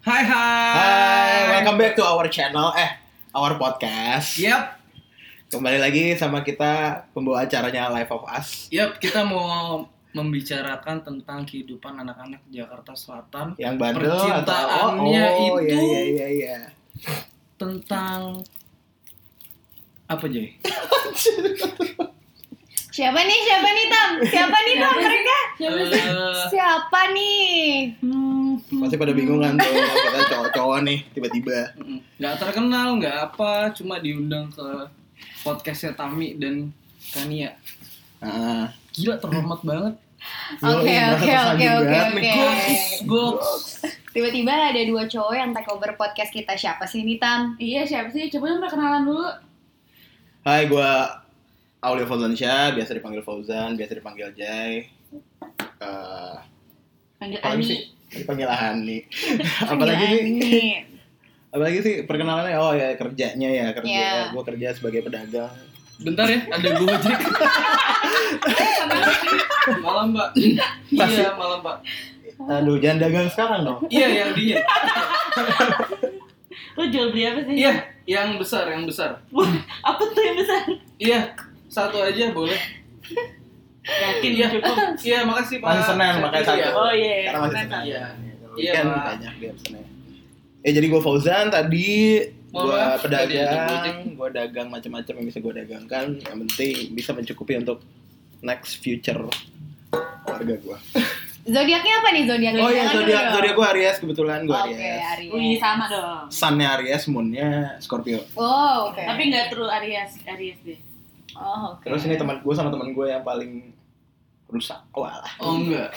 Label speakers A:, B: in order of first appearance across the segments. A: Hai hai.
B: Hai, welcome back to our channel, eh, our podcast.
C: Iya.
A: Yep,
B: Kembali lagi sama kita pembawa acaranya Life of Us
A: yep, kita mau membicarakan tentang kehidupan anak-anak Jakarta Selatan,
B: yang bandel
A: Percintaannya
B: atau oh, oh,
A: itu.
B: iya iya iya iya.
A: tentang apa Jay?
C: Siapa nih? Siapa nih Tam? Siapa nih Tam mereka?
A: Eh,
C: Siapa nih?
B: Pasti pada bingung kan tuh kita cowok-cowok nih tiba-tiba.
A: mm, nggak terkenal, nggak apa, cuma diundang ke podcastnya Tami dan Kania.
B: Nah,
A: Gila terhormat banget.
C: Oke
B: merasa kan?
C: oke oke
B: tersanjung
C: oke
B: banget
C: oke.
B: nih.
A: Goks, goks.
C: Tiba-tiba ada dua cowok yang take over podcast kita. Siapa sih nih Tam?
D: Iya siapa sih? Coba dong perkenalan dulu.
B: Hai, gue Aulia Fauzansyah, biasa dipanggil Fauzan, biasa dipanggil Jai. Eh,
C: Panggil
B: apalagi sih?
C: Ani.
B: Dipanggil Ani.
C: Panggil
B: apalagi sih?
C: Ani.
B: Apalagi sih perkenalannya oh ya kerjanya ya kerja
C: Iya.
B: gue kerja sebagai pedagang
A: Bentar ya, ada Gojek. malam, Mbak. Iya, malam, Pak.
B: aduh jangan dagang sekarang dong
A: Iya, yang dia.
D: Lo jual beli apa sih?
A: Iya, yang besar, yang besar.
D: Wah, apa tuh yang besar?
A: Iya, satu aja boleh.
D: Yakin
A: Iya, iya makasih Pak.
B: Masih Senin, makanya
A: Iya.
B: satu.
D: Oh iya.
B: karena masih
D: Benar.
B: senang
A: Iya. Iya,
B: Weekend
A: Pak.
B: banyak di absennya. Eh jadi gue Fauzan tadi
A: Mohon
B: gue
A: maaf, tadi ada Gojek.
B: pedagang, gue dagang macam-macam yang bisa gue dagangkan. Yang penting bisa mencukupi untuk next future keluarga gue.
C: Zodiaknya apa nih zodiaknya?
B: Oh iya
C: Jangan dulu
B: zodiak
C: dong.
B: zodiak gue Aries kebetulan gue
C: Oke,
B: Aries.
C: Aries.
D: Wih sama dong.
B: Sunnya Aries, moonnya Scorpio.
C: Oh, oke.
D: Tapi nggak terlalu Aries Aries deh.
C: Oh, oke.
B: Terus ini teman gue sama teman gue yang paling rusak. Walah.
A: Oh enggak.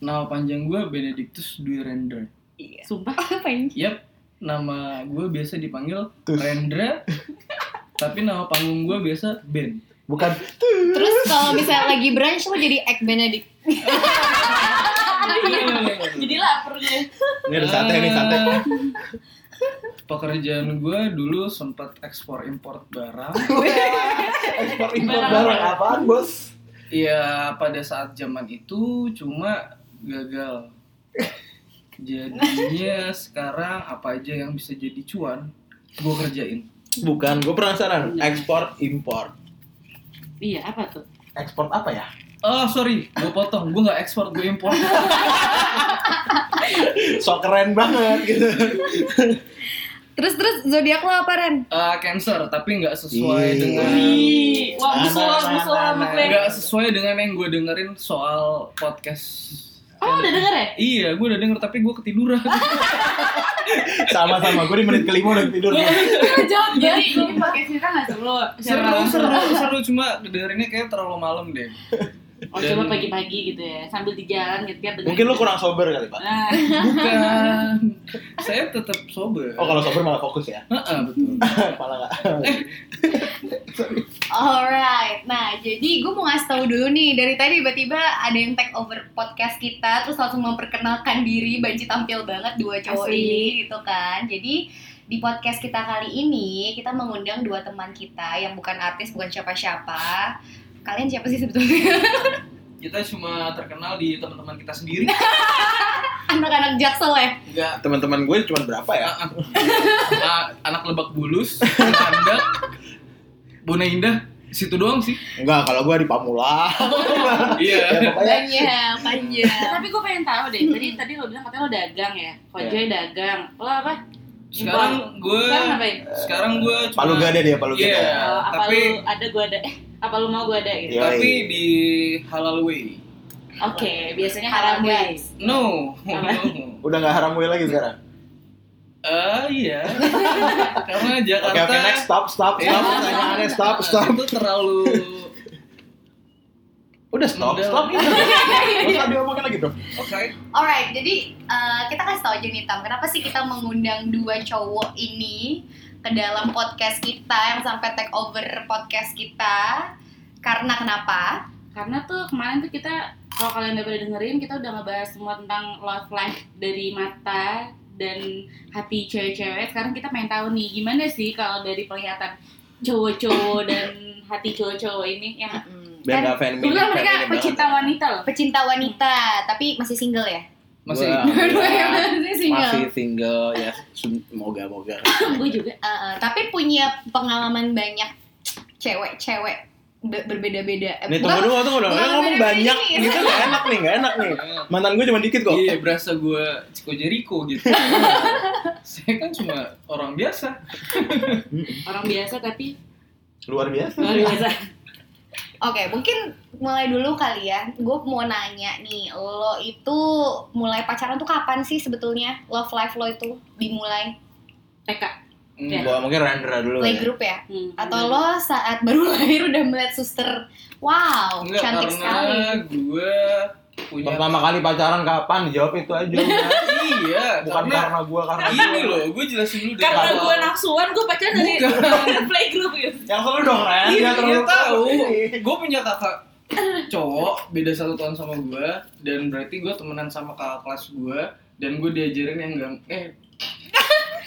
A: Nama panjang gue Benedictus Dwi Rendra.
D: Sumpah.
C: apa ini?
A: Yap, nama gue biasa dipanggil
B: Tus.
A: Rendra. tapi nama panggung gue biasa Ben.
B: Bukan.
C: Terus kalau misalnya lagi brunch lo jadi egg benedict.
D: Iya. Jadi lapar deh.
B: Ini ada Iya. sate nih sate.
A: Eh, Pekerjaan gue dulu sempat ekspor impor barang.
B: Ekspor impor barang apaan bos?
A: Iya pada saat zaman itu cuma gagal. Jadinya sekarang apa aja yang bisa jadi cuan, gue kerjain.
B: Bukan, gue penasaran.
A: Hmm.
B: Ekspor impor.
D: Iya apa tuh?
B: Ekspor apa ya?
A: Oh sorry, gue potong, gue nggak ekspor, gue impor.
B: so keren banget gitu.
C: Terus terus zodiak lo apa Ren?
A: Eh, cancer, tapi nggak sesuai
B: Ih.
A: dengan
D: Wih, wah musola
B: Nah, nah,
D: musola
B: nah, nah.
D: mukle.
A: nggak sesuai dengan yang gue dengerin soal podcast.
D: Oh udah denger ya?
A: Iya, gue udah denger tapi gue ketiduran.
B: Sama-sama, gue di menit kelima udah tidur.
D: Jawab ya. jadi ini pakai cerita nggak seru?
A: seru, seru, seru, cuma dengerinnya kayak terlalu malam deh.
D: Oh coba pagi-pagi gitu ya, sambil di jalan nyetir dengerin.
B: Mungkin lu kurang sober kali, Pak.
D: Nah,
A: Bukan, saya tetap sober.
B: Oh, kalau sober malah fokus ya.
A: Heeh, betul.
B: malah enggak.
C: Alright, nah jadi gue mau ngasih tahu dulu nih dari tadi tiba-tiba ada yang take over podcast kita terus langsung memperkenalkan diri banci tampil banget dua cowok
D: Asli.
C: ini gitu kan. Jadi di podcast kita kali ini kita mengundang dua teman kita yang bukan artis bukan siapa-siapa. Kalian siapa sih sebetulnya?
A: kita cuma terkenal di teman-teman kita sendiri
C: Anak-anak jaksel ya.
A: enggak
B: Nah, Teman-teman gue cuma berapa ya?
A: ah, ah. Ah, anak lebak bulus anda Bona Indah situ doang sih
B: Enggak, kalau gue di Pamula. ya,
A: iya
B: pokoknya
C: Banyak,
D: Iya.
C: panjang.
D: Eh, tapi gue pengen tahu deh. Tadi tadi lo bilang katanya lo dagang ya. Kojoy
B: Iya.
D: dagang. Lo apa?
A: sekarang gue
D: Sekarang ngapain?
A: sekarang gue cuma
B: Palu gak ada dia, Palu gak
A: Iya.
B: ada.
D: Eh, apa
A: tapi-
D: lu ada gua ada eh apa lu mau gua ada
B: Ya,
D: gitu.
B: Iya.
A: tapi di halal way
D: Oke, biasanya haram guys.
A: no
D: Apa?
A: no
B: Udah gak haram gue lagi sekarang.
A: ah iya karena
B: Oke,
A: Jakarta
B: oke, next stop, stop,
A: Iya.
B: stop. Pertanyaannya stop, stop.
A: itu terlalu
B: Udah stop,
A: Udah.
B: stop. Gak usah diomongin lagi, Bro.
A: oke
C: Alright, jadi eh, kita kasih tau aja nih Tam, kenapa sih kita mengundang dua cowok ini ke dalam podcast kita yang sampai take over podcast kita? Karena kenapa?
D: Karena tuh kemarin tuh kita kalau kalian udah pada dengerin kita udah ngebahas semua tentang love life dari mata dan hati cewek-cewek sekarang kita pengen tahu nih gimana sih kalau dari penglihatan cowok-cowok dan hati cowok-cowok ini yang
B: Biar nggak fan
D: dulu kan mereka pecinta wanita loh
C: Pecinta wanita, tapi masih single ya?
A: Masih
D: dua yang masih single
B: iya. Masih single ya, semoga-moga.
D: gue juga
C: Eh, eh, tapi punya pengalaman banyak cewek-cewek be- berbeda-beda. Eh,
B: Nih
C: bukan-
B: tunggu dulu, tunggu dulu.
C: bukan
B: Lu ngomong
C: beda-beda
B: banyak
C: ini.
B: gitu nggak enak nih, nggak enak nih. Mantan gue cuma dikit kok.
A: Iya, berasa gue Ciko Jericho gitu. Saya kan cuma orang biasa.
D: orang biasa tapi
B: Luar biasa.
D: luar biasa
C: Oke, mungkin mulai dulu kali ya. Gue mau nanya nih, lo itu mulai pacaran tuh kapan sih sebetulnya? Love life lo itu dimulai
D: TK
A: Hmm.
C: Iya.
B: Gua mungkin Randra dulu. ya.
C: playgroup ya?
D: Hmm.
C: Atau lo saat baru lahir udah melihat suster, wow,
A: Enggak,
C: cantik sekali.
A: karena gue punya...
B: Pertama kali pacaran kapan? Jawab itu aja. udah.
A: Iya,
B: Bukan
A: karena...
B: karena gue karena
A: Ini loh, gue jelasin dulu dari
D: karena
A: awal.
D: gue nafsuan gue pacaran dari playgroup gitu
B: Yang selalu dong kan?
A: Iya, dia tahu. Gue punya kakak cowok beda satu tahun sama gue dan berarti gue temenan sama kakak kelas gue dan gue diajarin yang gak eh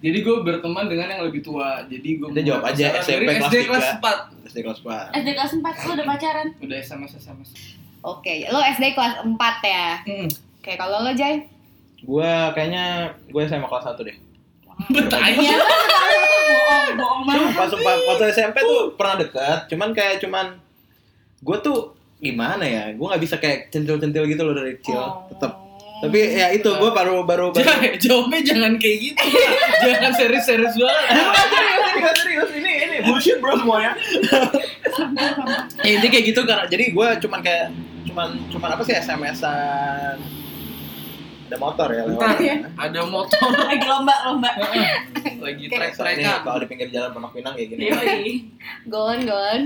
A: jadi gue berteman dengan yang lebih tua jadi gue
B: Udah jawab aja, SMP
A: dari
B: kelas
A: SD kelas
B: tiga.
A: 4
B: Pasti kelas empat.
D: SD kelas 4 lo udah pacaran
A: udah sama sama
C: Oke, lo SD kelas 4 ya?
A: hmm.
C: Oke, kalau lo Jai?
B: Gue kayaknya gue SMA kelas satu deh.
A: betanya
D: bohong bohong banget
B: Sumpah, sumpah. Waktu SMP tuh pernah deket, cuman kayak cuman gue tuh gimana ya? Gue nggak bisa kayak centil-centil gitu loh dari kecil.
C: Oh.
B: Tetep. Tapi ya itu gue baru baru baru.
A: Jay, jawabnya jangan kayak gitu lah. jangan serius-serius banget
B: serius, serius, serius. Ini ini bullshit bro semuanya. ya, intinya kayak gitu karena jadi gue cuman kayak cuman cuman apa sih SMS-an ada motor ya
A: Bentar, ada motor
D: lagi lomba lomba
A: lagi
B: Ini
C: Oke.
A: trek-trekan
B: kalau di pinggir jalan Pondok Pinang kayak gini.
D: Yoi.
C: Gon, Gon.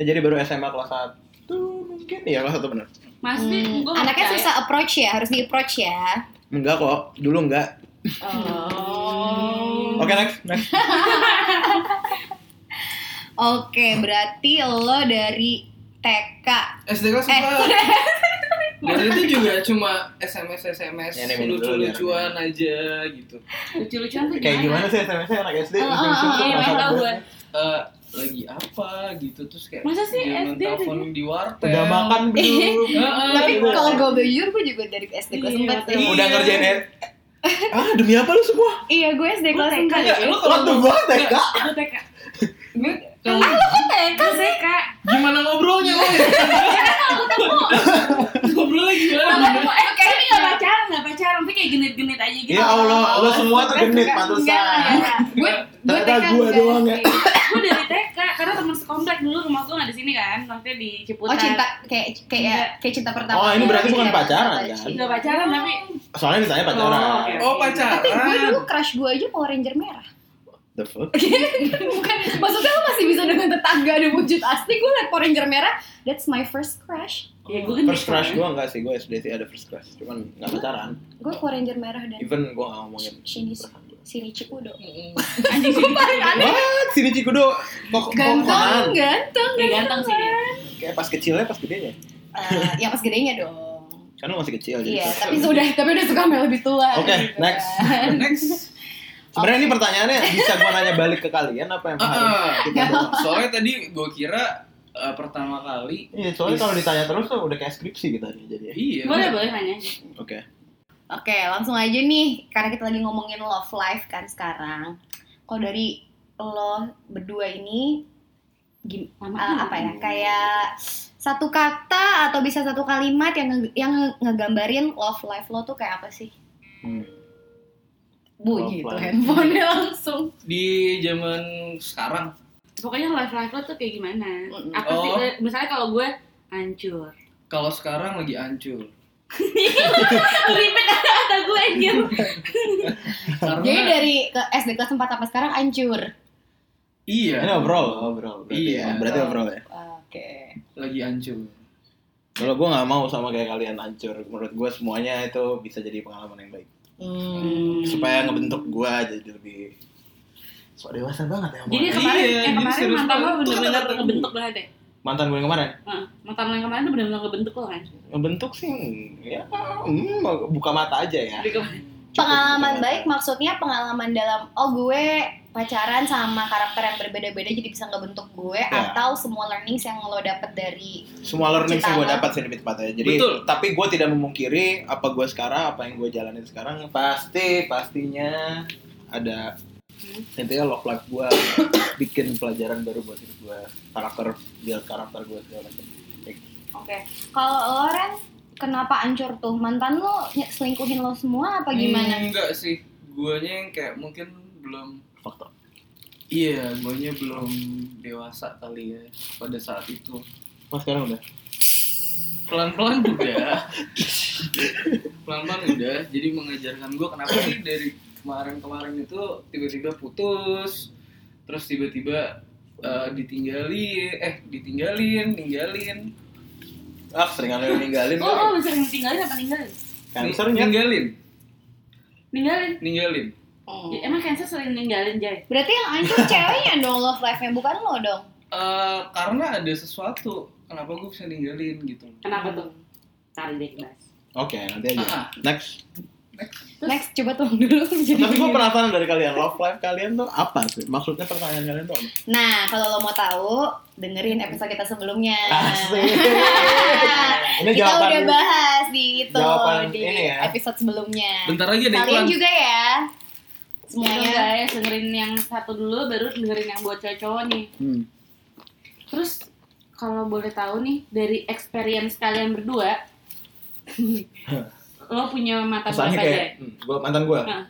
B: Ya, jadi baru SMA kelas 1 mungkin ya kelas 1 bener.
D: Masih
C: Hmm,
D: gue
C: anaknya susah approach ya, harus di approach ya.
B: Enggak kok, dulu enggak.
D: Oh.
B: Oke next, next.
C: Oke, berarti lo dari TK.
B: Iya.
A: SD kelas
B: Eh,
A: empat Dan itu juga cuma SMS SMS
B: Ya, ini minum dulu,
A: lucu-lucuan aja gitu.
D: Lucu-lucuan tuh
B: Hmm. Kayak gimana sih SMS-nya anak SD?
C: Oh, oh, oh,
B: Lucu-lucu,
D: Iya,
C: Iya,
B: kelas
D: pengen tahu
B: satu.
D: gue.
A: Eh lagi apa gitu terus kayak
D: Masa sih
A: zaman
D: SD
A: telepon di warteg.
B: Udah makan belum?
A: Heeh.
C: Tapi
A: Iya.
C: kalau gue bejur, gue juga dari SD kelas
D: Iya,
C: 4
A: iya.
B: Udah ngerjain ya? Ah, demi apa lu semua?
C: Iya, gue SD kelas
D: TK
C: 4.
D: ya?
A: Enggak, lu
B: What the fuck, TK?
D: Gue TK.
A: Ini kalau
C: Kok TK
D: Gue
C: sih?
D: TK.
A: gimana ngobrolnya lo ya? Ngobrolnya gimana?
D: Ketemu, eh, tapi gak pacaran, gak pacaran. Tapi kayak genit-genit aja gitu.
B: Ya Allah,
C: Oh,
B: lo semua tuh genit
D: Enggak lah,
B: pantesan.
D: enggak.
C: Gue gue
B: Ternyata
C: TK
B: gue
C: juga. Iya.
B: doang ya.
D: Gue dari TK, karena temen sekomplek dulu rumah gue gak di sini kan. Maksudnya di Ciputat.
C: Oh, cinta kayak
D: Iya.
C: kayak kayak cinta pertama.
B: Oh, ini berarti bukan
C: Iya,
B: pacaran,
C: cinta.
B: kan?
D: Gak pacaran tapi
B: Soalnya ditanya pacaran.
D: Oh, oke.
A: Oh
C: Eh, Tapi gue
A: pacaran.
C: dulu crush gue aja Power Ranger merah.
B: The fuck?
C: Bukan, maksudnya lo masih bisa dengan tetangga ada wujud asli. Gue liat Power Ranger merah, that's my first crush.
D: ya gue genit.
B: First crush gue enggak sih, gue SD sih ada first crush Cuman enggak pacaran
C: Gue Power Ranger merah dan
B: Even gue gak ngomongin
C: Shinis-
B: perasaan gue.
C: Shinichi Udo.
B: Oh,
D: Anjing sih.
C: Paling aneh.
B: What? Sini Cikudo Kok gak?
C: Ganteng, Iya, ganteng,
D: Dia ganteng sih dia.
B: Kayak pas kecilnya, pas gedenya
C: Eh, ya pas gedenya dong.
B: Kan lu masih kecil jadi
C: Iya,
B: first
C: tapi sudah, tapi udah suka sama yang lebih tua.
B: Oke,
C: gitu
B: next.
C: kan.
A: Next.
B: Sebenarnya ini pertanyaannya bisa gue nanya balik ke kalian apa yang harus
A: Heeh.
B: kita doang?
A: Soalnya tadi gue kira eh, pertama kali
B: Iya, soalnya kalau ditanya terus tuh udah kayak skripsi kita nih jadinya.
A: iya.
D: Boleh, boleh nanya. aja.
B: Oke.
C: Oke, langsung aja nih, karena kita lagi ngomongin love life kan sekarang. Kalau dari lo berdua ini, gim-
D: Lama
C: eh,
B: Hmm.
D: kan?
C: apa ya? Kayak satu kata atau bisa satu kalimat yang nge- yang nge- ngegambarin love life lo tuh kayak apa sih?
B: Hmm.
C: Bunyi
B: Love
C: tuh
B: life.
C: handphonenya langsung.
A: Di zaman sekarang
D: Pokoknya life life lo tuh kayak gimana?
C: Mm-mm.
D: Apa sih? eh,
A: Oh.
D: Misalnya kalau gue hancur.
A: kalau sekarang lagi hancur.
D: Ribet kata gue anjir.
A: Karena
C: Jadi dari ke SD kelas 4 sampai sekarang hancur.
A: iya,
B: Ini overall, overall. Berarti
A: Iya.
B: ya, berarti overall ya.
C: Oke.
A: lagi hancur.
B: Kalau gue nggak mau sama kayak kalian hancur, menurut gue semuanya itu bisa jadi pengalaman yang baik.
C: Hmm.
B: Supaya ngebentuk gue jadi lebih sok dewasa banget ya.
D: Jadi
B: omongannya.
D: kemarin,
A: Iya,
D: eh
A: jadi
D: kemarin
A: serius
D: mantan lo
A: banget.
D: bener-bener ngebentuk banget ya?
B: mantan gue yang kemarin
D: Nah, mantan lo yang kemarin tuh benar-benar kebentuk lo kan?
B: bentuk sih hmm, ya hmm, buka mata aja ya
D: Jadi kemarin-
B: Cukup
C: Pengalaman
B: buka mata.
C: baik maksudnya pengalaman dalam oh gue pacaran sama karakter yang berbeda-beda jadi bisa ngebentuk gue
B: Ya.
C: atau semua learnings yang lo dapet dari
B: semua learning yang
C: Cita
B: gue
C: lo.
B: dapat sih demi tepatnya jadi
A: Betul.
B: tapi gue tidak memungkiri apa gue sekarang apa yang gue jalanin sekarang pasti pastinya ada intinya love life gue bikin pelajaran baru buat hidup gue karakter build karakter gue segala macam
C: Oke. Kalau lo Ren, kenapa ancur tuh? Mantan lo ny- selingkuhin lo semua apa Oh, gimana?
A: Hmm, enggak sih. Guanya yang kayak mungkin belum
B: faktor
A: Iya, guanya belum dewasa kali ya pada saat itu.
B: mas Nah, sekarang udah
A: Pelan-pelan udah. Pelan-pelan udah. Jadi mengajarkan gue kenapa sih dari kemarin-kemarin itu tiba-tiba putus, terus tiba-tiba eh, ditinggali, eh ditinggalin, tinggalin,
B: ah seringan lo yang ninggalin
A: Oh,
D: Lo lo bisa tinggalin apa ninggalin?
B: kan
A: Ni-
B: seringnya
A: ninggalin,
D: Ninggalin.
A: ninggalin. Oh.
B: Hmm.
D: Ya, Emang cancer sering ninggalin
C: Iya.
D: Jay?
C: Berarti yang ancur ceweknya dong love life-nya bukan lo dong.
A: Eh, karena ada sesuatu kenapa gue bisa ninggalin gitu.
D: Kenapa tuh? Cari deh bahas.
B: oke nanti
A: Ah.
B: aja next
D: Terus-
C: Next coba tuh dulu jadi.
B: tapi gue penasaran dari kalian love life kalian tuh apa sih maksudnya pertanyaan kalian tuh apa
C: Nah, kalau lo mau tahu, dengerin episode kita sebelumnya.
B: Asik. ini
C: kita
B: jawaban
C: udah bahas di itu
B: jawaban
C: di
B: ini ya.
C: episode sebelumnya.
A: Bentar lagi ada
C: Kalian
A: iklan.
C: juga ya.
D: Semuanya
C: Semuanya.
D: guys, ya, dengerin yang satu dulu baru dengerin yang buat cowok-cowok nih.
B: Hmm.
D: Terus kalau boleh tahu nih dari experience kalian berdua lo punya mantan
B: Kesannya
D: berapa
B: kayak
D: aja? Ah. Nah,
B: hmm, gua mantan gua.
D: Hah.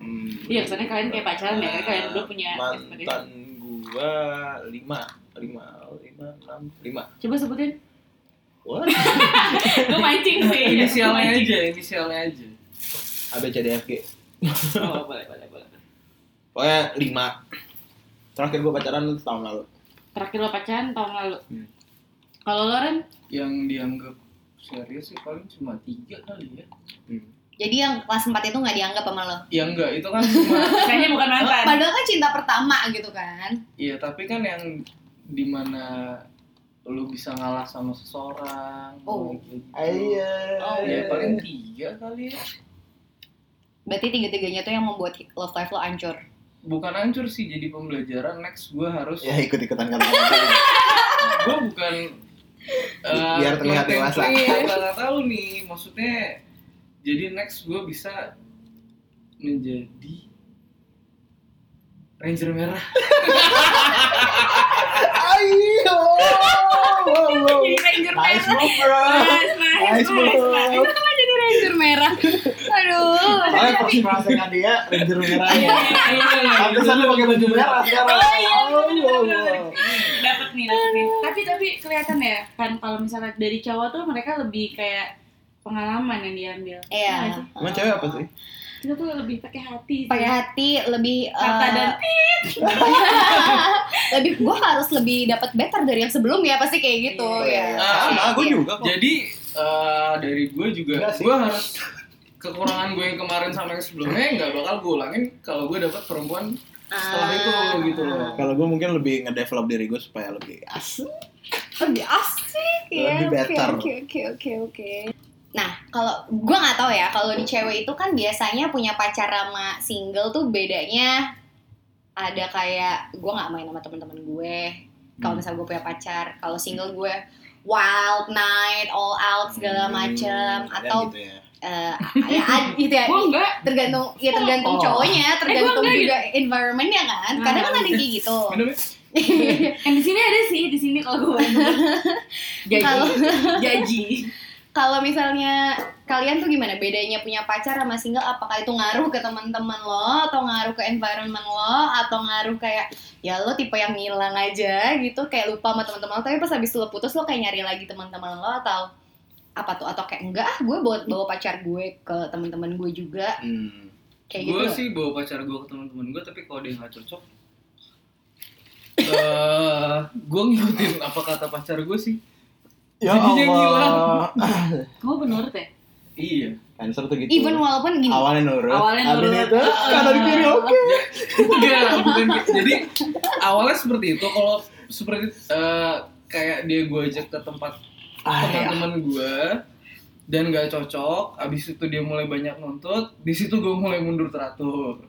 B: Hmm.
D: Iya, kesannya kalian kayak pacaran ya, kan? Kalian berdua punya
B: mantan gua lima, lima, lima, enam, lima.
D: Coba sebutin.
B: What?
D: Gue mancing sih.
C: ya?
A: Inisialnya aja, inisialnya aja.
B: A B C D F G.
A: Oh, boleh, boleh, boleh.
B: Pokoknya lima. Terakhir gua pacaran tuh tahun lalu.
D: Terakhir lo pacaran tahun lalu.
B: Hmm.
D: Kalau lo Ren,
A: Yang dianggap serius sih paling cuma tiga kali ya.
B: Hmm.
C: Jadi yang kelas 4 itu nggak dianggap sama lo.
A: Ya enggak, itu kan cuma
D: kayaknya bukan mantan.
C: Padahal kan cinta pertama gitu kan.
A: Iya, tapi kan yang dimana lu bisa ngalah sama seseorang.
C: Oh.
A: gitu.
B: Iya.
D: Oh,
A: Ya paling tiga kali ya.
C: Berarti tiga-tiganya tuh yang membuat love life lo ancur.
A: Bukan hancur sih jadi pembelajaran. Next gue harus
B: Ya ikut ikutan kata kata.
A: gue bukan eh,
B: Biar terlihat
A: konten
B: dewasa.
A: creator, nggak tahu nih maksudnya jadi next gue bisa menjadi ranger merah
B: Ayo. Wow, wow.
D: Jadi ranger
B: Nice
D: merah.
B: move, bro.
D: Nice, nice,
B: Nice
D: nice, nice.
B: move.
C: Jadi ranger merah. Aduh.
B: Soalnya persis merasakan dia ranger merah.
D: Iya, iya, iya, iya.
B: Pantesan lu pakai baju merah sekarang.
D: Oh, iya,
B: Wow, wow,
D: bener-bener.
B: wow.
D: Dapat nih, dapat nih. Tapi tapi kelihatan ya kan kalau misalnya dari cowok tuh mereka lebih kayak pengalaman yang diambil.
C: Iya.
D: Iya sih?
B: Emang cewek apa sih?
D: Kita tuh lebih pakai hati. sih.
C: Pakai hati lebih
D: kata
C: eh,
D: dan
C: lebih gue harus lebih dapat better dari yang sebelumnya pasti kayak gitu
B: Iya,
C: ya.
B: iya. Sama, gue juga kok.
A: jadi eh, dari gue juga
B: Enggak sih.
A: gue harus kekurangan gue yang kemarin sama yang sebelumnya nggak bakal gue ulangin kalau gue dapet perempuan
C: Ah.
A: setelah itu gitu loh
B: Kalau gue mungkin lebih ngedevelop diri gue supaya lebih asik.
C: Lebih asik
B: Lebih
C: ya. Oke,
B: better.
C: Oke oke oke oke. Nah, kalau gue nggak tahu ya, kalau di cewek itu kan biasanya punya pacar sama single tuh bedanya ada kayak gue nggak main sama teman-teman gue.
B: Hmm.
C: Kalau misalnya gue punya pacar, kalau single gue wild night, all out segala macem
B: Hmm,
C: atau
B: gitu ya.
C: eh, ya ad- gitu ya.
D: Gua enggak.
C: tergantung ya tergantung
B: Oh.
C: cowoknya, tergantung
D: enggak
C: juga
B: gitu.
C: environmentnya kan. Kadang
B: Ah.
C: kan ada yang kayak gitu.
A: Minum ya?
D: Yang di sini ada sih, di sini kalau gue
C: Kalau
D: jaji.
C: kalau misalnya kalian tuh gimana bedanya punya pacar sama single apakah itu ngaruh ke teman-teman lo atau ngaruh ke environment lo atau ngaruh kayak ya lo tipe yang ngilang aja gitu kayak lupa sama teman-teman lo tapi pas habis lo putus lo kayak nyari lagi teman-teman lo atau apa tuh atau kayak enggak ah gue buat bawa pacar gue ke teman-teman gue juga
B: Hmm.
C: kayak
A: gue
C: gitu
A: sih bawa pacar gue ke teman-teman gue tapi kalau dia nggak cocok eh gue ngikutin apa kata pacar gue sih
B: Ya
A: Jadinya ngilang.
B: Allah.
D: Kamu penurut ya?
A: iya
B: Cancer tuh gitu.
C: even walaupun gini
B: awalnya nurut,
D: Awalnya
B: abis
D: nurut.
B: itu kanan kiri oke.
A: Enggak, bukan gitu. Jadi awalnya seperti itu. Kalau seperti eh, kayak dia gue ajak ke tempat
B: Ah, iya.
A: teman-teman gue dan gak cocok abis itu dia mulai banyak nuntut di situ gue mulai mundur teratur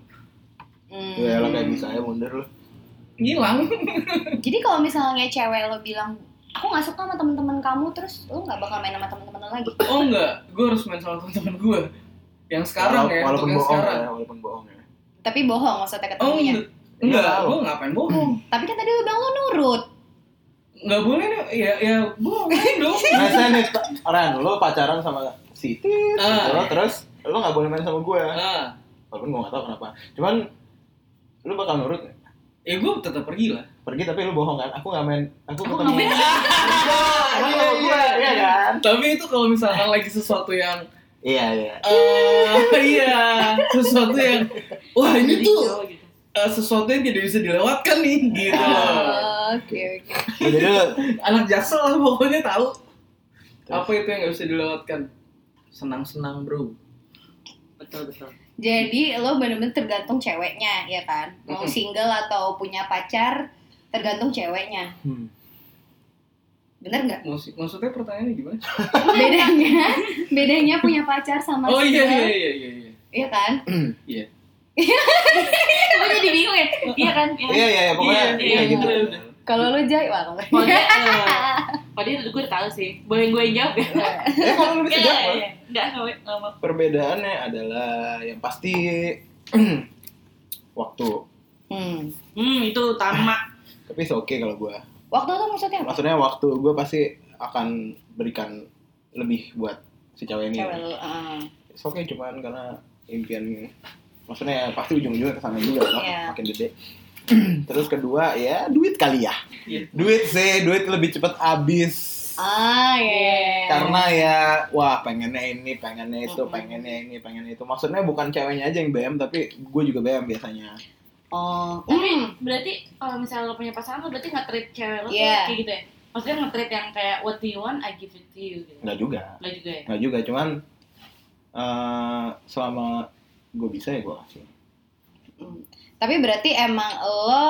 A: Iya.
B: Ya
C: Hmm.
B: lah kayak bisa ya mundur lu.
A: ngilang
C: Jadi kalau misalnya cewek lo bilang aku nggak suka sama teman-teman kamu terus lo nggak bakal main sama teman-teman lo lagi.
A: oh enggak gue harus main sama teman-teman gue yang sekarang
B: Walau-
A: ya untuk
B: walaupun
A: yang
B: bohong
A: sekarang
B: ya, walaupun bohong ya.
C: Tapi bohong maksudnya
A: oh
C: ketemunya.
A: enggak enggak
B: Iya,
A: gue ngapain bohong
C: Tapi kan tadi lo bilang lo nurut.
A: nggak boleh deh ya ya bohong dong
B: Nah, saya nih orang lu pacaran sama si Tit,
A: Ah.
B: gitu lo, terus lu nggak boleh main sama gue.
A: ah
B: Walaupun gue nggak tahu kenapa. Cuman lu bakal nurut nggak?
A: ya gue tetap pergi lah
B: pergi tapi lu bohong kan? Aku nggak main, aku,
D: Aku
B: ketemu.
D: nggak main.
B: Lu sama gue, iya kan?
A: tapi itu kalau misalkan lagi sesuatu yang
B: Iya iya.
A: eh iya sesuatu yang wah ini tuh
D: gitu.
A: eh, sesuatu yang tidak bisa dilewatkan nih gitu
C: Oke oke.
B: Ya, Jadi lu
A: anak jaksel lah pokoknya tahu apa itu yang nggak bisa dilewatkan senang-senang bro
D: Betul betul.
C: Jadi lo bener-bener tergantung ceweknya ya kan. Mau
A: Mm-mm.
C: single atau punya pacar tergantung ceweknya.
B: hmm.
C: Bener nggak?
A: Maksud- maksudnya pertanyaannya gimana
C: Bedanya bedanya punya pacar sama
A: oh iya iya
C: single.
A: iya iya iya
C: Iya kan?
A: iya
D: Gue jadi bingung ya. Iya kan? Iya.
B: Iya iya iya, pokoknya
A: Iya,
B: iya
D: iya,
B: gitu.
A: iya.
C: Kalau lo jai wah kalau
D: Kalau dia, eh, kalau dia gue udah tahu sih. Boleh gue yang jawab ya?
B: Eh kalau lu
D: Iya,
B: bisa
D: iya,
B: jawab.
D: iya. Enggak, enggak, enggak, enggak mau.
B: Perbedaannya adalah yang pasti waktu.
C: Hmm.
D: Hmm, itu utama.
B: Tapi oke kalau gue.
C: Waktu tuh maksudnya apa?
B: Maksudnya waktu gue pasti akan berikan lebih buat si cewek ini.
C: Cewek lo. ah.
B: It's okay cuman karena impian maksudnya ya, pasti ujung-ujungnya kesana juga lah,
C: Iya.
B: makin gede. Terus kedua ya duit kali ya.
A: Iya.
B: Duit sih, duit lebih cepat habis.
C: Ah iya. iya, iya.
B: Karena ya wah pengennya ini, pengennya itu,
C: Mm-mm.
B: pengennya ini, pengennya itu. Maksudnya bukan ceweknya aja yang BM tapi gue juga BM biasanya.
C: Oh.
D: Tapi
C: Hmm.
D: berarti kalau misalnya lo punya pasangan lo berarti nge-treat cewek lo tuh
C: Iya.
D: kayak gitu ya? Maksudnya nge-treat yang kayak what do you want, I give it to you gitu.
B: Enggak juga.
D: Enggak juga ya?
B: Enggak juga cuman eh, selama gue bisa ya gue kasih.
C: Hmm. Tapi berarti emang lo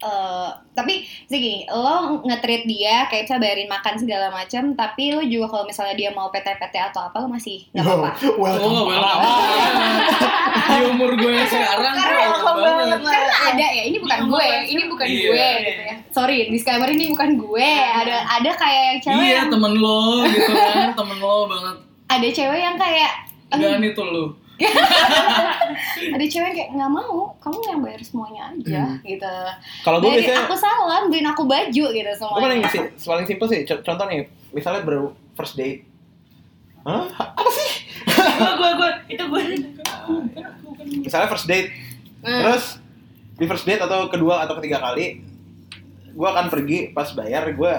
C: eh, tapi segini, lo nge-treat dia kayak sabarin makan segala macam, tapi lo juga kalau misalnya dia mau PT-PT atau apa lo masih nggak apa-apa.
A: Oh, nggak boleh lama. Di umur gue yang sekarang gue
C: Karena
A: welcome banget.
C: Karena ada ya, ini bukan
D: Ini
C: gue,
D: ngomong
C: ini bukan
A: Iya.
C: gue gitu ya. Sorry, disclaimer ini bukan gue. Ada ada kayak yang cewek
A: Iya,
C: yang,
A: temen lo gitu kan, temen lo banget.
C: ada cewek yang kayak "Em,
A: Dan itu lo.
C: ada cewek yang kayak nggak mau, kamu yang bayar semuanya aja gitu.
B: Kalau gue
C: Bayarin
B: biasanya
C: aku salam, beliin aku baju gitu
B: Gue paling
C: semuanya.
B: si- paling simpel sih, co- contoh nih, misalnya baru first date. Hah? Apa sih?
D: Gue, gue, gue, itu gue
B: Misalnya first date, terus di first date atau kedua atau ketiga kali, gue akan pergi pas bayar gue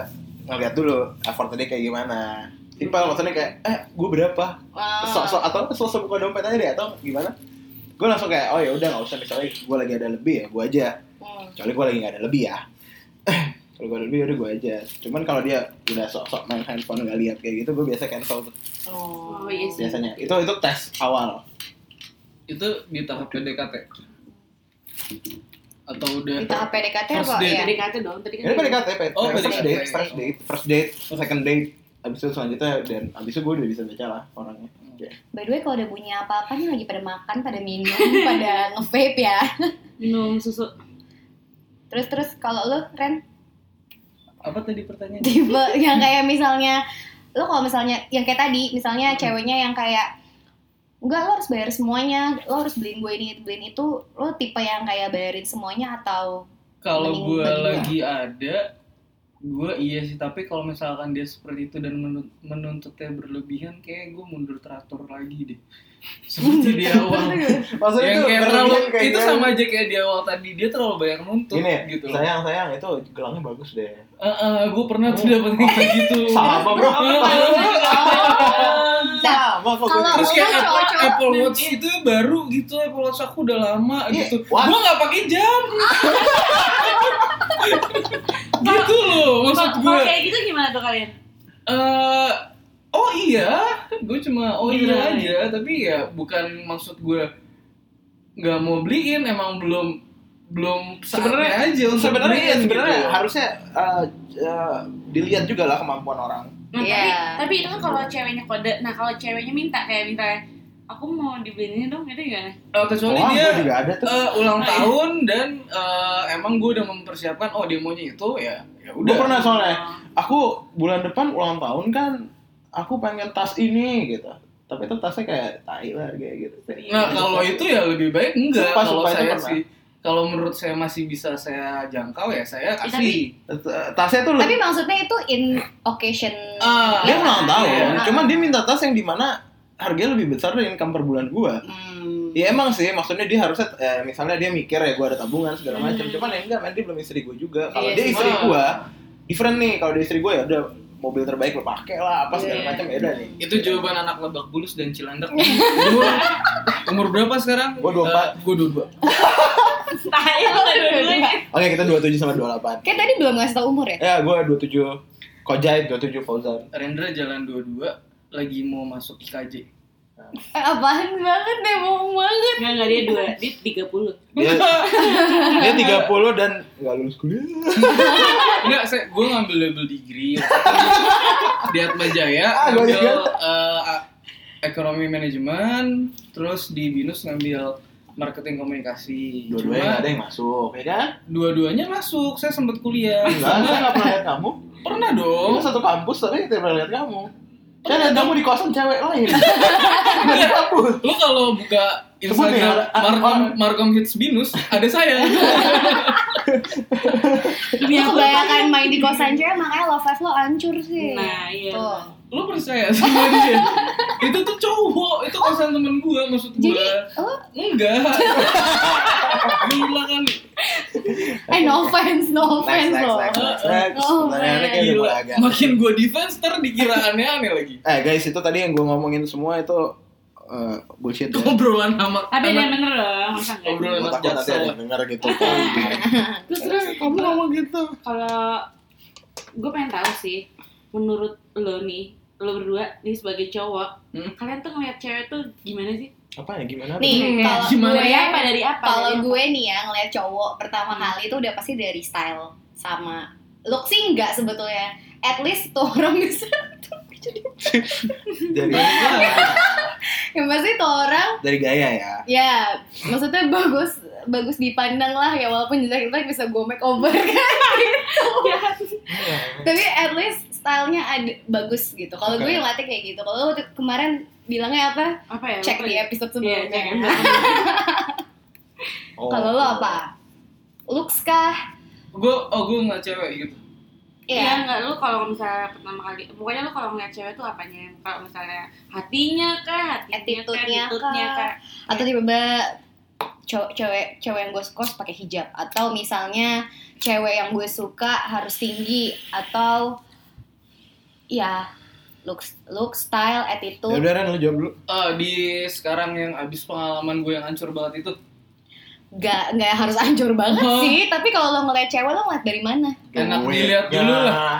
B: ngeliat dulu effort tadi kayak gimana. Simpel maksudnya kayak, eh gue berapa?
C: Wah.
B: Sok-sok atau sok-sok buka dompet aja deh atau gimana? Gue langsung kayak, oh ya udah nggak usah misalnya gue lagi ada lebih ya gue aja.
C: Hmm.
B: kecuali gue lagi gak ada lebih ya kalau gue ada lebih ya udah gue aja cuman kalau dia udah sok-sok main handphone nggak lihat kayak gitu gue biasa cancel tuh
C: Oh,
D: Oh, iya sih.
B: biasanya itu itu tes awal
A: Itu di tahap PDKT. Atau udah
C: Di tahap PDKT
A: First
C: apa
A: date.
C: ya?
D: Tadi kata dong, tadi kan
B: ini
D: kata
B: PDKT pe-
A: Oh,
B: first
A: PDKT.
B: date first date first date second date abis itu selanjutnya dan abis itu gue udah bisa baca lah orangnya Oke.
C: By the way kalau udah punya apa-apa nih lagi pada makan, pada minum, pada nge-vape ya.
D: minum susu
C: Terus terus kalau lu Ren
A: apa tadi pertanyaannya?
C: tipe yang kayak misalnya lu kalau misalnya yang kayak tadi, misalnya ceweknya yang kayak Enggak, lo harus bayar semuanya, lo harus beliin gue ini, beliin itu Lo tipe yang kayak bayarin semuanya atau
A: Kalau
C: Mending
A: gue
C: bagi dua.
A: lagi ada, gue iya sih. Tapi kalau misalkan dia seperti itu dan menun- menuntutnya berlebihan, kayak gue mundur teratur lagi deh. Seperti di awal.
B: maksudnya
A: yang
B: itu
A: kayak
B: berlebihan
A: terlalu
B: kayak
A: itu
B: gini.
A: sama aja kayak di awal tadi dia terlalu banyak nuntut
B: gini
A: gitu. Eh
B: sayang sayang itu gelangnya bagus deh
C: Nah,
A: eh, gue pernah tuh dapet kayak gitu.
B: sama bro sama kok
C: Kalau-
A: Terus kayak
C: Cowok-cowok
A: Apple, Apple
D: mungkin.
A: Watch itu baru gitu, Apple Watch aku udah lama
B: Iya,
A: gitu.
B: what?
A: Gua nggak pakai jam. gitu loh, maksud
D: Kalau
A: gue.
D: kalau kayak gitu gimana tuh kalian?
A: eh oh iya, gue cuma oh iya
D: Beneran.
A: aja, tapi ya bukan maksud gue nggak mau beliin, emang belum belum
B: sebenarnya
A: saatnya aja untuk
B: sebenarnya ya,
A: beliin
B: sebenarnya
A: gitu.
B: harusnya eh, eh, dilihat juga lah kemampuan orang
D: Nah,
C: Iya.
D: tapi, tapi itu kan kalau ceweknya kode. Nah, kalau ceweknya minta kayak minta aku mau dibeliin dong itu gimana?
A: Eh, kecuali
B: Wah,
A: dia
B: Oh, gua juga ada tuh
A: eh, ulang
D: Nah, iya.
A: tahun dan eh, emang gue udah mempersiapkan oh demonya itu ya ya
B: gue
A: udah
B: pernah soalnya
D: Oh.
B: aku bulan depan ulang tahun kan aku pengen tas ini gitu tapi itu tasnya kayak tai lah kayak gitu
C: Iya.
A: Nah, kalau itu ya lebih baik enggak.
B: Sumpah,
A: Kalau
B: sumpah, itu
A: saya
B: pernah.
A: sih kalau menurut saya masih bisa saya jangkau ya saya
D: tapi-
A: kasih.
B: eh, tasnya tuh
C: Tapi
B: lebih
C: maksudnya itu in occasion.
A: Ah,
B: dia ulang tahun
A: Iya.
B: cuman dia minta tas yang dimana harganya lebih besar dari income per bulan gua
C: Hmm.
B: Ya emang sih, maksudnya dia harusnya eh, misalnya dia mikir ya gue ada tabungan segala macam.
D: Hmm.
B: Cuman ya enggak, man, dia belum istri gue juga. Kalau
C: Iya
B: dia
C: sih.
B: istri gue, different nih. Kalau dia istri gue ya udah mobil terbaik lo pakai lah, apa segala
D: Iya.
B: macam ya udah nih.
A: Itu jawaban anak Lebak Bulus dan Cilandak. Dulu, umur berapa sekarang?
B: Gua 24.
A: Eh, gua 22.
D: tai
C: Oh,
D: lo Nah, iya, dua-duanya.
B: Oke, kita 27 sama 28.
C: Kayak tadi belum ngasih tau umur ya?
B: Ya, gue 27 Kojai, 27 Fauzan.
A: Rendra jalan 22 lagi mau masuk IKJ.
C: Eh, apaan banget deh, bohong banget.
D: Enggak, enggak dia dua, dia 30.
B: Dia, dia 30 dan nggak lulus kuliah.
A: Enggak, saya gua ngambil double degree di Atma Jaya,
B: Ah, gua
A: ngambil
B: juga.
A: eh, a- ekonomi manajemen, terus di Binus ngambil marketing komunikasi.
B: Dua-duanya
A: Cuma-
B: nggak ada yang masuk, ya kan?
A: dua-duanya masuk saya sempat kuliah
B: Enggak, saya nggak pernah lihat kamu.
A: pernah
B: Kita
A: dong
B: satu kampus tapi tidak pernah lihat kamu. Saya lihat kamu di kosan cewek lain. Di kampus.
A: lu kalau buka
B: Sebut
A: Instagram
B: nih, orang-
A: Markom
B: orang-
A: Markom Hits Binus ada saya
D: Demi
C: Lu
D: aku.
C: kebanyakan main di kosan cewek, makanya love life lo hancur sih.
D: Nah, iya.
C: Tuh.
A: lu percaya sama dia itu tuh cowok itu kosan temen gua maksud gua
C: Jadi, oh,
A: enggak gila kan
C: eh no offense, no offense
B: Next, next,
C: loh.
B: next, next, next.
C: Oh,
B: Pertanyaannya kayak udah
A: gila
B: mulai agak.
A: makin gua defense ter dikira aneh-aneh lagi
B: Eh guys, itu tadi yang gue ngomongin semua itu eh, bullshit ya.
A: obrolan sama
D: Tapi ada yang
A: anak-
D: bener dong, masa enggak?
A: obrolan
B: Gue
A: anak
B: takut nanti ada
A: jaksel
B: yang denger gitu.
D: Terus terus
B: Kamu ngomong gitu.
D: kalau gue pengen tahu sih menurut lo nih lo berdua nih sebagai cowok
A: Hmm.
D: kalian tuh ngeliat cewek tuh gimana sih
B: Apa ya gimana?
C: Nih, kalau
A: Gimana
C: gue,
D: dari apa dari
C: Iya.
D: apa
C: kalau
D: dari
C: gue nih ya ngeliat cowok pertama
D: Hmm.
C: kali itu udah pasti dari style sama look sih enggak sebetulnya. At least tuh orang bisa
B: Dari
C: yang pasti tuh orang
B: dari gaya ya.
C: ya maksudnya bagus bagus dipandang lah ya walaupun jelek-jelek bisa gue make over kan
D: Hmm.
C: tapi at least stylenya ada bagus gitu kalau
B: Oke.
C: gue ngelatih kayak gitu kalau lu waktu- kemarin bilangnya apa
D: apa, apa ya
C: cek
D: Apa
C: di
D: ya?
C: episode
D: Iya,
C: sebelumnya
D: cek
B: Oh.
C: kalau lo apa looks kah
A: gua oh gua nggak cewek gitu
D: Iya
C: Iya
D: enggak lu kalau misalnya pertama kali pokoknya lu kalau ngeliat cewek tuh apanya kalau misalnya hatinya kah hatinya
C: Attitude-nya
D: attitude-nya
C: kah? atau tiba-tiba cowok cewek cewek yang gue suka harus pakai hijab atau misalnya cewek yang gue suka harus tinggi atau ya looks look style
B: Ya
C: attitude
B: udah Ren, lu jawab dulu.
A: Eh, di sekarang yang abis pengalaman gue yang hancur banget itu
C: nggak nggak harus hancur banget
A: Oh.
C: sih tapi kalau lo ngeliat cewek lo ngeliat dari mana
A: Enak
B: Duitnya.
A: dilihat dulu
B: Ya.
A: lah.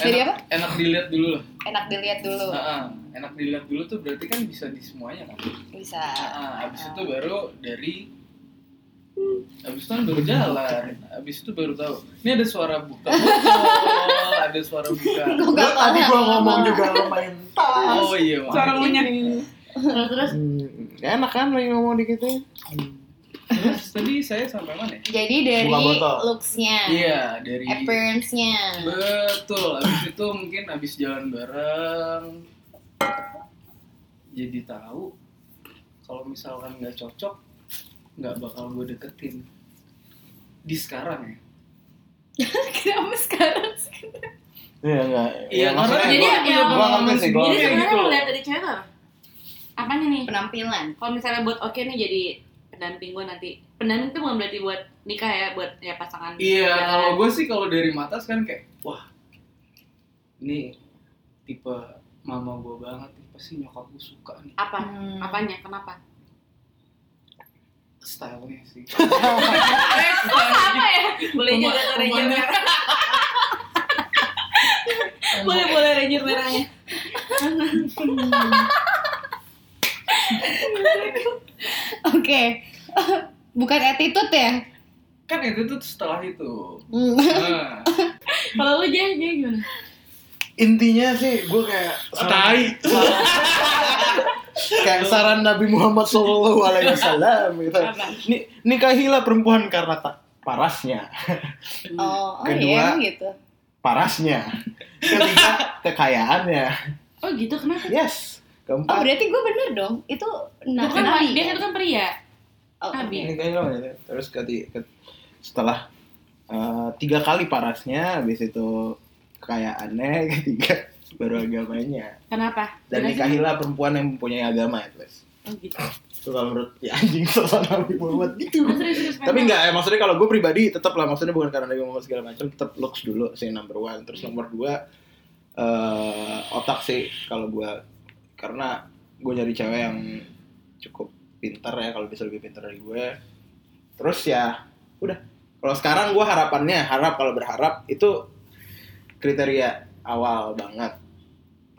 C: Jadi
A: enak,
C: apa?
A: enak dilihat dulu lah
C: enak dilihat dulu
A: Heeh, enak dilihat dulu tuh berarti kan bisa di semuanya kan
C: bisa
A: Heeh, Ah, abis
C: ah.
A: itu baru dari abis itu kan baru jalan abis itu baru tahu ini ada suara buka botol ada suara buka
C: Gua gak
B: Tadi
C: paham.
B: gue ngomong juga lo main tas.
A: oh iya
D: kah?
A: Mak.
D: suara ngunyah terus terus
B: Hmm, enak kan lagi ngomong dikit ya?
A: terus tadi saya sampai mana ya?
C: jadi dari
B: Buka botol.
C: looksnya
A: iya dari
C: appearance-nya
A: betul abis itu mungkin abis jalan bareng jadi tahu kalau misalkan nggak cocok nggak bakal gue deketin di sekarang ya
C: kenapa sekarang sih?
B: Iya enggak.
A: Iya,
B: maksudnya
A: karena
D: jadi
B: gua-
A: gua-
D: yang
B: gua ngerti sih, gua
A: Jadi
B: ngerti.
D: jadi
A: kayak
D: sebenarnya
A: gitu
D: lu
A: loh.
D: lihat dari cewek tuh apa apanya nih
C: penampilan
D: kalau misalnya buat oke nih jadi pendamping gue nanti pendamping tuh bukan berarti buat nikah ya buat ya pasangan
A: Iya,
D: jalan.
A: kalau gue sih kalau dari mata kan kayak wah ini tipe mama gue banget nih pasti nyokap gue suka nih
D: apa
C: Hmm.
D: apanya kenapa
A: stylenya sih.
D: apa ya boleh
A: Rumah-
D: juga tuh ranger
A: rumahnya.
D: merah boleh boleh ranger merahnya
C: oke bukan attitude ya
A: kan itu tuh setelah itu
C: Hmm.
A: nah,
D: Kalau lu Jay, Jay gimana?
B: Intinya sih gue kayak
A: tai
B: kayak saran Nabi Muhammad Shallallahu Alaihi Wasallam gitu.
D: Apa?
B: Ni- nikahilah perempuan karena tak parasnya,
C: Oh, oh
B: Kedua.
C: iya emang gitu.
B: parasnya. Ketiga kekayaannya.
D: Oh gitu kenapa?
B: Yes.
C: Oh
B: Keempat.
C: berarti gue bener dong. Itu nabi.
D: Bukan
C: nabi.
D: dia kan itu kan pria.
C: Oh,
D: nabi.
C: oke.
B: nikahilah wanita. gitu. Terus keti- ke- setelah eh, tiga kali parasnya, habis itu kekayaannya, ketiga baru agamanya.
D: Kenapa?
B: Dan
D: Jelasin.
B: nikahilah perempuan yang mempunyai agama, guys.
D: Oh gitu.
B: Itu kalau menurut ya anjing saran Nabi Muhammad gitu.
D: Terus terus terus.
B: tapi enggak ya maksudnya kalau gue pribadi tetap lah maksudnya bukan karena dia ngomong segala macam tetap looks dulu sih number one terus nomor dua eh otak sih kalau gue karena gue nyari cewek yang cukup pintar ya kalau bisa lebih pintar dari gue terus ya udah kalau sekarang gue harapannya harap kalau berharap itu kriteria awal banget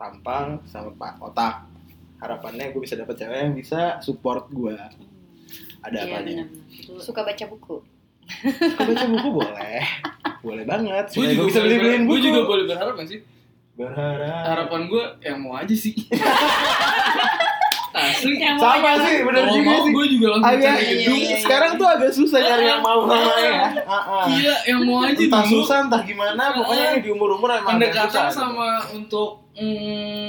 B: tampang sama pak otak harapannya gue bisa dapet cewek yang bisa support gue ada
D: Iya,
B: apanya
D: benar-benar. Itu-
C: Suka baca buku.
B: Kau baca buku boleh. Boleh banget.
A: gue
B: Supaya
A: juga
B: gua bisa beli beliin buku.
A: gue juga boleh berharap gak sih
B: Berharap.
A: harapan gue yang mau aja sih asli
D: Yang mau
B: Sama
D: aja.
B: sih, bener
A: Kalau
B: juga
A: mau,
B: sih.
A: gue Iya, juga langsung
B: Agak
A: cari gitu.
C: Iya,
A: dulu.
C: iya, iya.
B: sekarang tuh agak susah nyari yang mau sama ya. Ah, ah.
A: Iya, yang mau aja
B: Entah
A: dulu.
B: susah entah gimana, pokoknya ini di umur-umur emang agak susah.
A: Pendekatan sama untuk mm,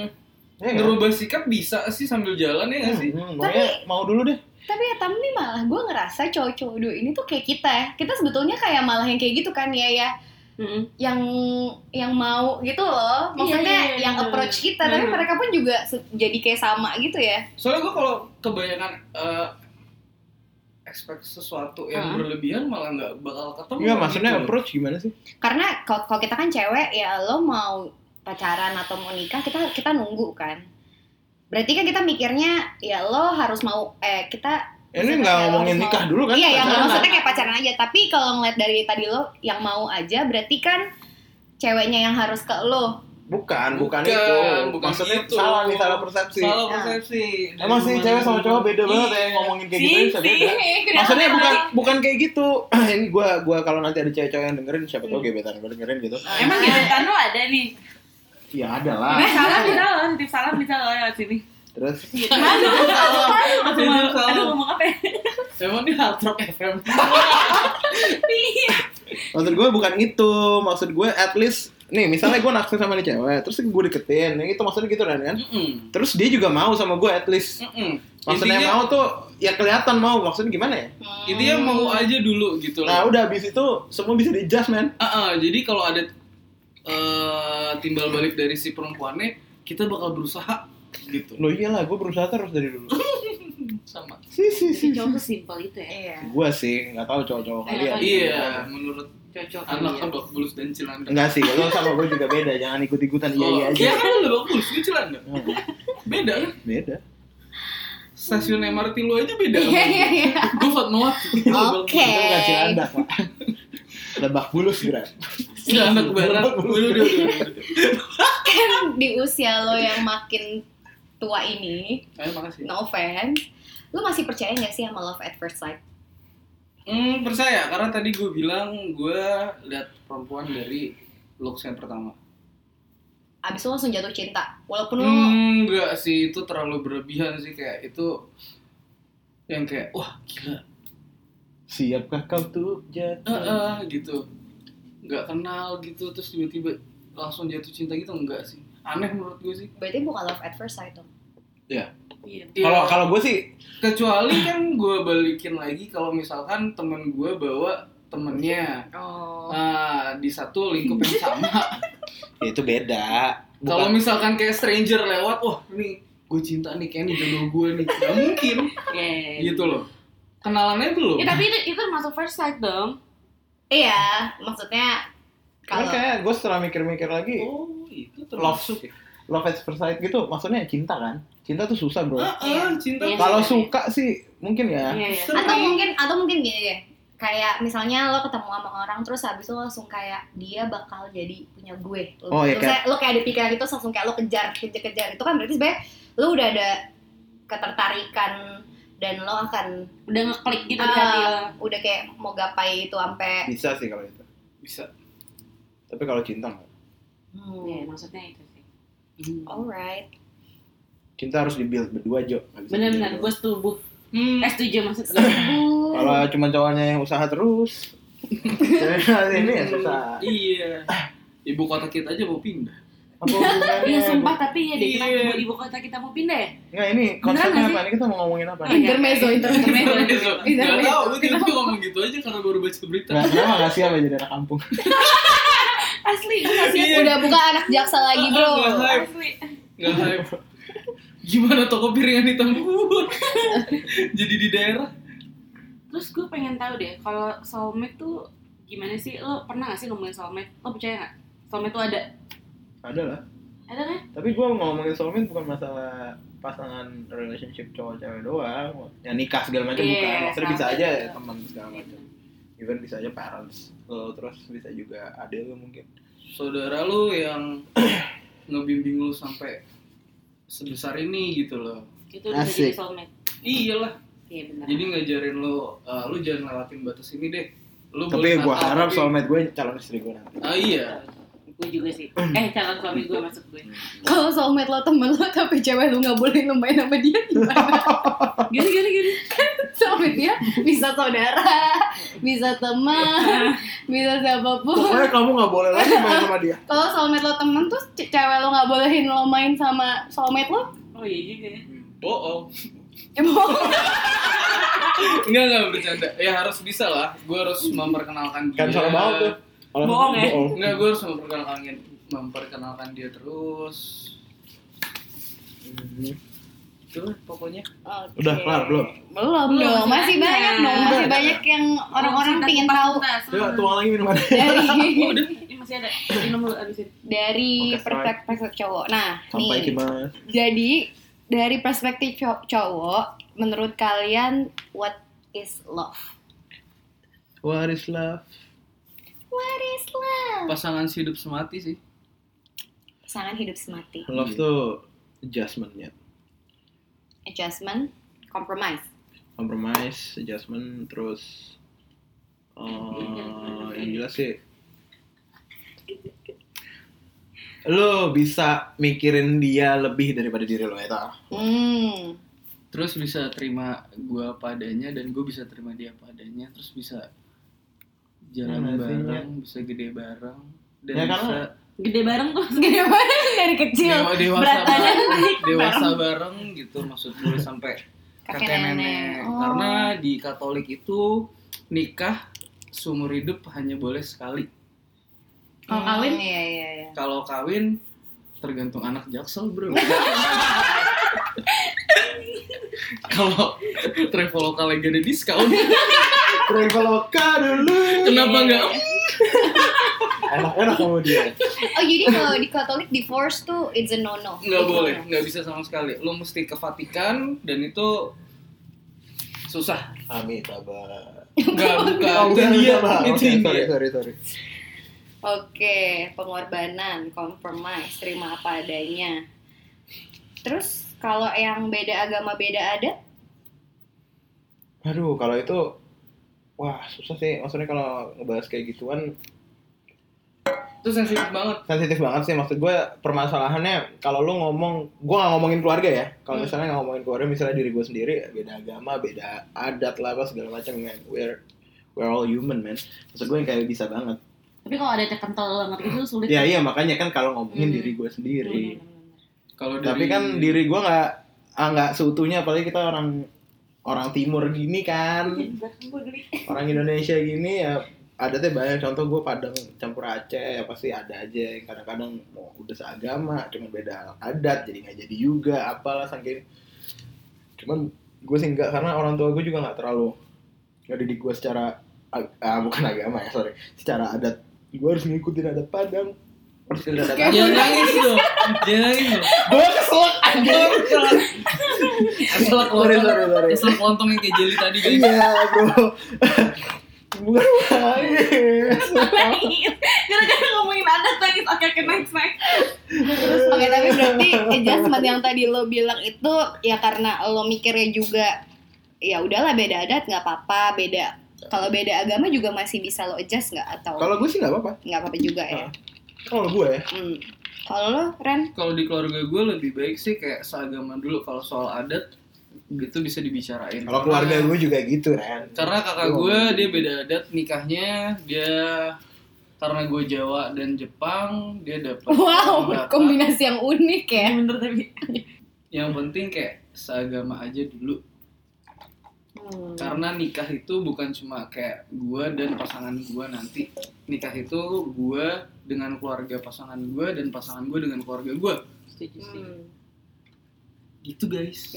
B: Iya nggak?
A: ngerubah sikap bisa sih sambil jalan ya nggak sih?
B: Hmm, hmm, pokoknya mau dulu deh.
C: Tapi ya tapi malah gue ngerasa cowok-cowok dulu ini tuh kayak kita ya. Kita sebetulnya kayak malah yang kayak gitu kan ya ya
D: Mm-mm.
C: yang yang mau gitu loh. Maksudnya
D: Iya, iya, iya,
C: yang
D: bener.
C: approach kita tapi
D: Hmm.
C: mereka pun juga se- jadi kayak sama gitu ya.
A: Soalnya gue kalau kebanyakan eh expect sesuatu yang
D: Ah.
A: berlebihan malah nggak bakal ketemu.
B: Enggak, Iya, maksudnya
A: gitu.
B: approach gimana sih?
C: Karena kalau kalau kita kan cewek ya lo mau pacaran atau mau nikah kita kita nunggu kan. Berarti kan kita mikirnya ya lo harus mau eh kita
B: Ini nggak
C: Maksudnya
B: ngomongin
C: harus
B: nikah
C: mau-
B: dulu kan?
C: Iya, yang
B: pacaran.
C: maksudnya kayak pacaran aja. Tapi kalau ngeliat dari tadi lo yang mau aja, berarti kan ceweknya yang harus ke lo.
B: Bukan, bukan,
A: Bukan,
B: itu.
A: bukan
B: maksudnya
A: itu.
B: salah nih, salah persepsi.
A: Salah
C: Ah.
A: persepsi. Dari
B: Emang sih
A: mana
B: cewek sama
A: dulu.
B: cowok beda banget
A: Iya.
B: ya ngomongin kayak gitu
D: Sih,
B: bisa
D: sih.
B: beda.
D: Kenapa?
B: Maksudnya bukan bukan kayak gitu. ini gua gua kalau nanti ada cewek-cewek yang dengerin siapa tau gebetan gua dengerin gitu.
D: Ah, Emang gebetan lo ada nih?
B: Ya ada lah.
D: Nah, salam bisa lo, titip salam bisa lo lewat sini.
B: Terus
D: Aduh, aduh, aduh,
A: Titip
D: aduh,
A: salam.
D: aduh, ngomong apa ya?
A: Emang ini hard rock FM.
B: maksud gue bukan itu. Maksud gue at least nih misalnya gue naksir sama nih cewek, terus gue deketin, yang itu maksudnya gitu kan kan?
A: Mm-mm.
B: Terus dia juga mau sama gue at least.
A: Mm-mm.
B: Maksudnya
A: Hmm. Intinya-
B: mau tuh ya kelihatan mau. Maksudnya gimana ya?
A: Intinya
C: Hmm.
A: mau
C: Iya.
A: aja dulu gitu
B: Nah
A: loh.
B: udah habis itu semua bisa di adjust man.
A: Ah, ah, jadi kalau ada eh, timbal balik dari si perempuannya, kita bakal berusaha gitu.
B: Lo iyalah gue iya berusaha terus dari dulu.
A: Sama.
B: Si si si.
D: Cowok tuh simpel itu ya.
C: Iya.
B: Gue sih nggak tahu cowok-cowok kalian.
A: Iya, menurut
D: Cocok.
A: anak
D: iya.
A: abak bulus dan cilanda.
B: Enggak sih, lo sama gue juga beda, jangan ikut-ikutan iya iya aja.
A: kan lu abak bulus, gue cilanda.
B: Hmm,
A: Beda. kan?
B: Beda.
A: Stasiun MRT lu aja beda.
C: Iya, iya, iya.
A: Gue Fatmawati. Lu abak bulus.
C: Oke.
B: Itu nggak cilandak, Pak. Eh. Lebak bulus, Bra.
A: Cilanda ke barat. Udah, udah, udah, udah.
C: Kan di usia lo yang makin tua ini,
A: Ayo, makasih.
C: no offense, lo masih percaya gak sih sama love at first sight?
A: Hmm, percaya karena tadi gue bilang gue lihat perempuan dari looks yang pertama.
C: Abis lo langsung jatuh cinta, walaupun lo
A: Hmm, enggak sih itu terlalu berlebihan sih kayak itu yang kayak wah gila
B: Siapkah kau tuh jatuh?
A: eh eh, gitu nggak kenal gitu terus tiba-tiba langsung jatuh cinta gitu enggak sih aneh menurut gue sih
C: berarti bukan love at first sight dong.
D: Iya.
B: Kalau kalau gue sih
A: kecuali kan gue balikin lagi kalau misalkan temen gue bawa temennya
C: Oh.
B: Ah.
A: nah, di satu lingkup yang sama
B: ya itu beda.
A: kalau
B: Bukan
A: misalkan kayak stranger lewat wah nih gue cinta nih kayaknya jodoh gue nih nggak mungkin
D: Iya, iya, iya.
A: gitu loh kenalannya belum
D: Ya, tapi itu, itu termasuk first sight dong.
C: Iya, maksudnya
B: karena
C: kalau
B: Kan kayak gue setelah mikir-mikir lagi,
A: oh itu
B: termasuk
A: termasuk ya
B: love at first sight gitu maksudnya cinta kan? Cinta tuh susah, Bro.
A: ah, cinta
D: Iya.
B: Kalau suka sih mungkin ya.
D: Iya, iya.
C: atau mungkin atau mungkin gini deh kayak misalnya lo ketemu sama orang terus habis itu lo langsung kayak dia bakal jadi punya gue lo,
B: Oh, iya,
C: lo kayak, lo kayak ada pikiran itu langsung kayak lo kejar kejar kejar itu kan berarti sebenarnya lo udah ada ketertarikan dan lo akan
D: udah ngeklik gitu di
C: Ah,
D: hati lo.
C: udah kayak mau gapai itu sampai
B: bisa sih kalau itu
A: bisa
B: tapi kalau cinta nggak
C: hmm,
D: Iya, maksudnya itu sih. Hmm.
C: Oh. alright
B: cinta harus dibuild berdua Jo Nggak bisa
D: Bener-bener,
B: sendiri.
D: gue setuju.
A: hmm.
D: Eh, setuju maksud gue.
B: kalau cuma cowoknya yang usaha terus ini ya susah
A: Hmm. iya ibu kota kita aja mau pindah
B: apa hubungannya?
D: Iya, sumpah tapi ya deh, kita
A: Iya.
D: mau ibu kota kita mau pindah ya?
B: nggak ini
D: nggak
B: konsepnya
D: sih? Iya.
B: apa ini kita mau ngomongin apa
A: Iya.
B: nih?
C: Intermezzo, intermezzo.
D: Intermezzo.
C: Iya,
A: Gak
C: iya.
A: tau, gue tiba ngomong gitu aja karena baru baca berita
B: Nah, kenapa nggak siap ya jadi anak kampung?
D: Asli, gue gak
A: Iya,
D: siap.
C: udah buka anak jaksa lagi bro
A: Nggak hype,
D: Asli.
A: nggak hype Gimana toko piringan hitam gue? Jadi di daerah
D: Terus gue pengen tahu deh, kalau soulmate tuh gimana sih? Lo pernah gak sih nemuin soulmate? Lo percaya gak? Soulmate tuh ada.
B: Ada lah.
D: Ada kan?
B: Tapi gue ngomongin soulmate bukan masalah pasangan relationship cowok cewek doang, yang nikah segala macam
D: Iya,
B: bukan. Maksudnya bisa
D: sahabat
B: aja
D: juga.
B: teman segala macam. Even bisa aja parents. Lo terus bisa juga adil lo mungkin.
A: Saudara lu yang ngebimbing lu sampai sebesar ini gitu loh
D: Itu udah
B: Asik.
D: jadi soulmate.
A: Iyalah,
D: Iya benar.
A: jadi ngajarin lu, eh, lu jangan lewatin batas ini deh lu
B: Tapi
A: boleh
B: gue
A: nakal,
B: harap
A: tapi-
B: soulmate gue calon istri gue nanti.
A: Ah iya,
D: Gue juga sih. Eh, calon suami gue maksud gue.
C: kalau soulmate lo temen lo tapi cewek lu nggak boleh lumayan sama dia gimana
D: Gini, gini, gini.
C: soulmate dia bisa saudara bisa teman bisa siapapun
B: Pokoknya kamu gak boleh lagi main sama dia.
C: kalau soulmate lo temen tuh ce- cewek lo nggak bolehin lo main sama soulmate lo
D: Oh iya juga ya.
A: bohong
C: ya bohong
A: Enggak, enggak bercanda. Ya harus bisa lah. Gue harus memperkenalkan dia.
B: Kan salah banget tuh. Kalau-
D: Bohong ya?
A: Enggak, gue harus memperkenalkan memperkenalkan dia terus.
B: Hmm.
A: Tuh, pokoknya.
C: Oke.
B: Udah kelar belum?
C: Belum,
D: Belum,
C: dong, masih
D: masih
C: banyak
D: banyak.
C: dong, masih
B: Udah.
C: banyak yang orang-orang
D: Cinta
C: pingin
D: kupas
C: tahu
D: tuntas.
A: Iya,
B: Yuk, tuang lagi minuman.
D: Eh,
C: dari
A: Oh, udah.
D: Ini masih ada. Minum dulu abisin.
C: dari
B: Oke, fine.
C: perspektif perspektif cowok. Nah,
B: Sampai
C: nih.
B: gimana?
C: Jadi dari perspektif cow- cowok, menurut kalian what is love?
B: What is love?
C: What is love?
A: Pasangan hidup semati sih.
C: Pasangan hidup semati,
B: Love tuh adjustmentnya.
C: adjustment, compromise.
B: compromise, adjustment, terus eh yang jelas sih lo bisa mikirin dia lebih daripada diri lo ya, itu
C: Hmm.
A: Terus bisa terima gue padanya dan gue bisa terima dia padanya. Terus bisa jalan
B: Gimana sih,
A: bareng, bisa gede bareng dan
B: Nah, Ya,
A: bisa
B: karena-
D: Gede bareng tuh.
C: Gede banget dari kecil.
A: dewa dewasa
C: Berat badan.
A: bareng, dewasa bareng gitu maksud gue sampai kakek nenek,
C: Oh.
A: karena di Katolik itu nikah seumur hidup hanya boleh sekali
D: Kalau kawin?
C: Hmm, Iya, iya, iya.
A: kalau kawin tergantung anak jaksel bro kalau traveloka lagi ada diskon
B: Traveloka dulu
C: Iya,
A: kenapa nggak
B: enak-enak sama dia
C: Oh, jadi kalau di Katolik divorce tuh it's a Gitu ya? no no.
A: nggak boleh nggak bisa sama sekali lo mesti ke Vatikan dan itu susah
B: amit abah
A: nggak bukan itu
B: oh, bukan
A: dia
B: Abah.
A: itu
B: Oke, sorry,
A: dia
B: sorry, sorry.
C: Oke, pengorbanan, compromise, terima apa adanya. Terus kalau yang beda agama beda ada?
B: Aduh, kalau itu wah susah sih maksudnya kalau ngebahas kayak gituan
A: itu sensitif banget
B: sensitif banget sih maksud gue permasalahannya kalau lu ngomong gue gak ngomongin keluarga ya kalau
C: Hmm.
B: misalnya ngomongin keluarga misalnya diri gue sendiri ya beda agama beda adat lah apa segala macam man we're we're all human man maksud gue yang kayak bisa banget
C: Hmm.
D: Tapi kalau ada terkental lo ngerti itu sulit. Iya,
B: ya iya makanya kan kalau ngomongin
C: Hmm.
B: diri gue sendiri
A: kalau Oh,
B: tapi
A: dari-
B: kan diri gue nggak ah, nggak seutuhnya apalagi kita orang orang timur gini kan
D: Gue geli.
B: orang Indonesia gini ya adatnya banyak contoh gue Padang campur Aceh ya pasti ada aja yang kadang-kadang mau udah seagama cuman beda adat jadi nggak jadi juga apalah saking cuman gue sih enggak karena orang tua gue juga nggak terlalu nggak didik gue secara ag- ah, bukan agama ya sorry secara adat gue harus ngikutin adat Padang harus ngikutin adat
A: Jangan Ya, nangis dong. Jangan nangis dong.
B: gue kesel anjing
A: Asal
B: Sorry, sorry, sorry.
A: kelontong, asal kelontong yang kayak jeli tadi guys.
B: iya bro bukan nangis
D: Gara-gara ngomongin adat nangis. Oke, oke, next, next.
C: Oke, tapi berarti adjustment yang tadi lo bilang itu ya karena lo mikirnya juga ya udahlah beda adat nggak apa-apa beda kalau beda agama juga masih bisa lo adjust nggak atau
B: Kalau gue sih nggak apa-apa.
C: nggak apa-apa juga ya
B: Kalau gue ya.
C: hmm. kalau lo Ren
A: Kalau di keluarga gue lebih baik sih kayak seagama dulu. Kalau soal adat gitu bisa dibicarain.
B: Kalau keluarga
C: Iya.
B: gue juga gitu kan.
A: Karena kakak gue dia beda adat nikahnya dia karena gue Jawa dan Jepang dia dapat
C: wow
A: orang Batak.
C: kombinasi yang unik ya
D: bener tapi
A: Yang penting kayak seagama aja dulu
C: Hmm.
A: karena nikah itu bukan cuma kayak gue dan pasangan gue nanti nikah itu gue dengan keluarga pasangan gue dan pasangan gue dengan keluarga gue
D: setuju sih
C: Hmm.
A: gitu guys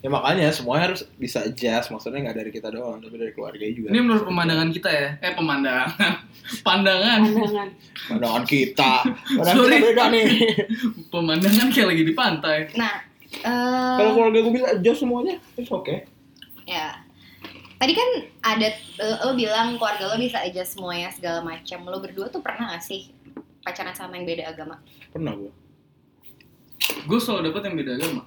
B: Ya makanya semuanya harus bisa adjust. Maksudnya nggak dari kita doang, tapi dari keluarga juga.
A: ini menurut pemandangan kita ya eh pemandangan pandangan
D: pandangan
B: Pandangan kita. Pandangan
A: Sorry.
B: kita beda nih.
A: pemandangan kayak lagi di pantai
C: nah
B: Kalau
C: eh
B: keluarga gue bisa adjust semuanya, it's okay.
C: ya tadi kan adat lo, lo bilang keluarga lo bisa adjust semuanya segala macam lo berdua tuh pernah gak sih pacaran sama yang beda agama
B: Pernah gue.
A: gue selalu dapet yang beda agama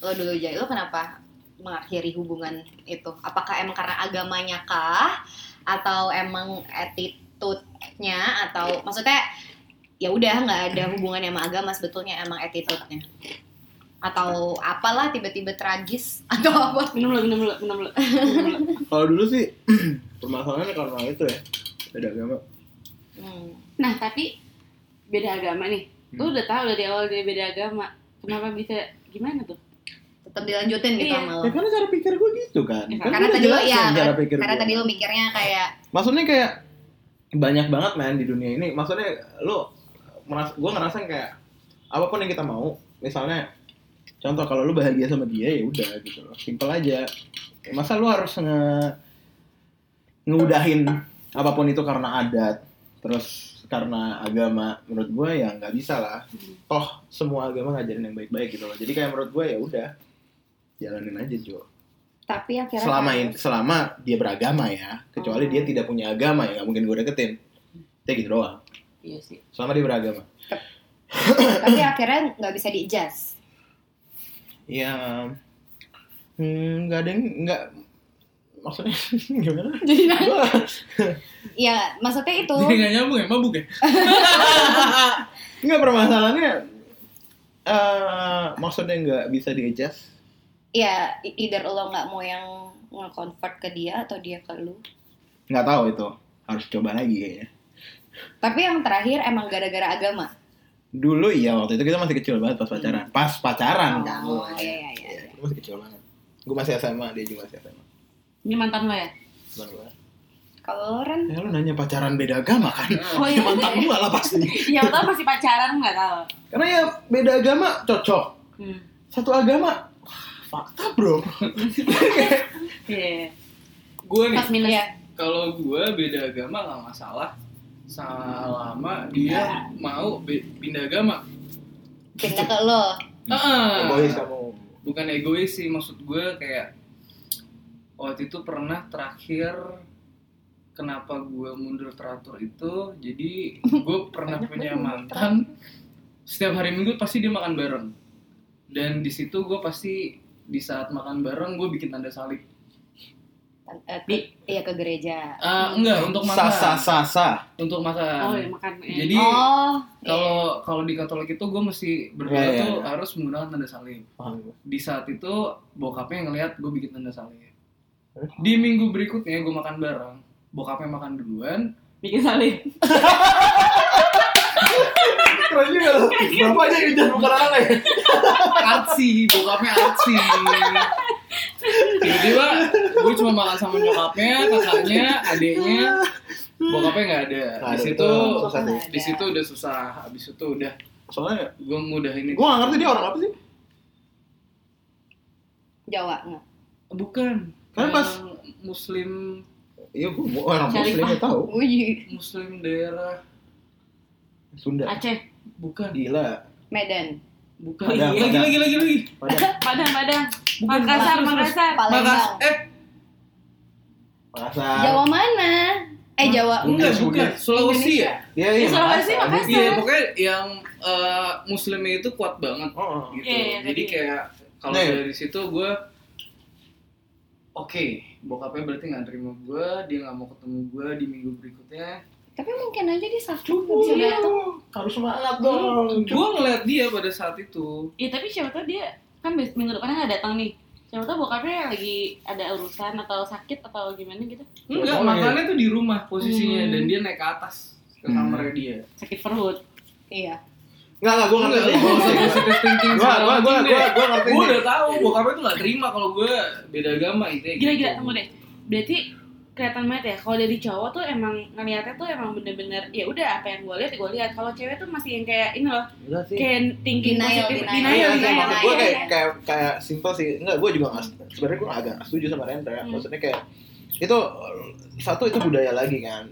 C: lo dulu jadi lo kenapa mengakhiri hubungan itu apakah emang karena agamanya kah atau emang attitude-nya atau maksudnya ya udah nggak ada hubungannya sama agama sebetulnya emang attitude-nya atau apalah tiba-tiba tragis atau apa
D: minum dulu minum dulu minum dulu Minum dulu.
B: Kalau dulu sih permasalahannya karena itu ya. Beda agama.
C: Hmm.
D: nah tapi beda agama nih lu
A: Hmm.
D: udah tahu dari awal dia beda agama kenapa bisa gimana tuh
C: tetap dilanjutin gitu
D: Iya.
C: sama lo
B: Ya karena cara pikir gue gitu kan.
D: Ya,
B: Kan
C: karena
B: gue udah
C: tadi lo
B: jelasin
C: ya
B: cara pikir
C: karena
B: gue.
C: tadi lo mikirnya kayak
B: maksudnya kayak banyak banget man di dunia ini maksudnya lu merasa gue ngerasa kayak apapun yang kita mau misalnya contoh kalau lu bahagia sama dia ya udah gitu loh simple aja masa lu harus nge ngeudahin apapun itu karena adat terus karena agama menurut gue ya nggak bisa lah toh semua agama ngajarin yang baik-baik gitu loh jadi kayak menurut gue ya udah jalanin aja Jo
C: tapi akhirnya kan-
B: selama selama dia beragama ya kecuali
D: Hmm.
B: dia tidak punya agama ya nggak mungkin gue deketin dia gitu doang
D: iya sih
B: selama dia beragama
C: tapi akhirnya nggak bisa diadjust
B: ya hmm, nggak ada yang nggak maksudnya gimana
C: jadi ya maksudnya itu
A: jadi nggak nyambung ya mabuk ya
B: nggak permasalahannya eh maksudnya nggak bisa di-adjust
C: ya e- either lo nggak mau yang nge-convert ke dia atau dia ke lu
B: nggak tahu itu harus coba lagi kayaknya
C: tapi yang terakhir emang gara-gara agama
B: dulu iya waktu itu kita masih kecil banget pas pacaran pas pacaran kan
C: Oh, iya, iya, iya.
B: Iya, kita masih kecil banget gue masih SMA dia juga masih SMA
D: ini mantan lo ya
B: Teman gua.
C: kalau lo, kan Ren
B: Ya lu nanya pacaran beda agama kan?
D: Oh, iya.
B: Ya, mantan gua lah pasti.
D: yang tau Iya, masih pacaran nggak tahu
B: Karena ya beda agama cocok.
D: hmm.
B: Satu agama wah, fakta bro.
D: Iya.
A: gue nih
D: Plus minus.
C: iya,
A: kalau gue beda agama nggak masalah selama dia mau be- pindah agama
C: pindah ke lo Eh,
A: Ah.
B: Egois kamu.
A: bukan egois sih maksud gue kayak waktu itu pernah terakhir kenapa gue mundur teratur itu jadi gue pernah punya mantan setiap hari minggu pasti dia makan bareng dan di situ gue pasti di saat makan bareng gue bikin tanda salib
C: Eh, ke,
D: Di-
C: iya ke gereja
A: Ah, enggak untuk
B: Sa
A: makan
B: sa sa sa.
A: untuk makan
D: oh ya makan eh.
A: Jadi-
C: oh iya.
A: kalau kalau di Katolik itu gue mesti berdoa
B: Iya, iya,
A: tuh
B: iya.
A: harus menggunakan tanda salib di saat itu bokapnya ngelihat gue bikin tanda salib
B: Terus?
A: di minggu berikutnya gue makan bareng bokapnya makan duluan
D: bikin salib
B: Keren juga loh. Bapaknya yang jahat bukan anak ya.
A: artsy bokapnya artsy tiba-tiba gue cuma makan sama nyokapnya kakaknya adiknya bokapnya nggak ada
B: Nggak
A: di
B: ada,
A: situ
B: betul.
C: Bokap
B: satu.
C: nggak ada.
A: di situ udah susah habis itu udah
B: Soalnya
A: gue mudah ini
B: gue gak ngerti dia orang apa sih.
C: Jawa nggak
A: bukan
B: Kan pas-
A: Yang muslim
B: Iya gue orang
D: Syarifah.
B: muslim ya tahu.
C: Gue ju-
A: muslim daerah
B: Sunda.
D: Aceh
A: bukan
B: Gila.
C: Medan
A: bukan
B: Padang,
A: lagi,
B: Padang.
A: lagi lagi lagi
B: Padahal
D: Padang Padang
A: Bukan,
D: Makassar
A: terus, terus,
D: Makassar
A: Makas
C: Palembang
A: eh
B: Makassar.
A: Ya,
C: Jawa mana eh Jawa
B: Bukan.
A: enggak bukan Sulawesi ya
B: Iya
D: Di Sulawesi, Makassar.
A: Iya, pokoknya yang eh, muslimnya itu kuat banget
B: Oh, oh.
A: gitu.
D: Iya, iya,
A: Jadi
D: tadi.
A: kayak kalau
B: Nih.
A: dari situ gue bokapnya berarti nggak terima gue dia nggak mau ketemu gue di minggu berikutnya
C: Tapi mungkin aja dia sakit nggak bisa datang.
B: harus semangat dong
A: gue Hmm, ngeliat dia pada saat itu
D: Ya tapi siapa tau dia kan bes- minggu depannya nggak datang nih. Siapa tau bokapnya lagi ada urusan atau sakit atau gimana gitu.
A: enggak
B: Bohong ya?
A: makannya tuh di rumah posisinya
D: Hmm.
A: dan dia naik ke atas ke
B: Hmm.
A: kamarnya dia
D: Sakit perut.
C: Iya.
B: nggak nggak gue
A: Gua
B: ngerti
A: nggak gua nggak usah positive thinking
B: Gua-
A: segala
B: gua- gua-
A: macam deh.
B: gua- gua ngerti
A: Gua
B: nih.
A: udah tahu bokapnya tuh nggak terima kalau gue beda agama gitu ya. itu
D: Gila-gila tunggu deh. Berarti kelihatan banget ya kalau dari cowok tuh emang ngeliatnya tuh emang bener-bener ya udah apa yang gue lihat gue lihat kalau cewek tuh masih yang kayak ini loh
B: Enggak sih
D: kayak ya, thinking
C: Denial,
D: positif
C: denial.
B: Iya
D: denial, gitu.
B: sih,
D: denial,
B: maksud gue kayak
D: denial.
B: kayak kayak simple sih. Enggak, gue juga nggak sebenarnya gue agak nggak setuju sama Rendra.
D: Hmm.
B: Maksudnya kayak itu satu itu budaya lagi kan,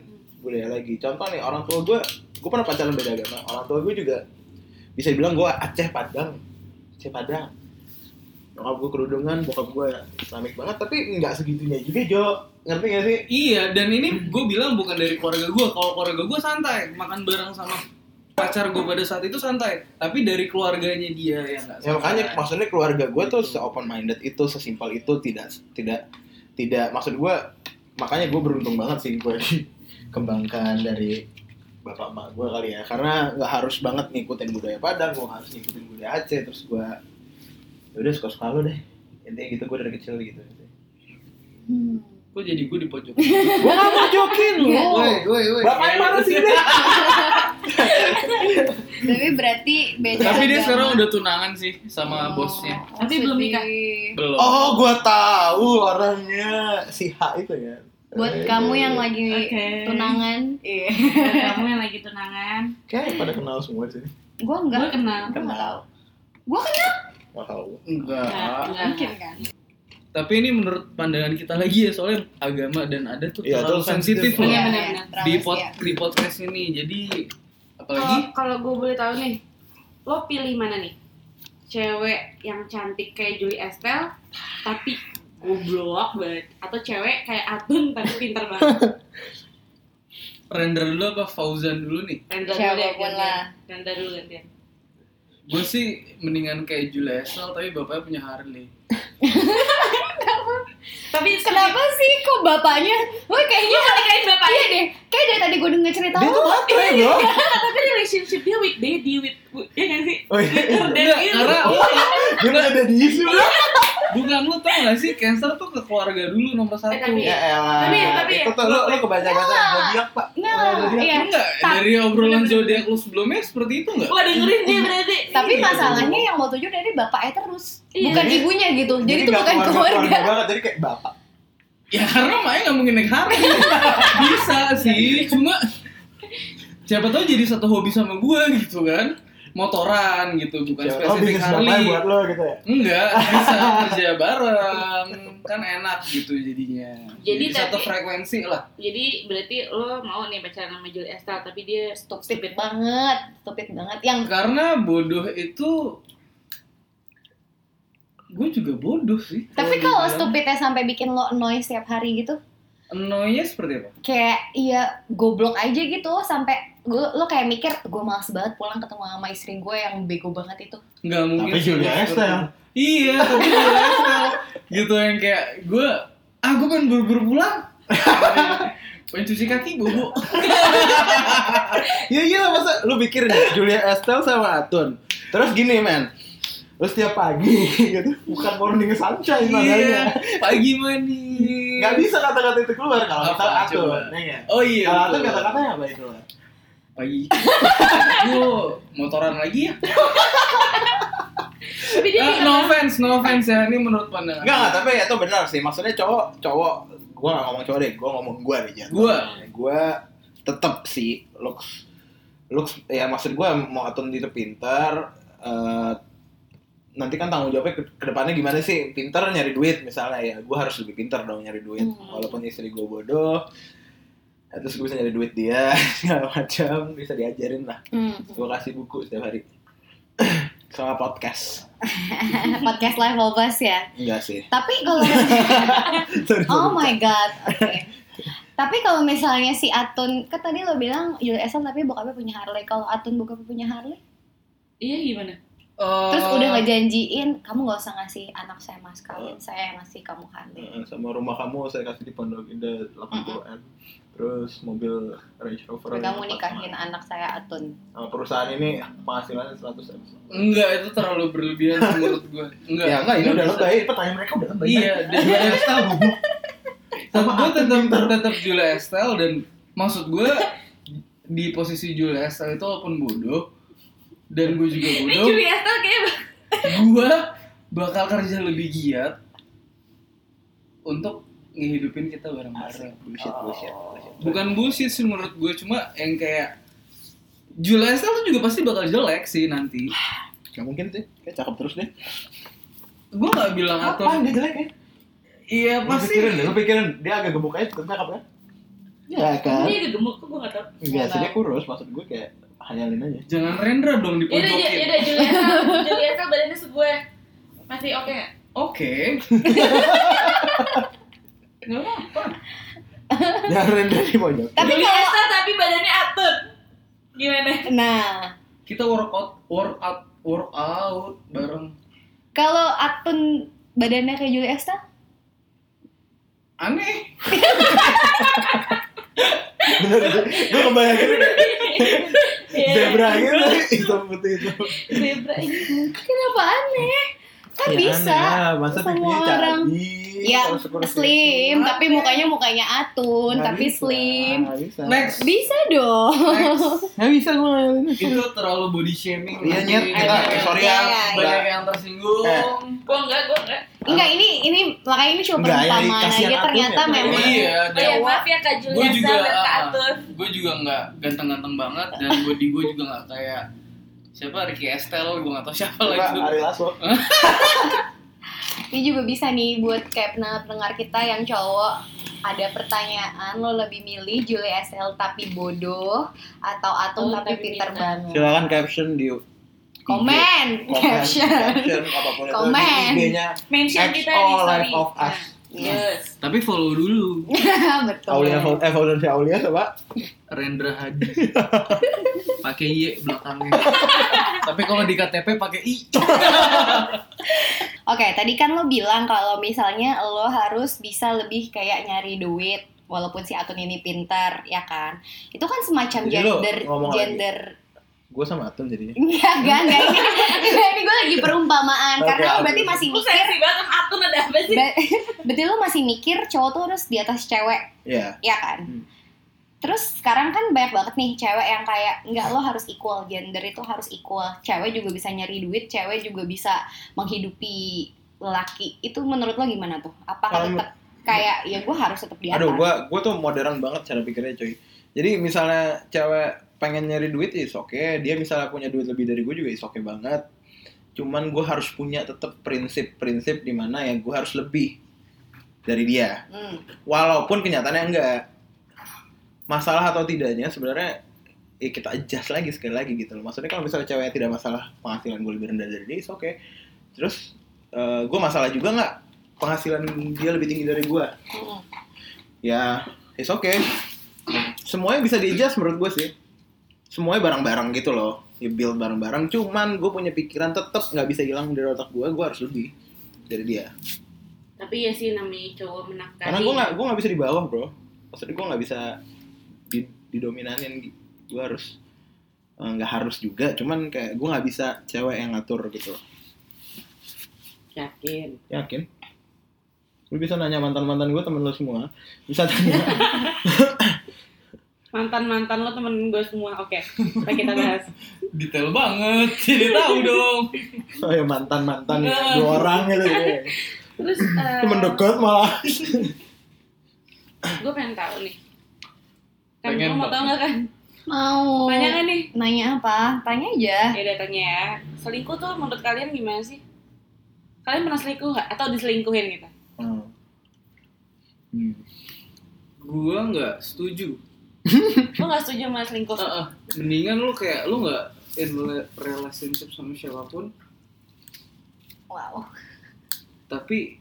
B: budaya lagi. Contoh nih orang tua gue, gue pernah pacaran beda agama. Orang tua gue juga bisa dibilang gue Aceh Padang, Aceh Padang. Nyokap gue kerudungan, bokap gue Islamik banget, tapi nggak segitunya juga Jo. Ngerti gak sih?
A: Iya, dan ini gue bilang bukan dari keluarga gue. Kalau keluarga gue santai, makan bareng sama pacar gue pada saat itu santai. Tapi dari keluarganya dia yang nggak
B: Ya makanya
A: santai.
B: maksudnya keluarga gue tuh
A: Gitu.
B: se open minded itu, sesimpel itu, tidak tidak tidak maksud gue makanya gue beruntung banget sih gue dikembangkan dari bapak emak gue kali ya karena nggak harus banget ngikutin budaya Padang gue harus ngikutin budaya Aceh terus gue udah suka suka lo deh intinya gitu gue dari kecil gitu
C: Hmm.
A: Kok jadi gue di pojok?
B: gue nggak mau jokin lo
A: Woi, woi, woi.
B: bapaknya mana sih deh
C: Tapi berarti beda.
A: Tapi dia
C: agama.
A: sekarang udah tunangan sih sama
C: Oh,
A: bosnya.
D: Tapi belum
C: sedih.
D: nikah.
A: Belum.
B: oh gue tahu orangnya si H itu ya Iya,
C: Buat kamu yang lagi
D: Oke.
C: tunangan, iya.
D: Buat kamu yang lagi tunangan
B: kayak pada kenal semua sih
C: Gue
D: gue
C: enggak.
D: kenal
C: Gua nggak tahu.
B: Gua
C: kenal?
B: Gak tahu.
D: Nggak,
A: Enggak.
D: nggak,
C: Mungkin
D: nggak.
C: kan.
A: Tapi ini menurut pandangan kita lagi ya, soalnya agama dan adat tuh
B: Iya,
A: terlalu
B: terlalu sensitif
A: sensitif loh.
D: Iya,
C: Iya,
D: benar,
C: iya,
D: benar.
C: terlalu
A: Di, pod,
C: siap.
A: di podcast ini, jadi
D: Kalau-
A: apalagi
D: kalau gue boleh tahu nih lo pilih mana nih cewek yang cantik kayak Julie Estelle tapi goblok banget atau cewek kayak Atun tapi pinter banget
A: render dulu apa Fauzan dulu nih.
D: Rendra dulu
C: Siapapun
D: deh gantian.
C: lah.
D: Rendra dulu gantian
A: Gue sih mendingan kayak Julia Esel, tapi bapaknya punya Harley.
D: tapi
C: Kenapa sih kok bapaknya? Woi kayaknya
D: nikahin bapaknya
C: iya deh. Kayak dari tadi gue denger cerita
B: Dia
C: lo.
B: tuh matre bro.
D: tapi relationship dia with daddy with ya kan sih
B: Oh iya.
A: Enggak, karena
B: Gue udah ada di isu bro.
A: bukan lu tau gak sih cancer tuh ke keluarga dulu nomor satu.
D: Eh, tapi-
B: Ya elah.
D: Tapi, tapi,
B: Itu tuh lo lo kebanyakan sama zodiak pak.
C: Nah,
B: Zodiak.
C: iya.
A: Enggak, dari obrolan zodiak lu sebelumnya seperti itu enggak?
D: Wah dengerin dia berarti
C: Tapi
B: Iya,
C: masalahnya yang lo tuju dari bapaknya terus,
D: Iya.
C: bukan
B: Jadi-
C: ibunya gitu. Jadi itu
B: nggak
C: bukan keluarga.
B: banget, jadi kayak bapak.
A: Ya karena Maya gak mungkin naik harga Bisa sih, cuma siapa tahu jadi satu hobi sama gue gitu kan Motoran gitu, bukan
B: Ya, Siapa tahu
A: spesifik
B: oh, bisnis bapak
A: Harley
B: buat lo gitu ya.
A: Enggak, bisa kerja bareng Kan enak gitu jadinya
D: Jadi
A: satu
D: tapi-
A: frekuensi lah
D: Jadi berarti lo mau nih pacaran sama Julie Estelle tapi dia
C: Stupid banget, stupid banget. Yang
A: Karena bodoh itu Gue juga bodoh sih
B: Oh,
C: tapi kalau
A: dibilang.
B: iya.
C: stupidnya sampai bikin lo annoy setiap hari gitu,
A: Annoynya seperti apa?
C: kayak iya goblok aja gitu sampai gue lo kayak mikir gue males banget pulang ketemu sama istri gue yang bego banget itu.
A: Nggak mungkin.
B: Tapi Julia
A: seperti
B: Estelle.
A: itu. Iya, tapi Julia Estelle. gitu yang kayak gue, ah gue pengen buru-buru pulang. pengen cuci kaki bobo.
B: Iya iya masa lu pikir nih, Julia Estelle sama Atun. Terus gini men. Terus tiap pagi gitu. Bukan morning sunshine
A: iya,
B: namanya.
A: pagi mandi.
B: Gak bisa kata-kata itu keluar
A: Apa,
B: kalau misal Atun.
A: coba?
B: ya nggak?
A: Oh iya.
B: Kalau Atun
A: betul.
B: kata-katanya apa itu?
A: Pagi. gue motoran lagi ya.
D: Tapi dia
A: Ah,
D: pinter
A: no
D: banget.
A: offense, no offense ya. Ini menurut pandangan.
B: Enggak, enggak, tapi itu benar sih. Maksudnya cowok, cowok, gua gak ngomong cowok deh, gua ngomong gua deh. Jan.
A: Gua.
B: gua tetap sih looks, looks ya maksud gua mau atun itu pintar. eh, nanti kan tanggung jawabnya ke, ke depannya gimana sih? Pintar nyari duit misalnya ya, gua harus lebih pintar dong nyari duit.
C: Hmm.
B: Walaupun istri gua bodoh, ya, terus gue bisa nyari duit dia segala macam bisa diajarin lah
D: Hmm.
B: gue kasih buku setiap hari sama podcast
C: Podcast level bus ya.
B: enggak sih
C: Tapi kalau
B: Sorry, sorry.
C: Oh my god. Oke. tapi kalau misalnya si Atun, kan tadi lo bilang USL tapi bokapnya punya Harley. Kalau Atun bokapnya punya Harley,
D: Iya gimana?
A: eh,
C: Terus udah ngejanjiin kamu nggak usah ngasih anak saya mas kawin, saya yang ngasih kamu hamil.
B: Heeh, sama rumah kamu saya kasih di Pondok Indah 80 m terus mobil Range Rover yang
C: Kamu
B: empat
C: nikahin anak saya Atun.
B: sama. Sama perusahaan ini penghasilannya 100 m
A: enggak itu terlalu berlebihan sih menurut gue enggak
B: ya enggak ini udah
A: bisa.
B: lebay pertanyaan mereka udah lebay
A: iya dan gue
B: sama
A: gue tetap tetap Julia Estelle dan maksud gue di posisi Julia Estelle itu walaupun bodoh dan gue juga
D: Ini
A: bodoh
D: Julia tuh kayak
A: gue bakal kerja lebih giat untuk ngehidupin kita bareng-bareng
B: bullshit bullshit bullshit.
A: bukan bullshit sih menurut gue cuma yang kayak Julia Estelle tuh juga pasti bakal jelek sih nanti
B: Gak mungkin sih, kayak cakep terus deh.
A: gue gak bilang
B: Apaan
A: atau
B: dia jelek ya?
A: iya
B: Lu
A: pasti
B: pikirin deh, lu pikirin dia agak gemuk aja tetap cakep ya? Ya kan?
D: dia agak gemuk kok gue gak tau
B: Enggak sih dia
C: Enggak.
B: kurus, maksud gue kayak hayalin aja.
A: jangan Rendra dong
D: Yaudah, Ju-
A: dipojokin
D: yaudah Julieta, Julieta badannya segue Masih oke nggak?
A: oke nggak apa
B: Jangan dari pojok.
C: Tapi kalau
D: Julieta tapi badannya atut Gimana?
C: nah
A: kita workout workout workout bareng
C: kalau Atun badannya kayak Julia Estelle,
A: aneh
B: Bener sih, gue kebayangin deh,
D: Iya.
B: zebra gitu, hitam putih itu.
D: Zebra ini
C: kenapa aneh?
B: Ya,
C: Kan bisa.
B: aneh lah, masa
C: semua
B: pipinya Iya,
C: orang.
B: cabi,
C: Ya
B: terus kurus
C: slim,
B: gitu.
C: tapi mukanya mukanya Atun,
B: Nggak
C: tapi
B: bisa,
C: slim.
B: nggak bisa.
A: next Iya,
C: Bisa dong.
A: next
B: Nggak bisa gue ngayalinnya.
A: itu terlalu body shaming
B: Iya,
A: nanti
B: Nyet. Eh, Kak,
A: banyak-
B: sorry
C: ya,
B: ya.
C: ya,
A: banyak
B: Mbak.
A: yang tersinggung
B: Eh.
D: Gue enggak, gue enggak
C: Enggak, ini ini makanya ini cuma
B: Enggak, ya,
C: perumpamaan
B: kasihan
C: aja.
B: Atun
C: Ternyata
B: ya, Bu.
C: memang
A: iya
D: Oh ya
A: dan
D: maaf ya Kak
A: Gua
D: Julieta
A: juga,
B: uh,
D: dan Kak
A: ah,
D: Atut
A: gue juga nggak ganteng-ganteng banget dan body gue juga nggak kayak siapa Ricky Estel gue nggak tahu siapa
B: Coba
A: lagi
B: Ari Lasso.
C: ini juga bisa nih buat kayak pendengar kita yang cowok ada pertanyaan lo lebih milih Julie SL tapi bodoh atau Atun
D: Oh,
C: tapi
D: tapi
C: pinter
D: pinter.
C: banget.
B: Silakan caption di
C: Komen,
B: Komen,
C: caption.
B: caption, apapun itu,
C: Komen.
B: di IG-nya
D: Mention kita di
B: XO
D: story
B: Life of Us.
D: Yes
A: tapi follow dulu
C: Betul.
B: Aulia eh follower si Aulia coba
A: Rendra Hadi pakai Y belakangnya tapi kalau di KTP pakai I
C: Oke, tadi kan lo bilang kalau misalnya lo harus bisa lebih kayak nyari duit walaupun si Atun ini pintar, ya kan? Itu kan semacam
B: Jadi lo
C: gender
B: ngomong lagi.
C: gender
B: gue sama Atun jadinya
C: Enggak, enggak, enggak. Ini, ini gue lagi perumpamaan
B: Oke,
C: karena lo
B: Atun.
C: berarti masih
D: Gue
C: mikir
D: sensi banget sama Atun ada apa sih?
C: Ba- Berarti lu masih mikir cowok tuh harus di atas cewek,
B: ya
C: ya kan?
B: Hmm.
C: Terus sekarang kan banyak banget nih cewek yang kayak nggak lo harus equal gender itu harus equal. Cewek juga bisa nyari duit, cewek juga bisa menghidupi lelaki. Itu menurut lo gimana tuh? Apakah
B: Kalau-
C: tetap kayak ya gue harus tetap di atas?
B: aduh gue gue tuh modern banget cara pikirnya coy jadi misalnya cewek pengen nyari duit ya is oke dia misalnya punya duit lebih dari gue juga is oke banget cuman gue harus punya tetap prinsip-prinsip di mana ya gue harus lebih dari dia
C: Hmm.
B: walaupun kenyataannya enggak masalah atau tidaknya sebenarnya ya kita adjust lagi sekali lagi gitu loh maksudnya kalau misalnya cewek tidak masalah penghasilan gue lebih rendah dari dia oke terus eh, gue masalah juga nggak penghasilan dia lebih tinggi dari gue
C: Hmm.
B: ya it's okay semuanya bisa di adjust menurut gue sih semuanya bareng-bareng gitu loh ya build bareng-bareng cuman gue punya pikiran tetap nggak bisa hilang dari otak gue gue harus lebih dari dia
D: Tapi ya sih namanya cowok menakari
B: karena gue nggak gue nggak bisa di bawah bro maksudnya gue nggak bisa di, didominanin gue harus eh, nggak harus juga cuman kayak gue nggak bisa cewek yang ngatur gitu
D: Yakin
B: yakin lu bisa nanya mantan mantan gue temen lu semua bisa tanya
D: Mantan-mantan lo temen gue semua Oke, mari kita bahas
A: detail banget jadi tahu dong
B: oh ya mantan mantan dua orang gitu
D: Terus eh,
B: temen dekat malah
D: gue pengen tahu nih kan
A: Pengen
D: lo mau tau
A: banget.
D: nggak kan
C: Mau.
D: tanya kan nih
C: Nanya apa? Tanya aja.
D: ya udah tanya ya selingkuh tuh menurut kalian gimana sih kalian pernah selingkuh nggak atau diselingkuhin gitu
B: Hmm. Hmm.
A: gue nggak setuju
D: lo nggak setuju sama selingkuh
A: Heeh. mendingan lu kayak lu nggak in relationship sama siapapun
C: Wow.
A: tapi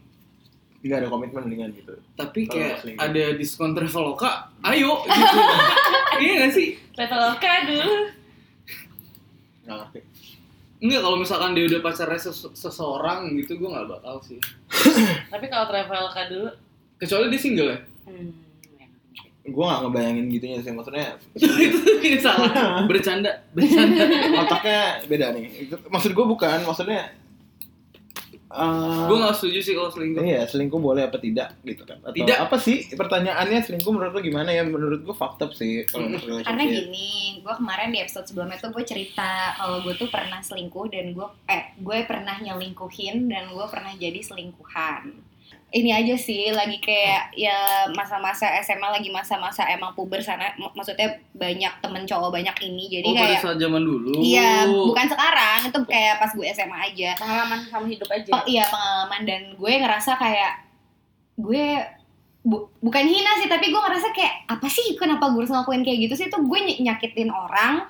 B: nggak ada komitmen dengan gitu
A: tapi
B: Kalau
A: kayak
B: selingkuh.
A: ada diskon traveloka ayo gitu iya gak sih
D: level K dulu
B: nggak ngerti
A: Enggak, kalau misalkan dia udah pacarnya ses- seseorang gitu, gue nggak bakal sih.
D: Tapi kalau travel ke dulu,
A: Kecuali dia single ya?
D: hmm,
B: gue nggak ngebayangin gitunya sih maksudnya
A: Itu salah. Bercanda, bercanda.
B: otaknya beda nih maksud gue bukan maksudnya eh,
A: gue nggak setuju sih kalau selingkuh.
B: Iya, selingkuh boleh apa tidak gitu kan. Atau
A: Tidak.
B: apa sih pertanyaannya selingkuh menurut lu gimana ya? Menurut gua fucked up sih kalau
A: Mm.
B: menurut
C: Hmm. Karena gini, gue kemarin di episode sebelumnya tuh gue cerita kalau gue tuh pernah selingkuh dan gue eh gue pernah nyelingkuhin dan gue pernah jadi selingkuhan. Ini aja sih lagi kayak ya masa-masa SMA lagi masa-masa emang puber sana, mak- maksudnya banyak temen cowok banyak ini jadi
A: Oh, pada Oh.
C: kayak
A: saat zaman dulu.
C: iya bukan sekarang itu kayak pas gue SMA aja.
D: pengalaman sama hidup aja.
C: Oh iya pengalaman dan gue ngerasa kayak gue bu- bukan hina sih tapi gue ngerasa kayak apa sih kenapa gue harus ngelakuin kayak gitu sih tuh gue ny- nyakitin orang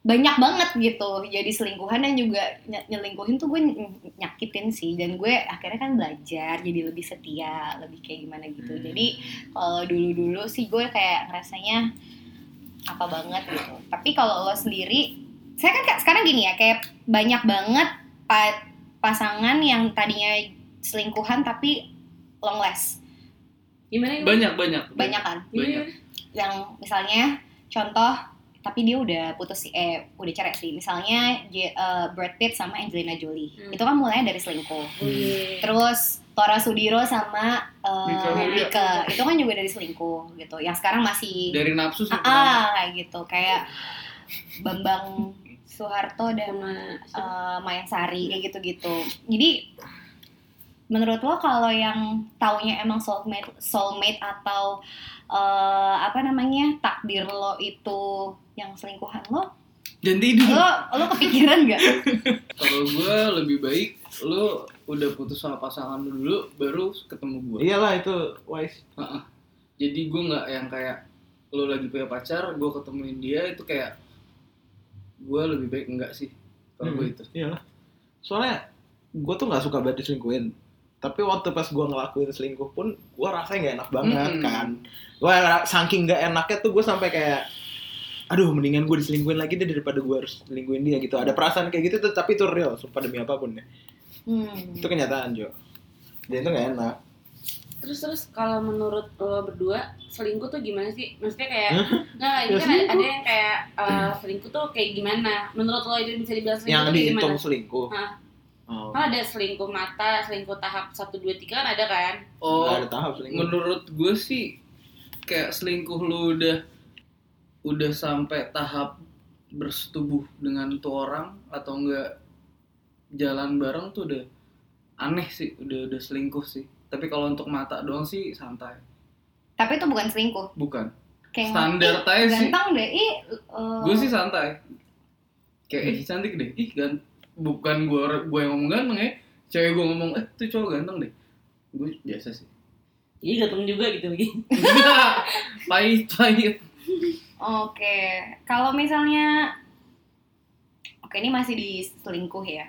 C: banyak banget gitu jadi selingkuhan dan juga ny- nyelingkuhin tuh gue ny- nyakitin sih dan gue akhirnya kan belajar jadi lebih setia lebih kayak gimana
B: Hmm.
C: gitu jadi kalau dulu dulu Eh, sih gue kayak ngerasanya apa banget gitu tapi kalau lo sendiri saya kan kayak- sekarang gini ya kayak banyak banget pa- pasangan yang tadinya selingkuhan tapi long last
D: Gimana Iya. gimana?
A: Banyak, banyak.
C: banyak kan
A: Banyak.
C: yang misalnya contoh tapi dia udah putus sih- eh udah cerai sih misalnya J- eh, Brad Pitt sama Angelina Jolie
D: Hmm. Iya.
C: itu kan mulainya dari selingkuh
D: Terus
C: terus Tora Sudiro sama eh,
A: Mika
D: Julia.
C: Mika itu kan juga dari selingkuh gitu yang sekarang masih
A: Dari nafsu sih.
C: ah, ah, kayak gitu kayak Bambang Soeharto dan eh,
D: sama
C: Maya Sari kayak gitu-gitu. Jadi menurut lo kalau yang taunya emang soulmate soulmate atau eh, apa namanya takdir lo itu yang selingkuhan lo,
A: Jangan tidur.
C: lo lo kepikiran gak?
A: Kalau gue lebih baik lu udah putus sama pasangan lu dulu baru ketemu gue.
B: Iyalah itu wise.
A: Jadi gue nggak yang kayak lu lagi punya pacar, gue ketemuin dia itu kayak gue lebih baik enggak sih kalau gue
B: Hmm.
A: itu.
B: Iyalah. Soalnya gua tuh nggak suka banget diselingkuhin. Tapi waktu pas gua ngelakuin selingkuh pun gua rasanya nggak enak banget
A: Mm-mm.
B: kan. Gua ra- saking nggak enaknya tuh gua sampai kayak aduh mendingan gue diselingkuhin lagi deh daripada gua harus selingkuhin dia gitu. Ada perasaan kayak gitu tuh, tapi itu real sumpah demi apapun ya.
C: Hmm.
B: Itu kenyataan, Jo. Dan itu nggak enak.
D: terus terus kalau menurut lo berdua selingkuh tuh gimana sih? Maksudnya kayak nggak ini
B: Ya,
D: kan ada- ada yang kayak eh, selingkuh tuh kayak gimana? Menurut lo Nah, itu bisa dibilang selingkuh
B: Yang
D: tuh kayak
B: dihitung
D: gimana?
B: selingkuh.
D: Hah?
B: Oh.
D: Kan ada selingkuh mata, selingkuh tahap 1, 2, 3 kan ada kan?
A: Oh,
B: Nggak ada tahap selingkuh.
A: menurut gue sih kayak selingkuh lu udah udah sampai tahap bersetubuh dengan tuh orang atau enggak jalan bareng tuh udah aneh sih udah udah selingkuh sih tapi kalau untuk mata doang sih santai
C: Tapi itu bukan selingkuh.
A: bukan
C: Kayak
A: standar
C: "Ih,
A: aja sih
C: ganteng deh. Ih, eh,
A: gue sih santai kayak ih cantik deh ih gan bukan gue gue yang ngomong ganteng ya cewek gue ngomong eh tuh cowok ganteng deh gue biasa sih
D: Jadi gantung juga gitu lagi.
A: Enggak, pahit pahit
C: Oke, kalau misalnya, oke ini masih di selingkuh ya.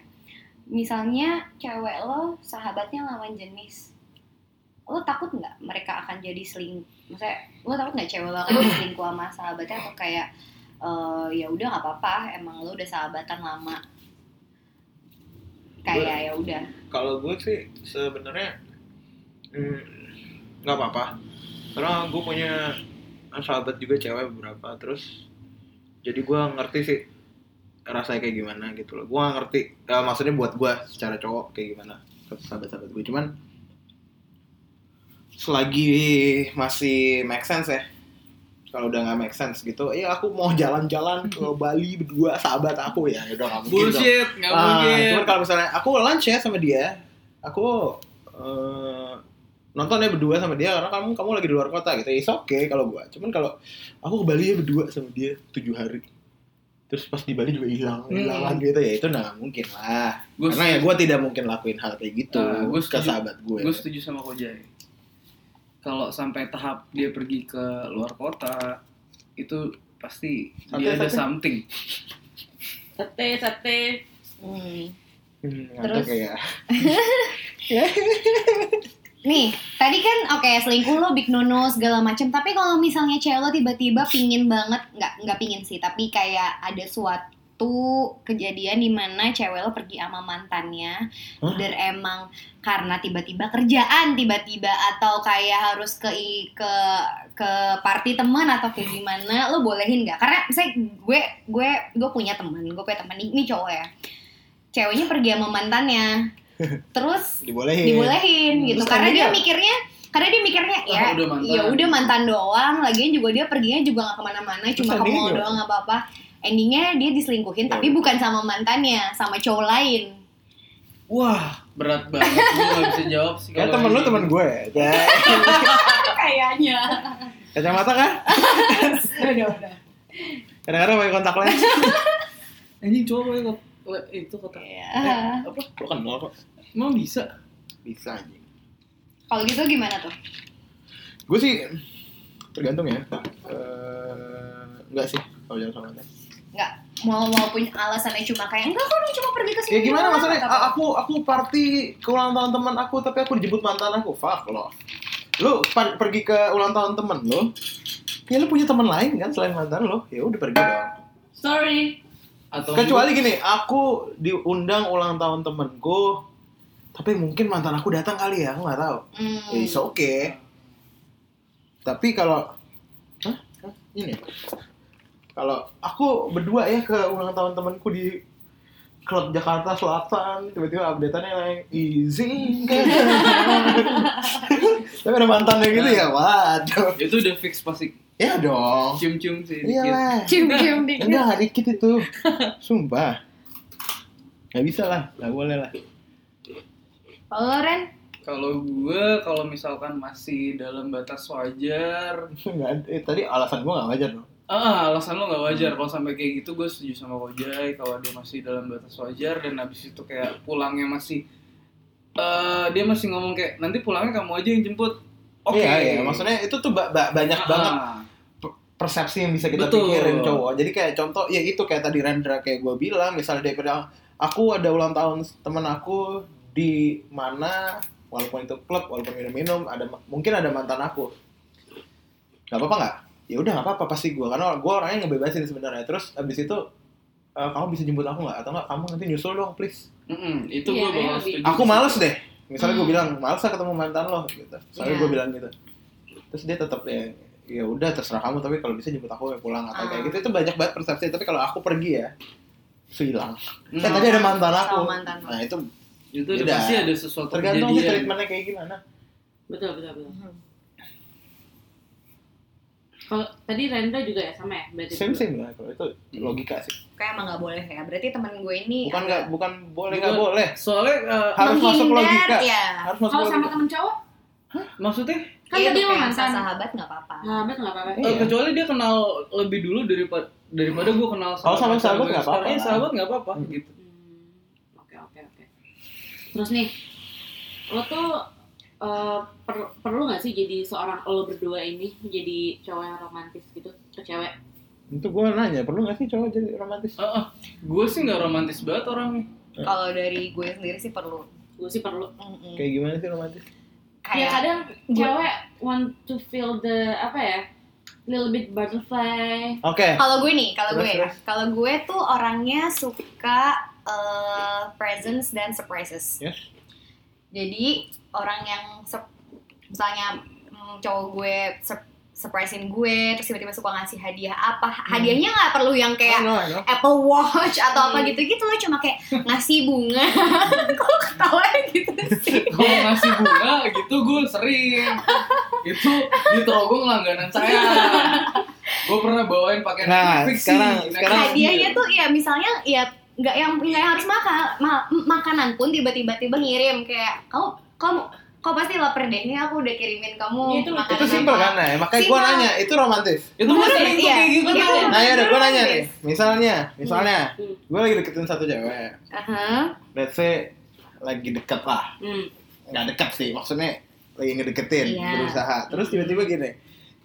C: Misalnya cewek lo sahabatnya lawan jenis, lo takut nggak mereka akan jadi seling, maksudnya lo takut nggak cewek lo akan jadi selingkuh sama sahabatnya atau kayak eh, ya udah nggak apa-apa, emang lo udah sahabatan lama, kayak ya udah.
B: kalau gue sih sebenarnya mm, nggak apa-apa karena gue punya sahabat juga cewek beberapa terus jadi gue ngerti sih rasanya kayak gimana gitu loh gue nggak ngerti eh, maksudnya buat gue secara cowok kayak gimana ke sahabat-sahabat gue cuman selagi masih make sense ya kalau udah nggak make sense gitu ya aku mau jalan-jalan ke Bali berdua sahabat aku ya udah nggak mungkin dong.
A: bullshit nggak
B: Ah,
A: Ya mungkin
B: cuman kalau misalnya aku lunch ya sama dia, aku eh, nonton ya berdua sama dia karena kamu kamu lagi di luar kota gitu. It's okay kalau gua. Cuman kalau aku ke Bali ya berdua sama dia tujuh hari. Terus pas di Bali juga hilang,
A: Hmm.
B: hilang lagi gitu ya itu nah, nggak mungkin lah.
A: Gua
B: karena ya gua tidak mungkin lakuin hal kayak gitu
A: Ah, gua
B: ke
A: setuju.
B: sahabat gue.
A: gue setuju sama Kojai kalau sampai tahap dia pergi ke luar kota itu pasti dia ada
B: Sate-sate.
A: something
D: Sate, sate.
C: Hmm.
B: Hmm, Terus
C: Terus?
B: kayak
C: Nih, tadi kan oke selingkuh lo big nono segala macam, tapi kalau misalnya cewek lo tiba-tiba pingin banget, nggak nggak pingin sih, tapi kayak ada suatu satu kejadian di mana cewek lo pergi sama mantannya
B: Hah?
C: dan emang karena tiba-tiba kerjaan tiba-tiba atau kayak harus ke i- ke ke party teman atau kayak gimana lo bolehin nggak karena saya gue gue gue punya teman gue punya teman ini cowok ya ceweknya pergi sama mantannya terus
B: dibolehin
C: dibolehin gitu
B: Terus Oh,
C: karena
B: akhirnya?
C: dia mikirnya karena dia mikirnya
A: Ah,
C: ya
A: udah mantan.
C: ya udah mantan doang lagian juga dia perginya juga nggak kemana-mana cuma ke
B: endingnya
C: mall
B: gimana?
C: doang apa apa endingnya dia diselingkuhin
B: Ya
C: tapi
B: udah.
C: bukan sama mantannya sama cowok lain
A: Wah, berat banget. gue gak bisa jawab sih.
B: Kan
A: kalau
B: temen lu
A: ini.
B: temen gue ya.
D: Kayaknya.
B: Kacamata kan?
D: Udah, udah.
B: Kadang-kadang pakai kontak lens.
A: Anjing cowok pakai kot- le- itu kotak.
C: ya.
A: Apa?
B: Lo kenal kok.
A: Emang bisa?
B: Bisa anjing.
C: kalau gitu gimana tuh
B: Gue sih tergantung ya. Eh, enggak sih kalau jalan sama mantan.
C: nggak mau walaupun alasannya cuma kayak enggak kok lu cuma pergi ke sini
B: Ya gimana
C: doang,"
B: maksudnya?
C: atau-
B: A- Aku aku party ke ulang tahun teman aku tapi aku dijemput mantan aku. Fuck lo. Lu pan- pergi ke ulang tahun temen lo. Ya lu punya teman lain kan selain mantan lo. Ya udah pergi dong.
D: Sorry.
A: Atau
B: Kecuali gini, aku diundang ulang tahun temenku, tapi mungkin mantan aku datang kali ya, aku nggak tahu.
C: Hmm.
B: Ya, It's okay. Tapi kalau, Hah? Hah? ini, ya? kalau aku berdua ya ke ulang tahun temenku di klub Jakarta Selatan, tiba-tiba update-annya naik izinkan. tapi ada mantannya gitu ya, waduh.
A: itu udah fix pasti
B: Ya dong.
A: cium-cium sih. dikit.
B: Iyalah.
C: cium-cium dikit.
B: Enggak, nggak dikit itu. Sumpah. Nggak bisa lah, nggak boleh lah.
C: kalau Ren
A: Kalau gue, kalau misalkan masih dalam batas wajar,
B: Nggak ada. Eh, tadi alasan gue nggak wajar loh.
A: ah alasan lo nggak
B: Hmm.
A: wajar. Kalau sampai kayak gitu, gue setuju sama Kojai. Kalau dia masih dalam batas wajar dan habis itu kayak pulangnya masih, eh dia masih ngomong kayak nanti pulangnya kamu aja yang jemput. Oke,
B: Iya, iya. Maksudnya itu tuh ba- ba- banyak
A: Ah,
B: banget
A: ah.
B: persepsi yang bisa kita
A: Betul.
B: pikirin cowok. Jadi kayak contoh, ya itu kayak tadi Rendra kayak gue bilang, misalnya dia bilang, aku ada ulang tahun temen aku di mana, walaupun itu klub, walaupun minum-minum, ada ma- mungkin ada mantan aku. Gak apa-apa nggak? Ya udah nggak apa-apa pasti gue, karena gue orangnya ngebebasin sebenarnya. Terus abis itu, "Eh, kamu bisa jemput aku nggak? Atau nggak? Kamu nanti nyusul dong, please.
A: Mm-mm, itu gue
D: Iya, kayak
A: bakal
D: lebih-
A: setuju.
B: aku males deh misalnya gue
C: Hmm.
B: bilang males lah ketemu mantan lo gitu soalnya
C: Iya.
B: gue bilang gitu terus dia tetap ya ya udah terserah kamu tapi kalau bisa jemput aku ya pulang atau kayak
C: Ah.
B: gitu itu banyak banget persepsi tapi kalau aku pergi ya itu hilang
A: Mm,
B: kan tadi ada mantan
C: Hmm. Sama
B: aku
C: mantan lo.
B: nah itu
A: itu udah
B: beda.
A: pasti ada sesuatu
B: tergantung sih
A: kejadian.
B: treatmentnya kayak gimana
D: Betul, betul, betul.
C: Mhm.
D: Kalau tadi Rendra juga ya sama ya berarti.
B: same same lah kalau itu
C: Hmm.
B: logika sih
C: kayak emang nggak boleh ya berarti teman gue ini
B: bukan nggak bukan boleh
A: Bukan.
B: nggak boleh
A: Soalnya eh,
B: harus masuk
C: menghindar,
B: logika
C: ya.
B: harus masuk
D: Kalau sama
B: logika
D: temen cowok,
A: maksudnya
D: Kan
C: Iya, tuh
D: tadi lo
C: kayak
D: mantan.
C: sahabat nggak apa-apa
D: sahabat nggak apa-apa.
A: eh,
B: Iya.
A: kecuali dia kenal lebih dulu daripada daripada gue kenal
B: Kalau Oh, sama
A: pacar
B: sahabat
A: gue
B: nggak
A: sekarang.
B: apa-apa
A: Iya,
B: lah.
A: sahabat nggak apa-apa gitu.
D: Hmm, Oke oke oke. Terus nih, lo tuh eh, per- perlu nggak sih jadi seorang lo berdua ini jadi cowok yang romantis gitu ke cewek?
B: itu gue nanya perlu nggak sih cowok jadi romantis
A: Ah, ah. gue sih nggak romantis banget orangnya.
C: kalau dari gue sendiri sih perlu
D: Gue sih perlu.
C: Mm-mm.
B: kayak gimana sih romantis
D: Ya
C: kayak
D: kadang
C: Gue-
D: cewek want to feel the apa ya little bit butterfly.
B: oke
C: kalau gue nih kalau
B: Terus,
C: gue ya.
B: terus.
C: kalau gue tuh orangnya suka eh, presents dan surprises
B: Yes.
C: jadi orang yang sur- misalnya mm, cowok gue sur- surprisein gue terus tiba-tiba suka ngasih hadiah apa
B: Hmm.
C: hadiahnya nggak perlu yang kayak
B: Oh, no, no, no.
C: Apple Watch atau apa
D: Hmm.
C: gitu-gitu lo cuma kayak ngasih bunga kok lo ketawa gitu sih
A: Gue ngasih bunga gitu gue sering. itu di terogong langganan saya. gue pernah bawain pakai
B: Nah,
A: Netflix
B: sekarang-
A: sih.
B: sekarang-
A: Netflix.
C: hadiahnya
B: gitu.
C: tuh ya misalnya ya nggak yang nggak yang harus makan ma- makanan pun tiba-tiba tiba ngirim kayak kamu kamu kau pasti lapar deh ini aku udah kirimin kamu
D: Iya, itu lucu.
C: makanan
B: itu simpel
C: apa."
B: kan nah makanya gue
C: Simpel.
B: nanya itu romantis
A: itu gue
C: Iya,
A: sering tuh
C: iya.
A: kayak gitu.
C: Iya,
A: tuh.
B: nah ya udah gue nanya nih
C: Romantis.
B: misalnya misalnya
D: Hmm.
B: gue lagi deketin satu cewek
C: Aha.
B: let's say lagi deket lah
D: Hmm.
B: nggak deket sih maksudnya lagi ngedeketin
C: Iya.
B: berusaha terus tiba-tiba gini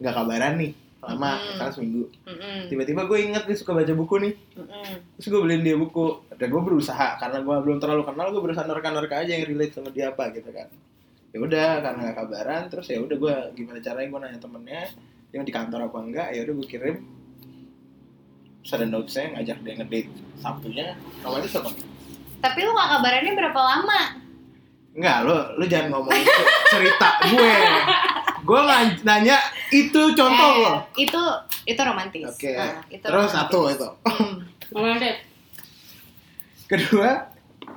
B: nggak kabaran nih lama
C: Hmm.
B: misalnya seminggu
C: Mm-mm,
B: tiba-tiba gue inget dia suka baca buku nih
C: mm-mm.
B: terus gue beliin dia buku dan gue berusaha karena gue belum terlalu kenal gue berusaha nerka-nerka aja yang relate sama dia apa gitu kan ya udah karena gak kabaran terus ya udah gue gimana caranya gue nanya temennya dia di kantor apa enggak ya udah gue kirim Terus ada notesnya ngajak dia ngedate Sabtunya Kamu itu apa?
C: Tapi lu gak kabarannya berapa lama?
B: Enggak, lo lo jangan ngomong itu. cerita gue Gue ngan- nanya itu contoh
C: Eh,
B: lo
C: Itu itu romantis.
B: Oke
C: Nah, itu
B: Terus
C: romantis.
B: satu itu
C: Hmm.
D: Ngomong deh.
B: kedua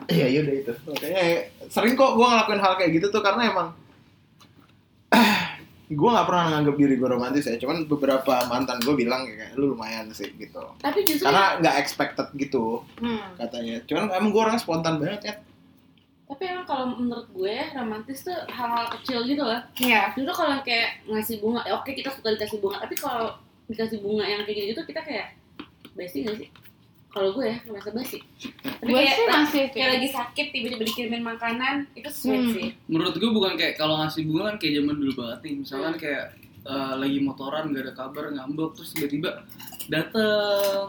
B: ya yaudah itu makanya sering kok gue ngelakuin hal kayak gitu tuh karena emang gue nggak pernah nganggap diri gue romantis ya cuman beberapa mantan gue bilang kayak "Eh, lu lumayan sih gitu
D: Tapi justru
B: karena nggak expected gitu
C: Hmm.
B: katanya cuman emang gue orang spontan banget ya
D: tapi emang kalau menurut gue romantis tuh hal-hal kecil gitu loh.
C: Iya.
D: Justru kalau kayak ngasih bunga, ya oke kita suka dikasih bunga, tapi kalau dikasih bunga yang kayak gitu, kita kayak basi gak sih? Kalau gue ya merasa basi. Tapi
C: Gue
D: kayak-
C: sih masih gitu.
D: kayak lagi sakit tiba-tiba dikirimin makanan itu sweet
C: Hmm.
D: sih
A: menurut gue bukan kayak kalau ngasih bunga kan kayak zaman dulu banget nih misalkan kayak eh, lagi motoran gak ada kabar ngambek terus tiba-tiba dateng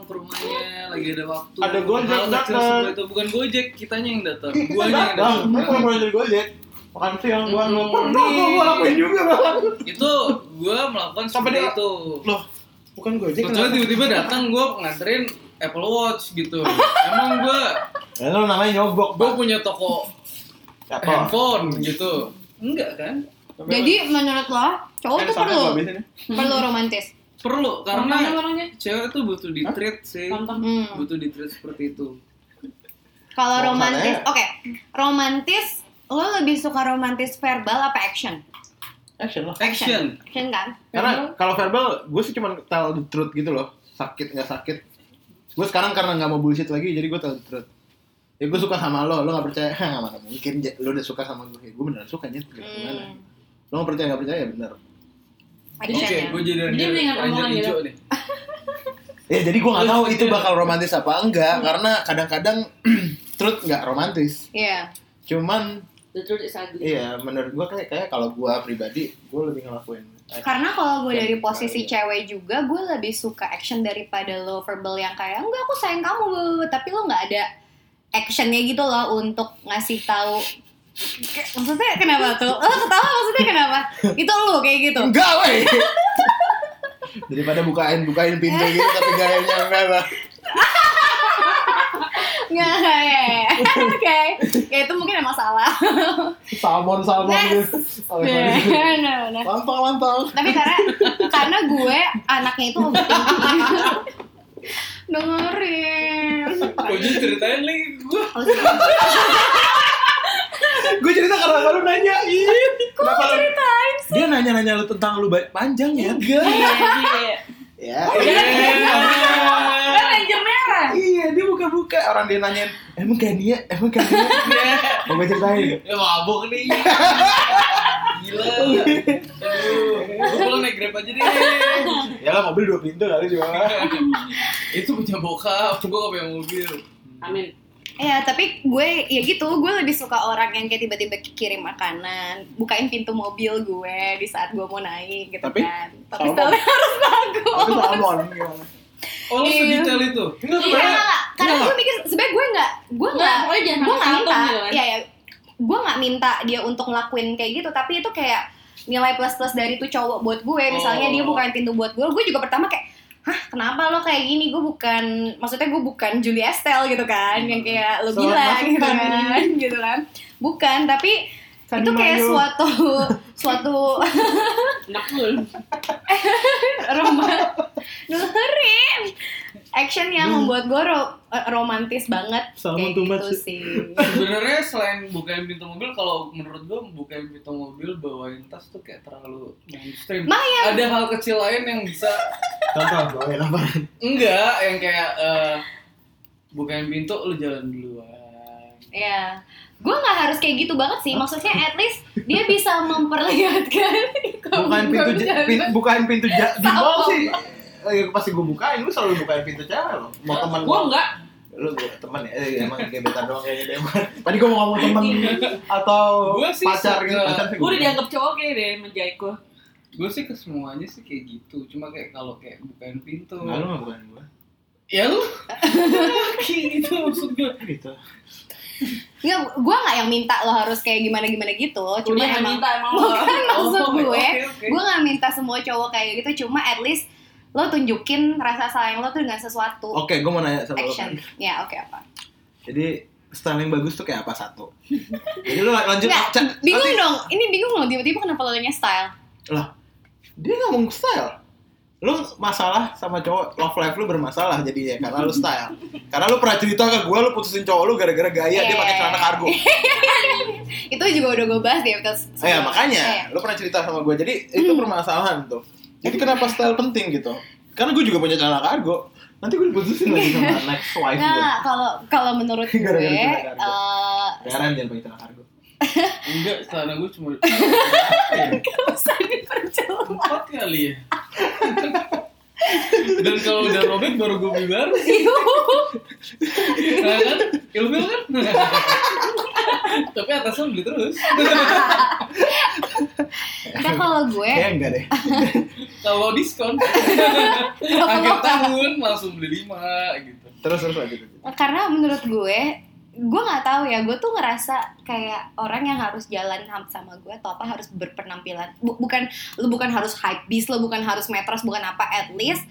A: ke rumahnya lagi ada waktu
B: Ada Gojek
A: Hal kecil
B: dateng.
A: seperti itu bukan gojek kitanya yang dateng guanya yang
B: Bang,
A: dateng
B: gue pernah jadi gojek makan siang gue nggak pernah
A: Hmm.
B: gue gue lakuin juga bang
A: itu gue melakukan
B: Sampai
A: seperti
B: dia-
A: itu
B: loh bukan gojek
A: kecuali tiba-tiba datang gue nganterin Apple Watch gitu emang gue
B: ya, lo namanya nyogok
A: gue
B: bang
A: punya toko
B: siapa
A: handphone gitu enggak kan
C: Jadi menurut lo cowok tuh perlu perlu romantis.
A: perlu
D: Tontonin
A: karena
D: orangnya
A: cewek tuh butuh di treat sih
D: tonton
C: Hmm.
A: butuh di treat seperti itu
C: Kalau
B: Kalau
C: romantis,
B: saya-
C: oke, romantis lo lebih suka romantis verbal apa action?
B: action lah
A: action
C: Action kan?
B: Karena kalau verbal, gue sih cuma tell the truth gitu loh. Sakit nggak sakit. Gue sekarang karena nggak mau bullshit lagi, jadi gue tell the truth. Ya gue suka sama lo, lo gak percaya, Hah, nggak mana mungkin Ja, lo udah suka sama gue, gue beneran suka aja, gimana?
C: Hmm.
B: Lo gak percaya nggak percaya ya bener.
A: Oke,
C: Actionnya.
A: gue jadi
D: Dia
A: ranger,
D: mendingan
A: ranger
D: omongan
A: hijau nih.
B: Ya jadi gue nggak
A: Terus
B: tahu
A: gitu
B: itu
A: ya.
B: bakal romantis apa enggak,
C: Hmm.
B: karena kadang-kadang truth nggak romantis.
C: Iya.
B: Cuman
D: the truth is ugly
B: iya menurut gue kayak kayak kalau gue pribadi, gue lebih ngelakuin.
C: Karena kalau gue dari
B: Action.
C: posisi cewek juga, gue lebih suka action daripada lo verbal yang kayak enggak aku sayang kamu, bu." tapi lo nggak ada actionnya gitu loh untuk ngasih tahu. Ke- Maksudnya kenapa tuh? Lo ketawa maksudnya kenapa? Itu lo kayak gitu.
B: Enggak weh. Daripada bukain bukain pintu gitu tapi gayanya enggak lah.
C: Nggak, nggak, ya, ya. Oke. Ya itu mungkin emang salah.
B: salmon salmon gitu. Salmon.
C: Nah, nah, nah.
B: Lantang lantang.
C: Tapi karena karena gue anaknya itu overthinking. Dengerin.
A: Kok jadi ceritain lagi ke gue?
C: Oh, sorry.
B: Gue cerita karena lu nanya. Kenapa lu
C: Ceritain.
B: Dia nanya-nanya lu tentang lu ba- panjang ya? Enggak.
D: iya iya
B: Ya.
D: kan ranger merah
B: Iya, dia buka-buka orang dia nanyain, emang kayak dia, emang kayak dia. Mau gue ceritain?
A: Ya mabok nih. Gila. Aduh, lu pulang naik Grab aja deh.
B: Ya lah mobil dua pintu kali juga.
A: Itu punya bokap, gue gak punya mobil.
D: amin
C: Ya, tapi gue ya gitu, gue lebih suka orang yang kayak tiba-tiba kirim makanan, bukain pintu mobil gue di saat gue mau naik gitu
B: Tapi,
C: kan.
B: salmon.
C: Tapi stylenya harus
B: Itu
C: bagus.
B: salmon gimana?
A: Oh, lu
C: Iya.
A: sedetail itu?
B: Enggak
C: Iya, karena gue mikir sebenarnya gue nggak, gue
D: Nggak,
C: nggak,
D: pokoknya jangan
C: gue nggak
D: sampai
C: minta,
D: salmon gitu kan.
C: ya ya, gue nggak minta dia untuk ngelakuin kayak gitu, tapi itu kayak nilai plus plus dari tuh cowok buat gue, misalnya
A: Oh.
C: dia bukain pintu buat gue, gue juga pertama kayak Hah, kenapa lo kayak gini? Gue bukan, maksudnya gue bukan Julie Estelle gitu kan, yang kayak lo
B: Soal
C: gila gitu
B: masukan.
C: kan, gitu kan. Bukan, tapi
B: Kan
C: itu kayak
B: mayo.
C: suatu suatu
D: enak dulu
C: roman dengerin action yang membuat gue ro- eh, romantis banget
B: Salmon
C: kayak
B: too much.
C: gitu sih.
A: Sebenarnya selain bukain pintu mobil, kalau menurut gue bukain pintu mobil bawain tas tuh kayak terlalu mainstream.
C: Mayan.
A: Ada hal kecil lain yang bisa
B: Contoh, bawain apa?
A: enggak yang kayak eh, bukain pintu lu jalan duluan.
C: Ya, gue nggak harus kayak gitu banget sih. Maksudnya at least dia bisa memperlihatkan. kalau
B: Bukain
C: gua
B: pintu, ja-
C: bercanda.
B: pin- bukain pintu ja- di
C: Salmon.
B: mall sih. Eh, pasti gue bukain, gue selalu bukain pintu cewek lo. Mau teman
D: gue enggak
B: lu gue teman ya eh, emang gebetan doang kayaknya deh emang. tadi gue mau ngomong teman atau
A: Gua sih
B: pacar
A: suka-
B: gitu pacar sih
D: gue udah
B: gua.
D: dianggap cowok kayak deh menjaiku
A: Gue sih ke semuanya sih kayak gitu. Cuma kayak kalau kayak bukain pintu.
B: Nah, lu mah bukan gue
A: Ya lu. Kayak gitu maksud gue.
B: gitu
C: Nggak, gue nggak yang minta lo harus kayak gimana gimana gitu. Cuma
D: cuma yang
C: emang
D: minta emang lo
C: bukan Kan maksud
A: Oh,
C: gue.
A: oke, oke.
C: Gue nggak minta semua cowok kayak gitu. Cuma at least
E: lo tunjukin rasa sayang lo tuh dengan sesuatu
B: Oke, gue mau nanya sama lo kan.
E: action ya oke apa
B: Jadi style yang bagus tuh kayak apa satu? Jadi lu lanjut
E: Nggak,
B: Cak.
E: bingung
B: Nanti-
E: dong ini bingung loh tiba-tiba kenapa lo nanya style
B: Lah, dia ngomong style. Lu masalah sama cowok, love life lu bermasalah jadinya karena lu style. Karena lu pernah cerita ke gue lu putusin cowok lu gara-gara gaya dia pakai celana kargo.
E: Iya. itu juga udah gue bahas di
B: Eh,
E: episode
B: ya,
E: sebelumnya. Iya.
B: makanya lu pernah cerita sama gue. Jadi itu
E: Hmm.
B: permasalahan tuh. Jadi kenapa style penting gitu? Karena gue juga punya celana kargo. Nanti gue diputusin lagi sama next wife gue.
E: Nah, kalau kalau menurut gue,
B: Gara-gara jelek harga.
E: eh,
B: Heran jangan pakai celana kargo.
A: Enggak, celana gue cuma
E: gak usah diperjelas.
A: empat kali ya. Dan kalau udah robek baru gue beli baru. Nah, kan? Ilmil kan? Tapi atasnya beli terus.
E: Nah, kalau gue,
B: Kayak enggak deh.
A: Kalau diskon akhir tahun langsung beli lima gitu.
B: Terus terus lanjut.
E: karena menurut gue, gue nggak tahu ya, gue tuh ngerasa kayak orang yang harus jalan ham- sama gue atau apa harus berpenampilan. Bu- bukan lu bukan harus hype beast, lu bukan harus metros, bukan apa at least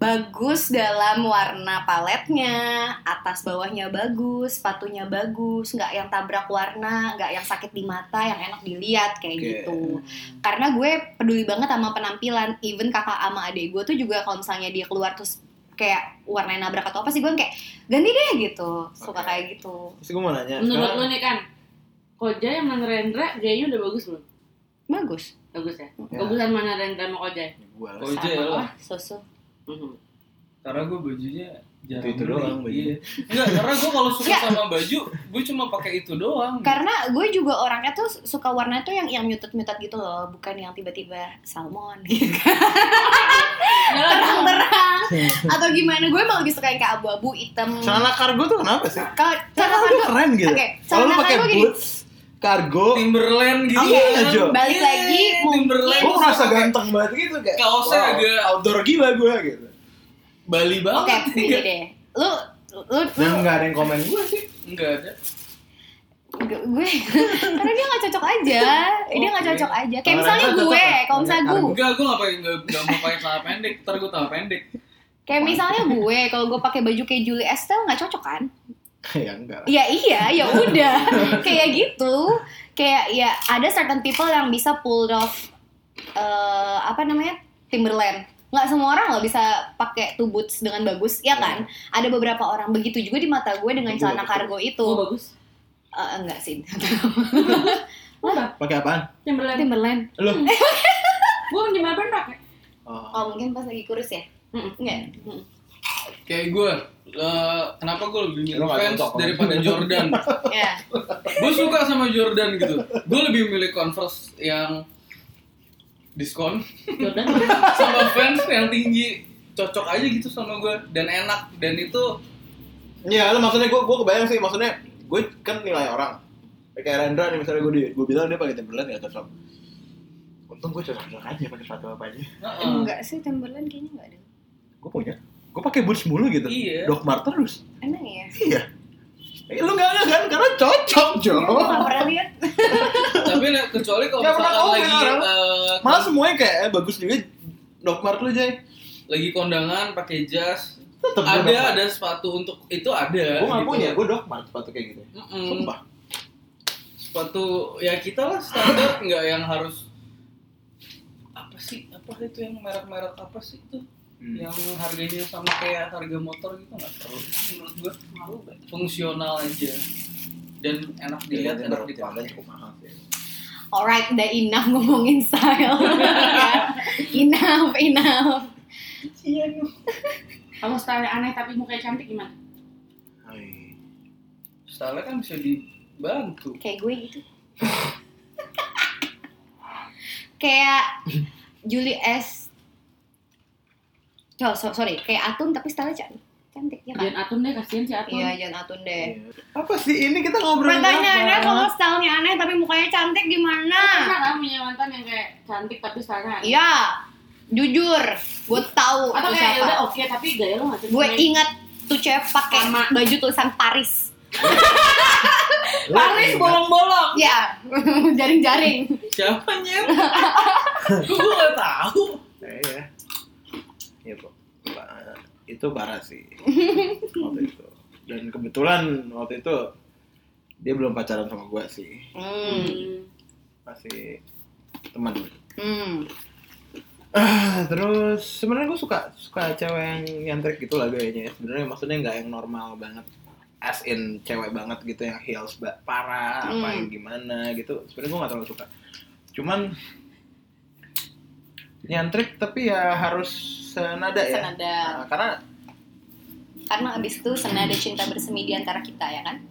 E: bagus dalam warna paletnya, atas bawahnya bagus, sepatunya bagus, nggak yang tabrak warna, nggak yang sakit di mata, yang enak dilihat kayak
B: Oke.
E: gitu. karena gue peduli banget sama penampilan even kakak sama adik gue tuh juga kalau misalnya dia keluar terus kayak warnanya nabrak atau apa sih gue kayak ganti deh gitu suka
B: Oke.
E: kayak gitu
B: Terus gue mau nanya.
D: Menurut
B: sekarang-
D: lo nih kan, Kojai sama Rendra gayanya udah bagus belum?
E: bagus
D: Bagus ya?
B: Ya.
D: Bagusan mana Rendra sama Kojai?
B: Gua lah.
A: Oh, iya,
E: sama
A: iya.
E: lah susu
D: Mhm.
A: Karena gue bajunya jarang
B: Itu
A: beli.
B: doang baju.
A: Iya. Enggak, karena gue kalau suka
E: Enggak.
A: sama baju, gue cuma pakai itu doang.
E: karena gue juga orangnya tuh suka warna tuh yang yang muted muted gitu loh bukan yang tiba-tiba salmon gitu
D: Enggak lah,
E: terang-terang atau gimana gue emang lebih suka yang kayak abu-abu hitam
B: Celana kargo tuh kenapa sih?
E: kalau
B: Celana
E: cara
B: kargo keren gitu.
E: Oke,
B: Kalau lu
E: celana
B: pakai
E: kargo gini.
B: boots, kargo,
A: Timberland gitu.
B: Iya, Jo.
E: balik
A: Iya,
E: lagi mungkin
A: Timberland.
B: gue merasa ganteng banget gitu kayak.
A: Kaosnya
B: wow,
A: agak-
B: outdoor gila gue gitu.
A: Bali
E: oke
A: banget. Iya.
E: gini deh lu lu, lu
B: Dan Nah, nggak ada yang komen gue sih.
A: Enggak ada.
E: Nggak, gue karena dia nggak cocok aja dia nggak
A: Oke.
E: cocok aja kayak
B: Kalau
E: misalnya
B: Renata
E: gue
B: cocok ya?
E: kalau misalnya
B: Kalau
E: gue
A: Enggak, gue nggak pakai nggak nggak mau pakai celana pendek. Ntar gue tambah pendek.
E: kayak misalnya gue kalau gue pakai baju kayak Julie Estelle nggak cocok kan
B: ya enggak lah.
E: ya iya ya udah kayak gitu kayak ya ada certain people yang bisa pull off eh, apa namanya Timberland nggak semua orang loh bisa pakai two boots dengan bagus ya kan ada beberapa orang begitu juga di mata gue dengan
B: Betul,
E: celana
B: betul.
E: kargo itu
D: Oh bagus.
E: Eh, enggak sih
D: Apa?
B: Pakai apaan?
D: Timberland.
E: Timberland
B: Lu?
E: Eh.
D: Gue Timberland Mhm. pakai.
B: Oh.
E: oh mungkin pas lagi kurus ya
D: Mm-mm.
E: enggak Mm-mm.
A: Kayak gue. eh, kenapa gue lebih
B: Lu
A: milih
B: nggak
A: fans
B: cocok.
A: daripada Jordan?
E: ya
A: gue suka sama Jordan gitu. Gue lebih milih Converse yang diskon
D: Jordan.
A: sama fans yang tinggi cocok aja gitu sama gue dan enak dan itu
B: Ya, lu maksudnya gue gue kebayang sih maksudnya gue kan nilai orang. Kayak Rendra nih misalnya gue di gue bilang dia pakai Timberland nggak cocok. Untung gue cocok-cocok aja pakai sepatu apa aja.
A: Heeh.
E: enggak sih Timberland kayaknya enggak ada
B: Gue punya. Gue pakai boots mulu gitu.
A: Iya.
B: Doc Mart terus.
E: emang ya
B: Iya. Eh, lu nggak ada kan? Karena cocok, Jo.
E: Gue nggak pernah lihat
A: tapi le- kecuali kalau
B: Nggak pernah
A: misalkan
B: ngomong
A: lagi
B: orang.
A: eh, kon-
B: Malah semuanya kayak eh, bagus juga Doc Mart lu, Jay.
A: lagi kondangan pakai jas
B: Tetep gua
A: ada
B: Doc Mart.
A: ada sepatu untuk itu ada
B: Gue nggak
A: gitu.
B: punya, gue Doc Mart sepatu kayak gitu.
A: Mm-mm.
B: Sumpah.
A: sepatu ya kita lah standar nggak yang harus apa sih apa itu yang merek-merek apa sih itu
B: Hmm.
A: yang harganya sama kayak harga motor gitu nggak perlu menurut gue fungsional aja dan enak dilihat
B: Iya,
A: enak
B: Doc Mart-nya
A: dipakai
B: cukup mahal sih.
E: alright udah enough ngomongin style Ya. enough enough Iya,
D: Kalau style aneh tapi mukanya cantik gimana?
B: Hai.
A: style kan bisa dibantu
E: kayak gue gitu kayak Julie S oh, so- sorry kayak Atun tapi style cantik cantik ya kan
D: Jangan Atun deh, kasihan si Atun.
E: iya jangan Atun deh Iya.
B: Apa sih ini kita ngobrol
E: pertanyaannya kalau stylenya aneh tapi mukanya cantik gimana
D: Pernah kan punya mantan yang kayak cantik tapi style aneh?
E: Iya, jujur, gue tahu
D: Atau
E: itu
D: kayak ya
E: siapa.
D: udah oke tapi gaya lo nggak cocok.
E: Gue
D: Main-
E: inget tuh cewek pakai
D: Sama.
E: baju tulisan Paris.
A: Paris bolong-bolong
E: Ya, jaring-jaring.
A: siapa nyet gue nggak tahu
B: Nah, Iya. itu parah sih waktu itu dan kebetulan waktu itu dia belum pacaran sama gue sih
D: gitu.
C: Hmm.
D: Mhm.
B: masih teman
C: Hmm.
B: Ah, terus sebenarnya gue suka suka cewek yang nyentrik gitu lah gayanya ya. sebenarnya maksudnya nggak yang normal banget as in cewek banget gitu yang heels ba- parah apa
C: Hmm.
B: yang gimana gitu sebenarnya gue nggak terlalu suka cuman nyentrik tapi ya harus senada ya
C: Senada.
B: Nah, karena
C: Karena abis itu senada cinta bersemi di antara kita ya kan?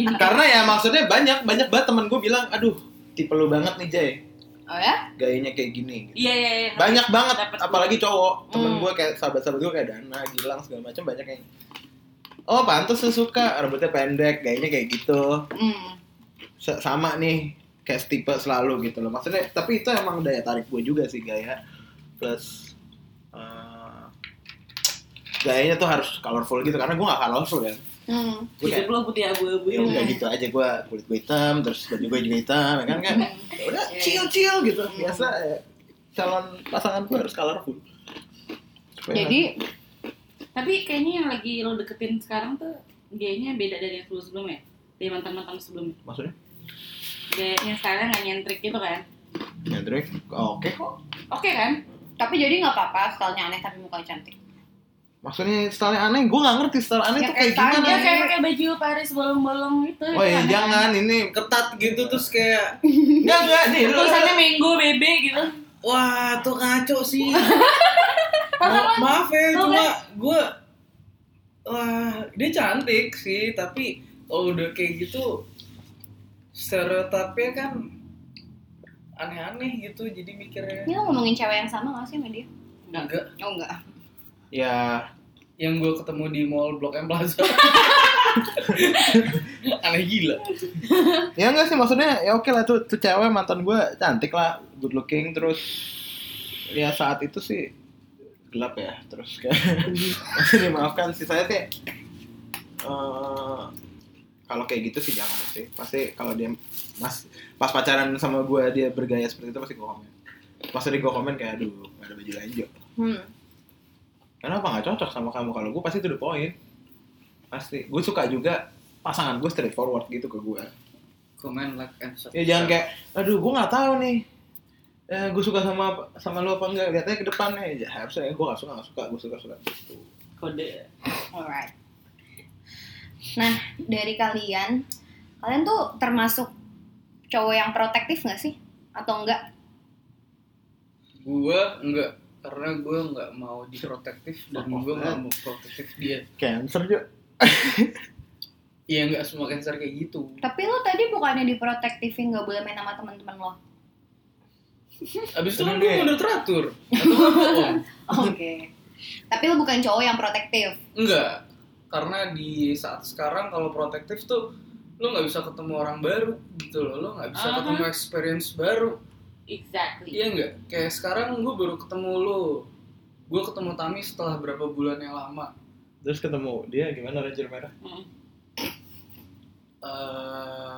D: Jadi,
B: karena ya maksudnya banyak banyak banget temen gue bilang aduh tipe lu banget nih Jay
C: Oh ya?
B: gayanya kayak gini gitu.
D: Iya iya iya.
B: banyak banget
D: Dapat
B: apalagi cowok temen
C: Hmm.
B: gue kayak sahabat-sahabat gue kayak Dana Gilang segala macam banyak yang oh pantas lu suka rambutnya pendek gayanya kayak gitu
C: Hmm.
B: S- sama nih kayak tipe selalu gitu loh maksudnya tapi itu emang daya tarik gue juga sih gaya plus eh, gayanya tuh harus colorful gitu karena gue gak colorful kan
C: Hmm.
B: gue kayak
D: Hidup lo putih abu-abu.
B: ya udah Iya. gitu aja gue kulit gue hitam terus baju gue juga hitam ya kan kan ya udah chill chill gitu biasa ya, calon pasangan gue harus colorful Supaya-
C: Jadi
D: Tapi kayaknya yang lagi lo deketin sekarang tuh gayanya beda dari yang sebelum sebelumnya. Dari mantan-mantan sebelumnya.
B: maksudnya
D: Gayanya sekarang nggak nyentrik gitu kan?
B: nyentrik Iya, oke kok
D: Oke kan?
C: tapi jadi nggak apa-apa stylenya aneh tapi mukanya cantik.
B: maksudnya style aneh gue gak ngerti style aneh tuh
C: Ya,
B: kayak
C: kayak
B: gimana
D: Dia
C: tanya.
D: kayak pakai baju Paris bolong-bolong gitu.
B: Iya, Oh ya jangan ini
A: ketat gitu terus kayak
B: enggak enggak nih lu-
D: Tulisannya Menggo Bebe gitu.
A: wah tuh ngaco sih Ma- maaf ya
D: Tuh
A: cuma gue wah dia cantik sih tapi kalau udah kayak gitu stereotipnya kan aneh-aneh gitu jadi mikirnya
C: Ini lo ngomongin cewek yang sama nggak sih sama dia?
A: enggak
C: Oh enggak.
B: ya
A: yang gue ketemu di mall Blok M Plaza. Aneh gila.
B: ya enggak sih maksudnya ya oke lah tuh, tuh cewek mantan gue cantik lah good looking terus ya saat itu sih gelap ya terus kayak maksudnya maafkan sih saya sih eh, kalau kayak gitu sih jangan sih pasti kalau dia mas pas pacaran sama gue dia bergaya seperti itu pasti gue komen pas tadi gue komen kayak aduh gak ada baju lain Jo
C: Hmm.
B: kenapa nggak cocok sama kamu kalau gue pasti to the point pasti gue suka juga pasangan gue straightforward gitu ke gue
A: Comment like and subscribe.
B: ya jangan kayak aduh gue nggak tahu nih eh, gue suka sama sama lu apa enggak lihatnya ke depannya ya harusnya gue nggak suka nggak suka gue suka suka gitu
D: Kode.
C: Alright. Nah, dari kalian, kalian tuh termasuk cowok yang protektif nggak sih? Atau enggak?
A: Gue enggak karena gue nggak mau diprotektif dan
B: Fuck off,
A: gue nggak
B: man.
A: mau protektif dia.
B: cancer juga
A: Ya nggak semua cancer kayak gitu.
C: Tapi lo tadi bukannya diprotektifin nggak boleh main sama teman-teman lo?
A: Abis itu kan
B: Seneng
A: gue
B: deh.
A: udah teratur. Atau gua bohong.
C: Oke. Tapi lo bukan cowok yang protektif.
A: Enggak. Karena di saat sekarang kalau protektif tuh lo nggak bisa ketemu orang baru gitu loh. Lo nggak bisa
B: Ah.
D: Aha.
A: ketemu experience baru.
D: Exactly.
A: Iya enggak? Kayak sekarang gue baru ketemu lo. Gue ketemu Tami setelah berapa bulan yang lama.
B: terus ketemu dia gimana ranger merah
D: Mm.
A: eh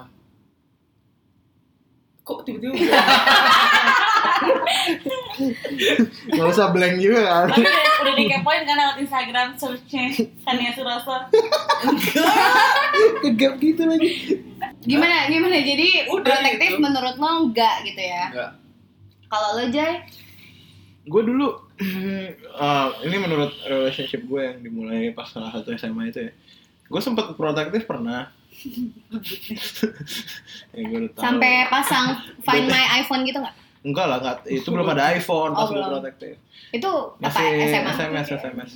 A: kok tiba-tiba gue-
B: nggak usah blank juga kan
D: Tapi udah, udah dikepoin kan lewat Instagram searchnya Tania Suroso.
B: kegap gitu lagi
C: Gimana? Gimana? Jadi
A: Udah
C: protektif
A: gitu.
C: menurut lo enggak gitu ya?
A: enggak
C: Kalau lo Jay,
B: gue dulu eh, ini menurut relationship gue yang dimulai pas salah satu SMA itu ya gue sempet protektif pernah ya, gua udah tahu.
C: sampai pasang Find My iPhone gitu nggak?
B: enggak lah enggak. itu belum ada iPhone pas
C: Oh,
B: gue
C: belum.
B: protektif
C: Itu apa?
B: masih
C: SMA?
B: SMS SMS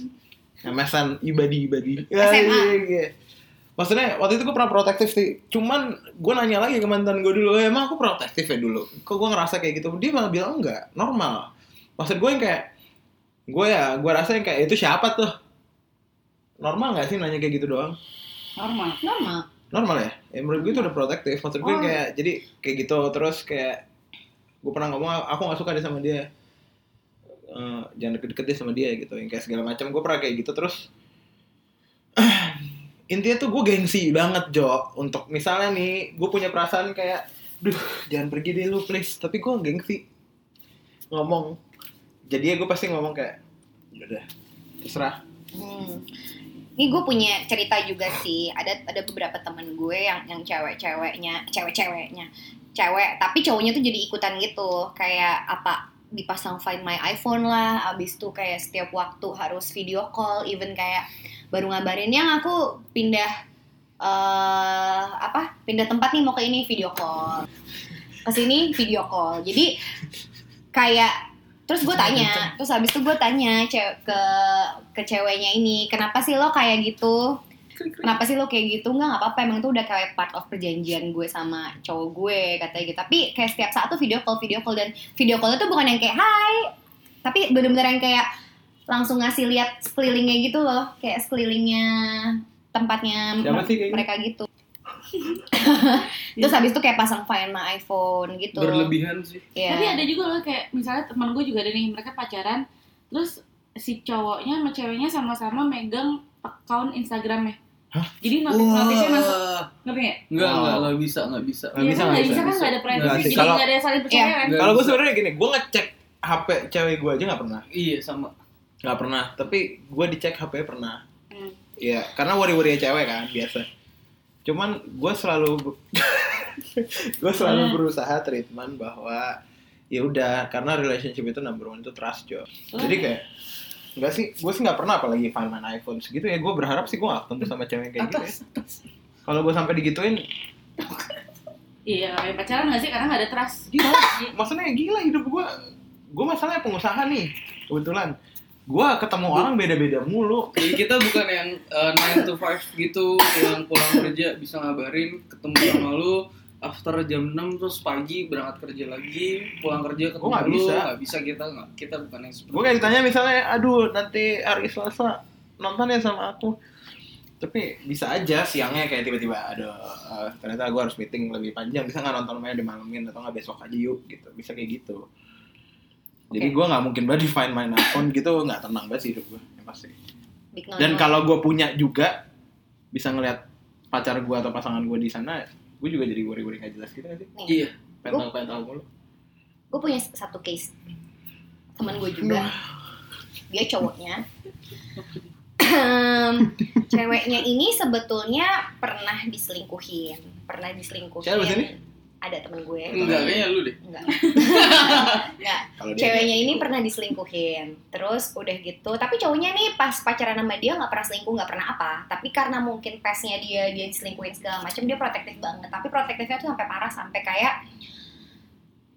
B: MSN ibadi ibadi Ya, iya,
C: SMA.
B: maksudnya waktu itu gue pernah protektif sih cuman gue nanya lagi ke mantan gue dulu "Eh, emang aku protektif ya dulu kok gue ngerasa kayak gitu dia malah bilang enggak normal maksud gue yang kayak gue ya gue rasa yang kayak itu siapa tuh normal nggak sih nanya kayak gitu doang
D: Normal.
C: Normal.
B: normal ya, ya menurut gue itu udah protektif maksud gue
C: Oh.
B: kayak jadi kayak gitu terus kayak gue pernah ngomong aku nggak suka deh sama dia Eh, jangan deket-deket deh sama dia gitu yang kayak segala macam gue pernah kayak gitu terus intinya tuh gue gengsi banget Jo untuk misalnya nih gue punya perasaan kayak duh jangan pergi deh lu please tapi gue gengsi ngomong jadi gue pasti ngomong kayak udah terserah
E: Hmm. Ini gue punya cerita juga sih. Ada ada beberapa temen gue yang yang cewek-ceweknya, cewek-ceweknya, cewek. Tapi cowoknya tuh jadi ikutan gitu. Kayak apa? Dipasang Find My iPhone lah. Abis tuh kayak setiap waktu harus video call. Even kayak baru ngabarin yang aku pindah eh apa? Pindah tempat nih mau ke ini video call. Ke sini video call. Jadi kayak terus gue tanya, terus habis itu gue tanya cewek ke ke ceweknya ini kenapa sih lo kayak gitu kenapa sih lo kayak gitu nggak nggak apa-apa emang itu udah kayak part of perjanjian gue sama cowok gue katanya gitu tapi kayak setiap saat tuh video call video call dan video call itu bukan yang kayak hai tapi bener-bener yang kayak langsung ngasih lihat sekelilingnya gitu loh kayak sekelilingnya tempatnya
B: Siapa sih kayak gitu?
E: mereka gitu terus habis itu kayak pasang find my iPhone gitu
A: berlebihan sih
E: Iya.
D: Tapi ada juga loh kayak misalnya teman gue juga ada nih mereka pacaran, terus si cowoknya sama ceweknya sama-sama megang account Instagramnya.
B: Hah?
D: Jadi notif notifnya masuk,
A: Wah.
D: ngerti nggak?
A: nggak
B: Wow.
A: nggak nggak bisa nggak bisa
B: Nggak
D: Iya
B: bisa,
D: kan nggak
B: nggak bisa,
D: bisa kan
A: nggak
D: nggak ada
A: Nggak
D: privacy,
A: bisa.
D: jadi
B: Kalau- Iya.
D: nggak ada saling kan? percayaan.
A: Nggak
B: kalau gue
A: bisa.
B: sebenarnya gini gue ngecek HP cewek gue aja nggak pernah
A: iya sama
B: nggak pernah tapi gue dicek HP pernah
D: Hmm.
B: Iya, karena worry-worry cewek kan biasa. Cuman gue selalu gue selalu
D: Hmm.
B: berusaha treatment bahwa ya udah karena relationship itu number one itu trust jo.
D: Oh, iya.
B: Jadi kayak enggak sih, gue sih nggak pernah apalagi find my iPhone segitu ya. Gue berharap sih gue gak ketemu sama cewek kayak gitu. Ya. Kalau gue sampai digituin,
D: Iya, kalau yang pacaran nggak sih karena nggak ada trust.
B: gila. maksudnya gila hidup gue. Gue masalahnya pengusaha nih, kebetulan. Gue ketemu orang beda-beda mulu.
A: jadi kita bukan yang eh, 9 to 5 gitu pulang pulang kerja bisa ngabarin ketemu sama lu after jam 6 terus pagi berangkat kerja lagi pulang kerja ketemu
B: Gua nggak
A: lu
B: bisa.
A: nggak bisa kita nggak kita bukan yang seperti
B: gue kayak ditanya misalnya aduh nanti hari Selasa nonton ya sama aku tapi bisa aja siangnya kayak tiba-tiba aduh eh, ternyata gue harus meeting lebih panjang bisa nggak nonton mainnya dimalamin atau nggak besok aja yuk gitu bisa kayak gitu jadi
E: Oke.
B: gue nggak mungkin banget define main iPhone gitu nggak tenang banget sih hidup gue yang pasti
E: Big no
B: dan
E: no.
B: kalau gue punya juga bisa ngeliat pacar gue atau pasangan gue di sana gue juga jadi worry-worry nggak jelas gitu nggak sih
E: Nih.
A: iya
B: pental pental mulu
E: gue punya satu case teman gue juga dia cowoknya Ehm, ceweknya ini sebetulnya pernah diselingkuhin pernah diselingkuhin
B: Siapa di sini?
E: ada temen gue
A: enggak kayaknya lu deh
E: enggak enggak
B: kalau dia- gitu.
E: ceweknya ini pernah diselingkuhin terus udah gitu tapi cowoknya nih pas pacaran sama dia nggak pernah selingkuh nggak pernah apa tapi karena mungkin pesnya dia dia diselingkuhin segala macam dia protektif banget tapi protektifnya tuh sampai parah sampai kayak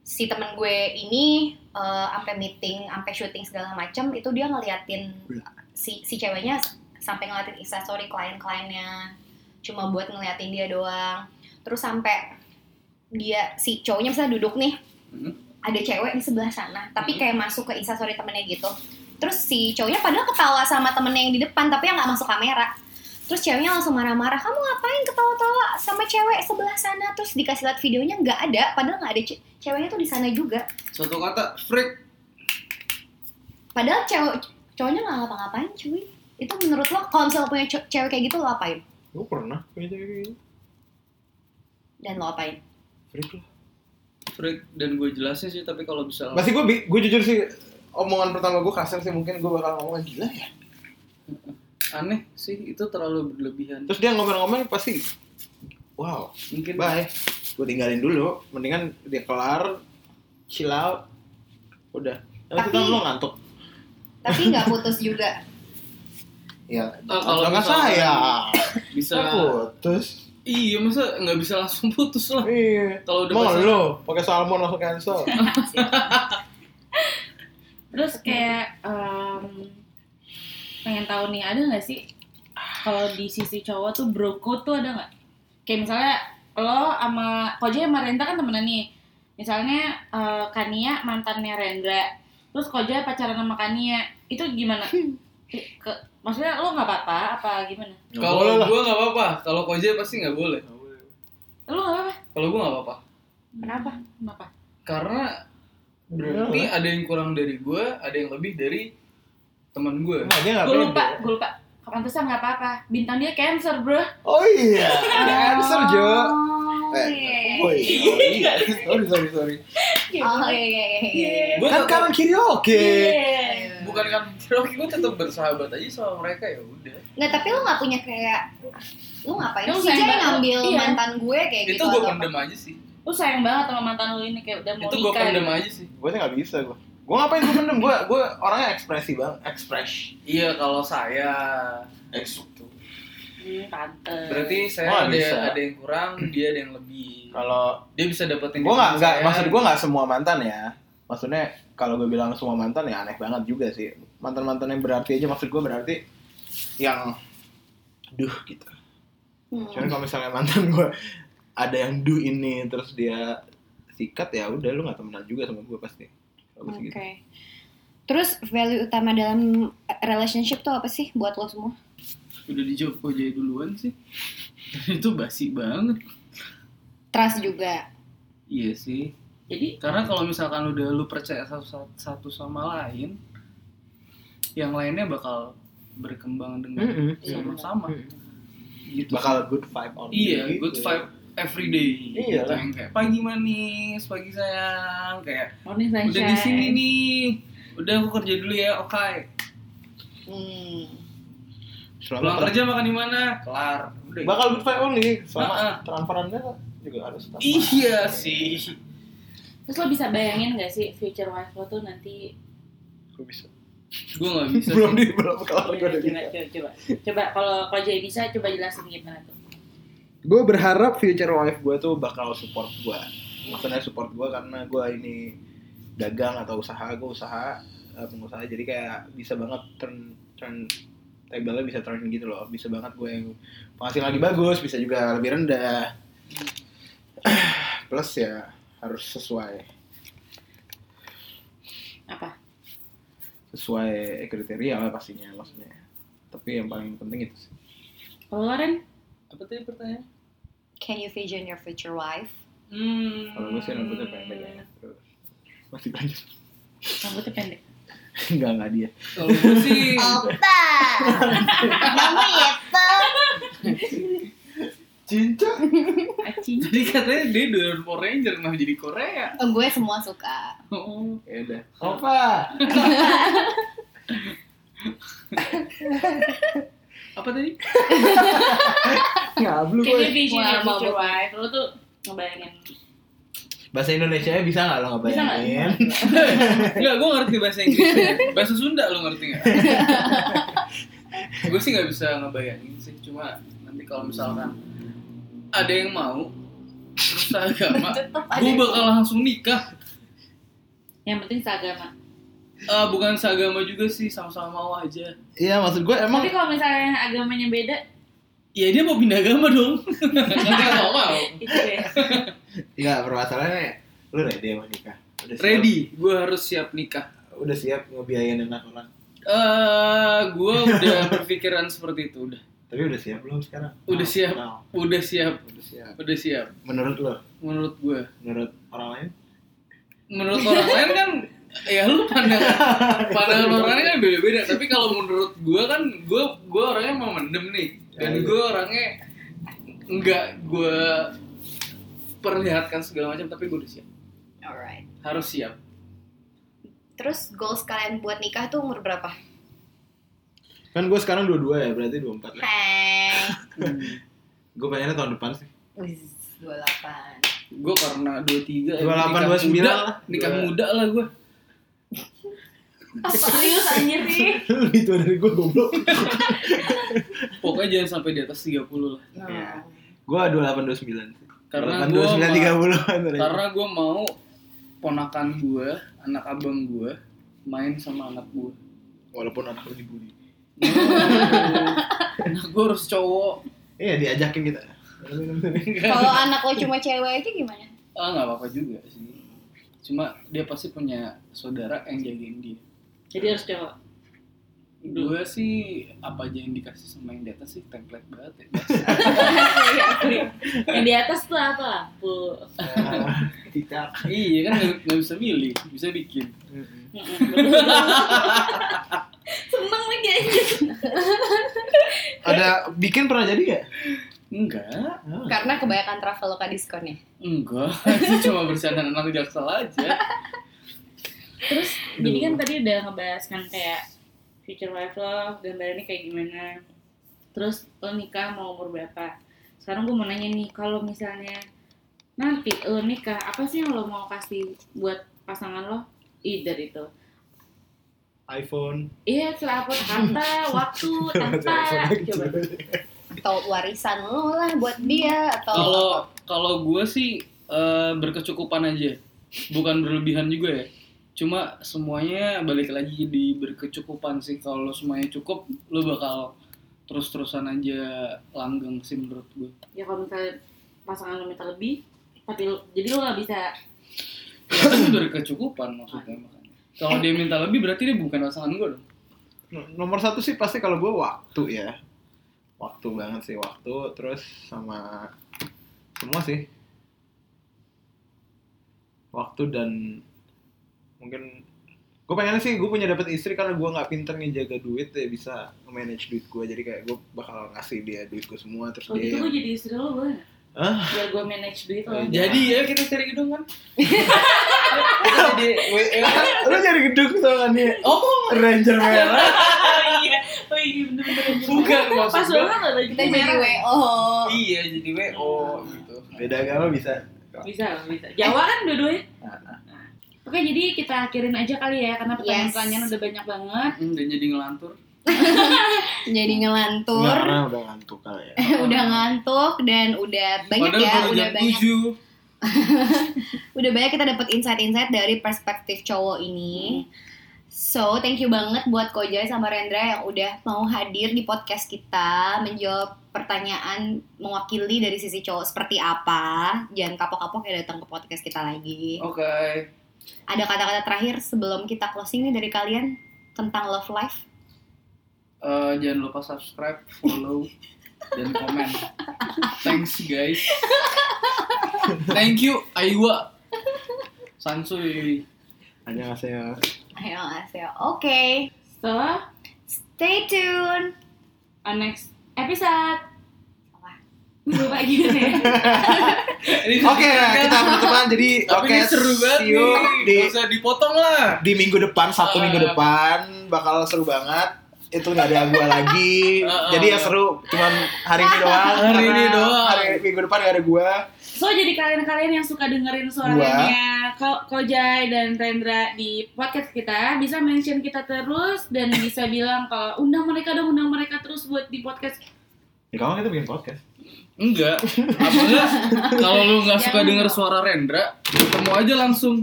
E: si temen gue ini eh, sampai meeting sampai syuting segala macam itu dia ngeliatin si si ceweknya s- sampai ngeliatin instastory klien-kliennya cuma buat ngeliatin dia doang terus sampai dia si cowoknya misalnya duduk nih
A: Hmm.
E: ada cewek di sebelah sana
D: Mm-hmm.
E: tapi
A: Hmm.
E: kayak masuk ke instastory temennya gitu terus si cowoknya padahal ketawa sama temennya yang di depan tapi yang nggak masuk kamera terus ceweknya langsung marah-marah kamu ngapain ketawa-tawa sama cewek sebelah sana terus dikasih lihat videonya nggak ada padahal nggak ada ce- ceweknya tuh di sana juga
A: satu kata freak
E: padahal cewek cowoknya nggak ngapa-ngapain cuy itu menurut lo kalau misalnya lo punya ce- cewek kayak gitu lo apain
B: gue pernah punya cewek kayak gitu
E: dan lo apain
B: freak lah
A: freak dan gue jelasin sih tapi kalau bisa
B: Masih gue gue jujur Nah, sih omongan pertama gue kasar sih mungkin gue bakal ngomong gila ya.
A: aneh sih itu terlalu berlebihan
B: Terus dia ngomel-ngomel pasti wow,
A: mungkin
B: bye. Gue tinggalin dulu, mendingan dia kelar chill out udah. Tapi
E: Tapi-
B: lo ngantuk.
E: tapi nggak putus juga
B: Ya,
A: Oh, kalau
B: nggak
A: misalkan-
B: saya.
A: bisa
B: Putus.
A: iya masa nggak bisa langsung putus lah
B: Iya.
A: kalau udah
B: Mau
A: pasangan.
B: lo pakai salmon langsung cancel.
D: Terus kayak em, pengen tahu nih ada nggak sih kalau di sisi cowok tuh bro code tuh ada nggak? Kayak misalnya lo sama Koja sama Rendra kan temenan nih. Misalnya eh, Kania mantannya Rendra, terus Koja pacaran sama Kania, itu gimana? Ke- maksudnya lo nggak apa-apa apa gimana?
A: kalau gue nggak apa-apa kalau koje pasti nggak boleh
D: Lo nggak apa-apa?
A: kalau gue nggak apa-apa
D: Kenapa? Kenapa?
A: karena berarti ada yang kurang dari gue ada yang lebih dari teman gue
B: Nah, dia nggak
D: Gue
B: pede.
D: lupa, gue lupa. Pantesan nggak apa-apa. Bintang dia cancer bro.
B: Oh iya, cancer Jo.
E: oh
B: Eh,
E: iya
B: Oh iya, sorry sorry sorry.
E: oh iya iya iya, iya
A: Gua tak-
B: Kan kanan kiri oke.
D: Iya.
A: bukan bukan kan Rocky gue tetap bersahabat aja sama mereka ya udah
C: Nggak, tapi lu nggak punya kayak lu ngapain
D: Lu
C: sih
D: sayang
C: Jay
D: banget.
C: ngambil
D: Iya.
C: mantan gue kayak
A: itu
C: gitu
A: gue
C: atau apa?
A: pendem aja sih
D: Lu sayang banget sama mantan lu ini kayak udah mau
A: itu gue
D: nikah. gitu.
A: pendem
C: gitu?
A: aja sih
B: gue sih nggak bisa gue gue ngapain gue pendem gue gue orangnya ekspresi banget ekspres
A: iya kalau saya gitu.
B: Eks-
D: Hmm, tante.
A: berarti saya
B: Oh,
A: ada
B: bisa.
A: ada yang kurang dia ada yang lebih
B: kalau
A: dia bisa dapetin
B: gue
A: diri
B: nggak nggak
A: saya.
B: maksud gue nggak semua mantan ya maksudnya kalau gue bilang semua mantan ya aneh banget juga sih mantan mantan yang berarti aja maksud gue berarti yang duh gitu
C: Hmm.
B: cuman kalau misalnya mantan gue ada yang duh ini terus dia sikat ya udah lu nggak temenan juga sama gue pasti Kalau gue sih
C: Oke.
B: gitu.
C: Terus value utama dalam relationship tuh apa sih buat lo semua?
A: udah dijawab kok jadi duluan sih itu basi banget
C: Trust juga.
A: iya sih
D: Jadi
A: karena kalau misalkan udah lu percaya satu, satu sama lain yang lainnya bakal berkembang dengan
B: Mm-mm.
A: sama-sama
B: Mm-mm.
A: gitu
B: bakal good vibe on
A: iya
B: gitu.
A: good vibe every day
B: Iya
A: gitu.
B: lah.
A: yang kayak pagi manis pagi sayang kayak
D: morning sunshine.
A: udah di sini nih udah aku kerja dulu ya oke
C: Hmm.
B: selama
A: pulang kerja makan di mana kelar udah gitu.
B: bakal good vibe only selama
A: Ah, ah.
B: transferannya juga harus transparan.
A: iya sih
D: Terus lo bisa bayangin gak sih future wife lo tuh nanti
B: Gua bisa
A: gue nggak bisa
B: belum
A: sih.
B: di belum kelar gue udah gitu.
D: coba
B: bisa
D: coba coba. Coba kalau kalau jadi bisa coba jelasin gimana tuh.
B: gue berharap future wife gue tuh bakal support gue maksudnya support gue karena gue ini dagang atau usaha gue usaha eh, pengusaha jadi kayak bisa banget turn turn table bisa turn gitu loh bisa banget gue yang penghasilan lagi bagus bisa juga lebih rendah plus ya harus sesuai
D: Apa?
B: sesuai kriteria lah pastinya maksudnya tapi yang paling penting itu sih
D: Kalau lo Ren?
A: apa tadi pertanyaan
C: Can you vision your future wife?
A: hmm.
B: kalau gue sih rambutnya pendek ya terus masih lanjut
D: Rambutnya pendek.
B: enggak enggak dia
A: kalau gue sih
C: Opa, kamu Yepo.
B: cinta
D: Aci.
A: jadi katanya dia dari Power Ranger kenapa jadi Korea
C: Oh, gue semua suka.
A: oh.
B: ya udah opa
A: apa tadi
B: ngablu
D: Can you vision
C: Wah,
D: your
C: mau
D: future
C: apa?
D: wife? Lo tuh ngebayangin.
B: bahasa Indonesia nya bisa nggak lo
D: Bisa nggak?
B: ngebayangin
A: Enggak, gue ngerti bahasa Inggrisnya Bahasa Sunda lo ngerti nggak? gue sih nggak bisa ngebayangin sih Cuma nanti kalau misalkan Ada yang mau Terus agama
C: Tetep ada
A: Gue
C: yang
A: bakal langsung nikah
D: Yang penting seagama.
A: Eh, Bukan seagama juga sih Sama-sama mau aja
B: iya maksud gue emang
D: Tapi kalau misalnya agamanya beda,
A: Ya dia mau pindah agama dong Nanti kalau mau
D: itu ya.
B: nggak permasalahannya lo ready mau nikah udah siap-
A: Ready, gue harus siap nikah
B: udah siap ngebiayain anak orang
A: Eh, Gue udah berpikiran seperti itu Udah
B: tapi udah siap belum sekarang
A: Udah
B: Now,
A: siap.
B: now.
A: udah siap
B: udah siap
A: Udah siap
B: menurut lo
A: Menurut gue
B: menurut orang lain
A: menurut orang lain kan ya lu
B: Iya,
A: pandangan pandangan orang lain kan beda-beda tapi kalau menurut gue kan gue gue orangnya mau mendem nih dan
B: Ya, iya.
A: gue orangnya nggak gue perlihatkan segala macam tapi gue udah siap
C: Alright.
A: harus siap
C: Terus goals kalian buat nikah tuh umur berapa?
B: kan gue sekarang dua-dua ya berarti dua empat lah
C: Hai.
B: Hmm. gue pengennya tahun depan sih
C: Wiz, 28.
A: gue karena 23 ya,
B: 28,
A: nikah
B: 29
A: muda,
B: lah.
A: nikah
B: Dua-
A: muda lah gue
D: Serius anjir sih.
B: Lu itu dari gue goblok
A: pokoknya jangan sampai di atas 30 lah
B: Iya. gue dua delapan dua sembilan
A: Karena
B: dua
A: gua
B: sembilan
A: mah-
B: tiga puluh
A: karena gue mau ponakan gue anak abang gue main sama anak gue
B: walaupun anak lu dibully
A: nah gue harus cowok
B: iya diajakin kita
C: Kalau anak lo cuma cewek aja gimana?
A: Ah nggak apa-apa juga sih. Cuma dia pasti punya saudara yang jagain dia.
D: Jadi harus cowok.
A: Gue sih apa aja yang dikasih sama yang di atas sih template banget ya.
D: Iya, Yang di atas tuh apa lampu?
B: Nah, tidak
A: iya kan nggak- nggak bisa milih, bisa bikin.
D: Seneng lagi aja.
B: ada bikin pernah jadi gak?
A: Enggak,
C: Karena kebanyakan traveloka diskonnya.
A: enggak. Itu cuma bercanda anak jaksel aja.
D: Terus jadi kan tadi udah ngebahas kan kayak future wife lo, gambarannya kayak gimana. Terus lo nikah mau umur berapa? Sekarang gue mau nanya nih, kalau misalnya nanti lo nikah, apa sih yang lo mau kasih buat pasangan lo? Either itu.
B: Ah,
F: iPhone
D: Iya, selaput, harta, waktu, tahta. Coba.
C: atau warisan lo lah buat dia atau
A: Kalau kalau gue sih eh, berkecukupan aja, bukan berlebihan juga ya. Cuma semuanya balik lagi di berkecukupan sih. Kalau semuanya cukup, lo bakal terus-terusan aja langgeng sih menurut gue.
D: Ya kalau misalnya pasangan lo minta lebih, tapi lo- jadi lo gak bisa
A: Ya, kan berkecukupan maksudnya makanya. Kalau dia minta lebih berarti dia bukan pasangan gue dong.
B: nomor satu sih pasti kalau gue waktu ya waktu banget sih waktu terus sama semua sih waktu dan mungkin gue pengennya sih gue punya dapat istri karena gue nggak pinter nih jaga duit ya bisa manage duit gue jadi kayak gue bakal ngasih dia duit gue semua terus
D: Kalau
B: dia
D: gitu
B: yang-
D: gue jadi istri lo boleh nggak?
B: Hah?
D: Biar gue manage duit lo.
B: Eh,
A: Jadi ya kita cari gedung kan. kita jadi WA.
B: lu nyari gedung soalnya nih
A: Oh,
B: ranger merah
D: oh iya, oh iya bener-bener.
A: bukan
D: Pas
A: maksud
D: lo
A: gue.
D: nggak ada
C: kita jadi WO
A: Iya, jadi WO gitu.
B: beda agama bisa
D: Bisa, bisa. Jawa kan dua-duanya.
B: Nah,
D: Oke, jadi kita akhirin aja kali ya,
C: Yes.
D: karena pertanyaan-pertanyaan udah banyak banget.
A: Hmm, Dan jadi ngelantur.
C: jadi ngelantur
B: karena udah ngantuk kali ya
C: udah ngantuk dan udah banyak
A: Padahal
C: ya
A: baru
C: udah
A: jam
C: banyak
A: 7.
C: udah banyak kita dapat insight-insight dari perspektif cowok ini. So, thank you banget buat Koja sama Rendra yang udah mau hadir di podcast kita menjawab pertanyaan mewakili dari sisi cowok seperti apa. Jangan kapok-kapok ya datang ke podcast kita lagi.
A: Oke.
C: Ada kata-kata terakhir sebelum kita closing nih dari kalian tentang love life.
A: Eh, jangan lupa subscribe, follow, dan komen. Thanks guys. Thank you Aiwa. Sansuy.
B: hanya saya
C: Ayo, aseo. Oke,
D: So,
C: stay tune.
D: on uh, next episode. Lupa gimana ya?
B: Oke, nah, kita penutupan jadi
A: Tapi
B: oke
A: ini seru banget
B: see you
A: nih.
B: di
A: Nggak usah dipotong lah.
B: di minggu depan, Sabtu
A: Ah.
B: minggu depan bakal seru banget. Itu nggak ada gua lagi.
A: Ah, ah.
B: Jadi ya seru cuman hari ini doang.
A: Hari ini
B: karena
A: doang.
B: Hari minggu depan nggak ada gua.
D: So jadi kalian-kalian yang suka dengerin suaranya Ko Kojai dan Rendra di podcast kita bisa mention kita terus dan bisa bilang kalau undang mereka dong undang mereka terus buat di podcast.
B: Ya kamu kita bikin podcast.
A: Enggak. Apa enggak? Kalau lu nggak suka
D: Jangan
A: denger
D: dong.
A: suara Rendra, ketemu aja langsung.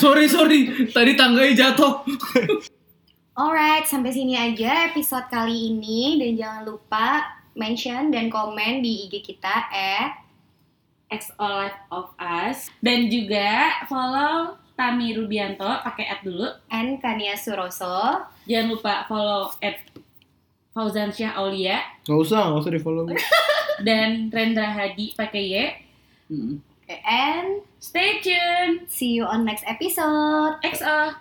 A: sorry sorry, tadi tangganya jatuh.
C: Alright, sampai sini aja episode kali ini dan jangan lupa mention dan komen di IG kita at
D: X All Life of Us dan juga follow Tami Rubianto pakai ad dulu.
C: and Kania Suroso.
D: Jangan lupa follow at Fauzan Syah Aulia
B: Nggak usah, nggak usah di follow.
D: dan Rendra Hadi pakai Y.
A: Hmm.
C: And
D: Stay tune.
C: see you on next episode.
D: XO.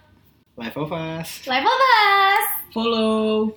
B: Life of us.
C: Live of us!
A: Follow.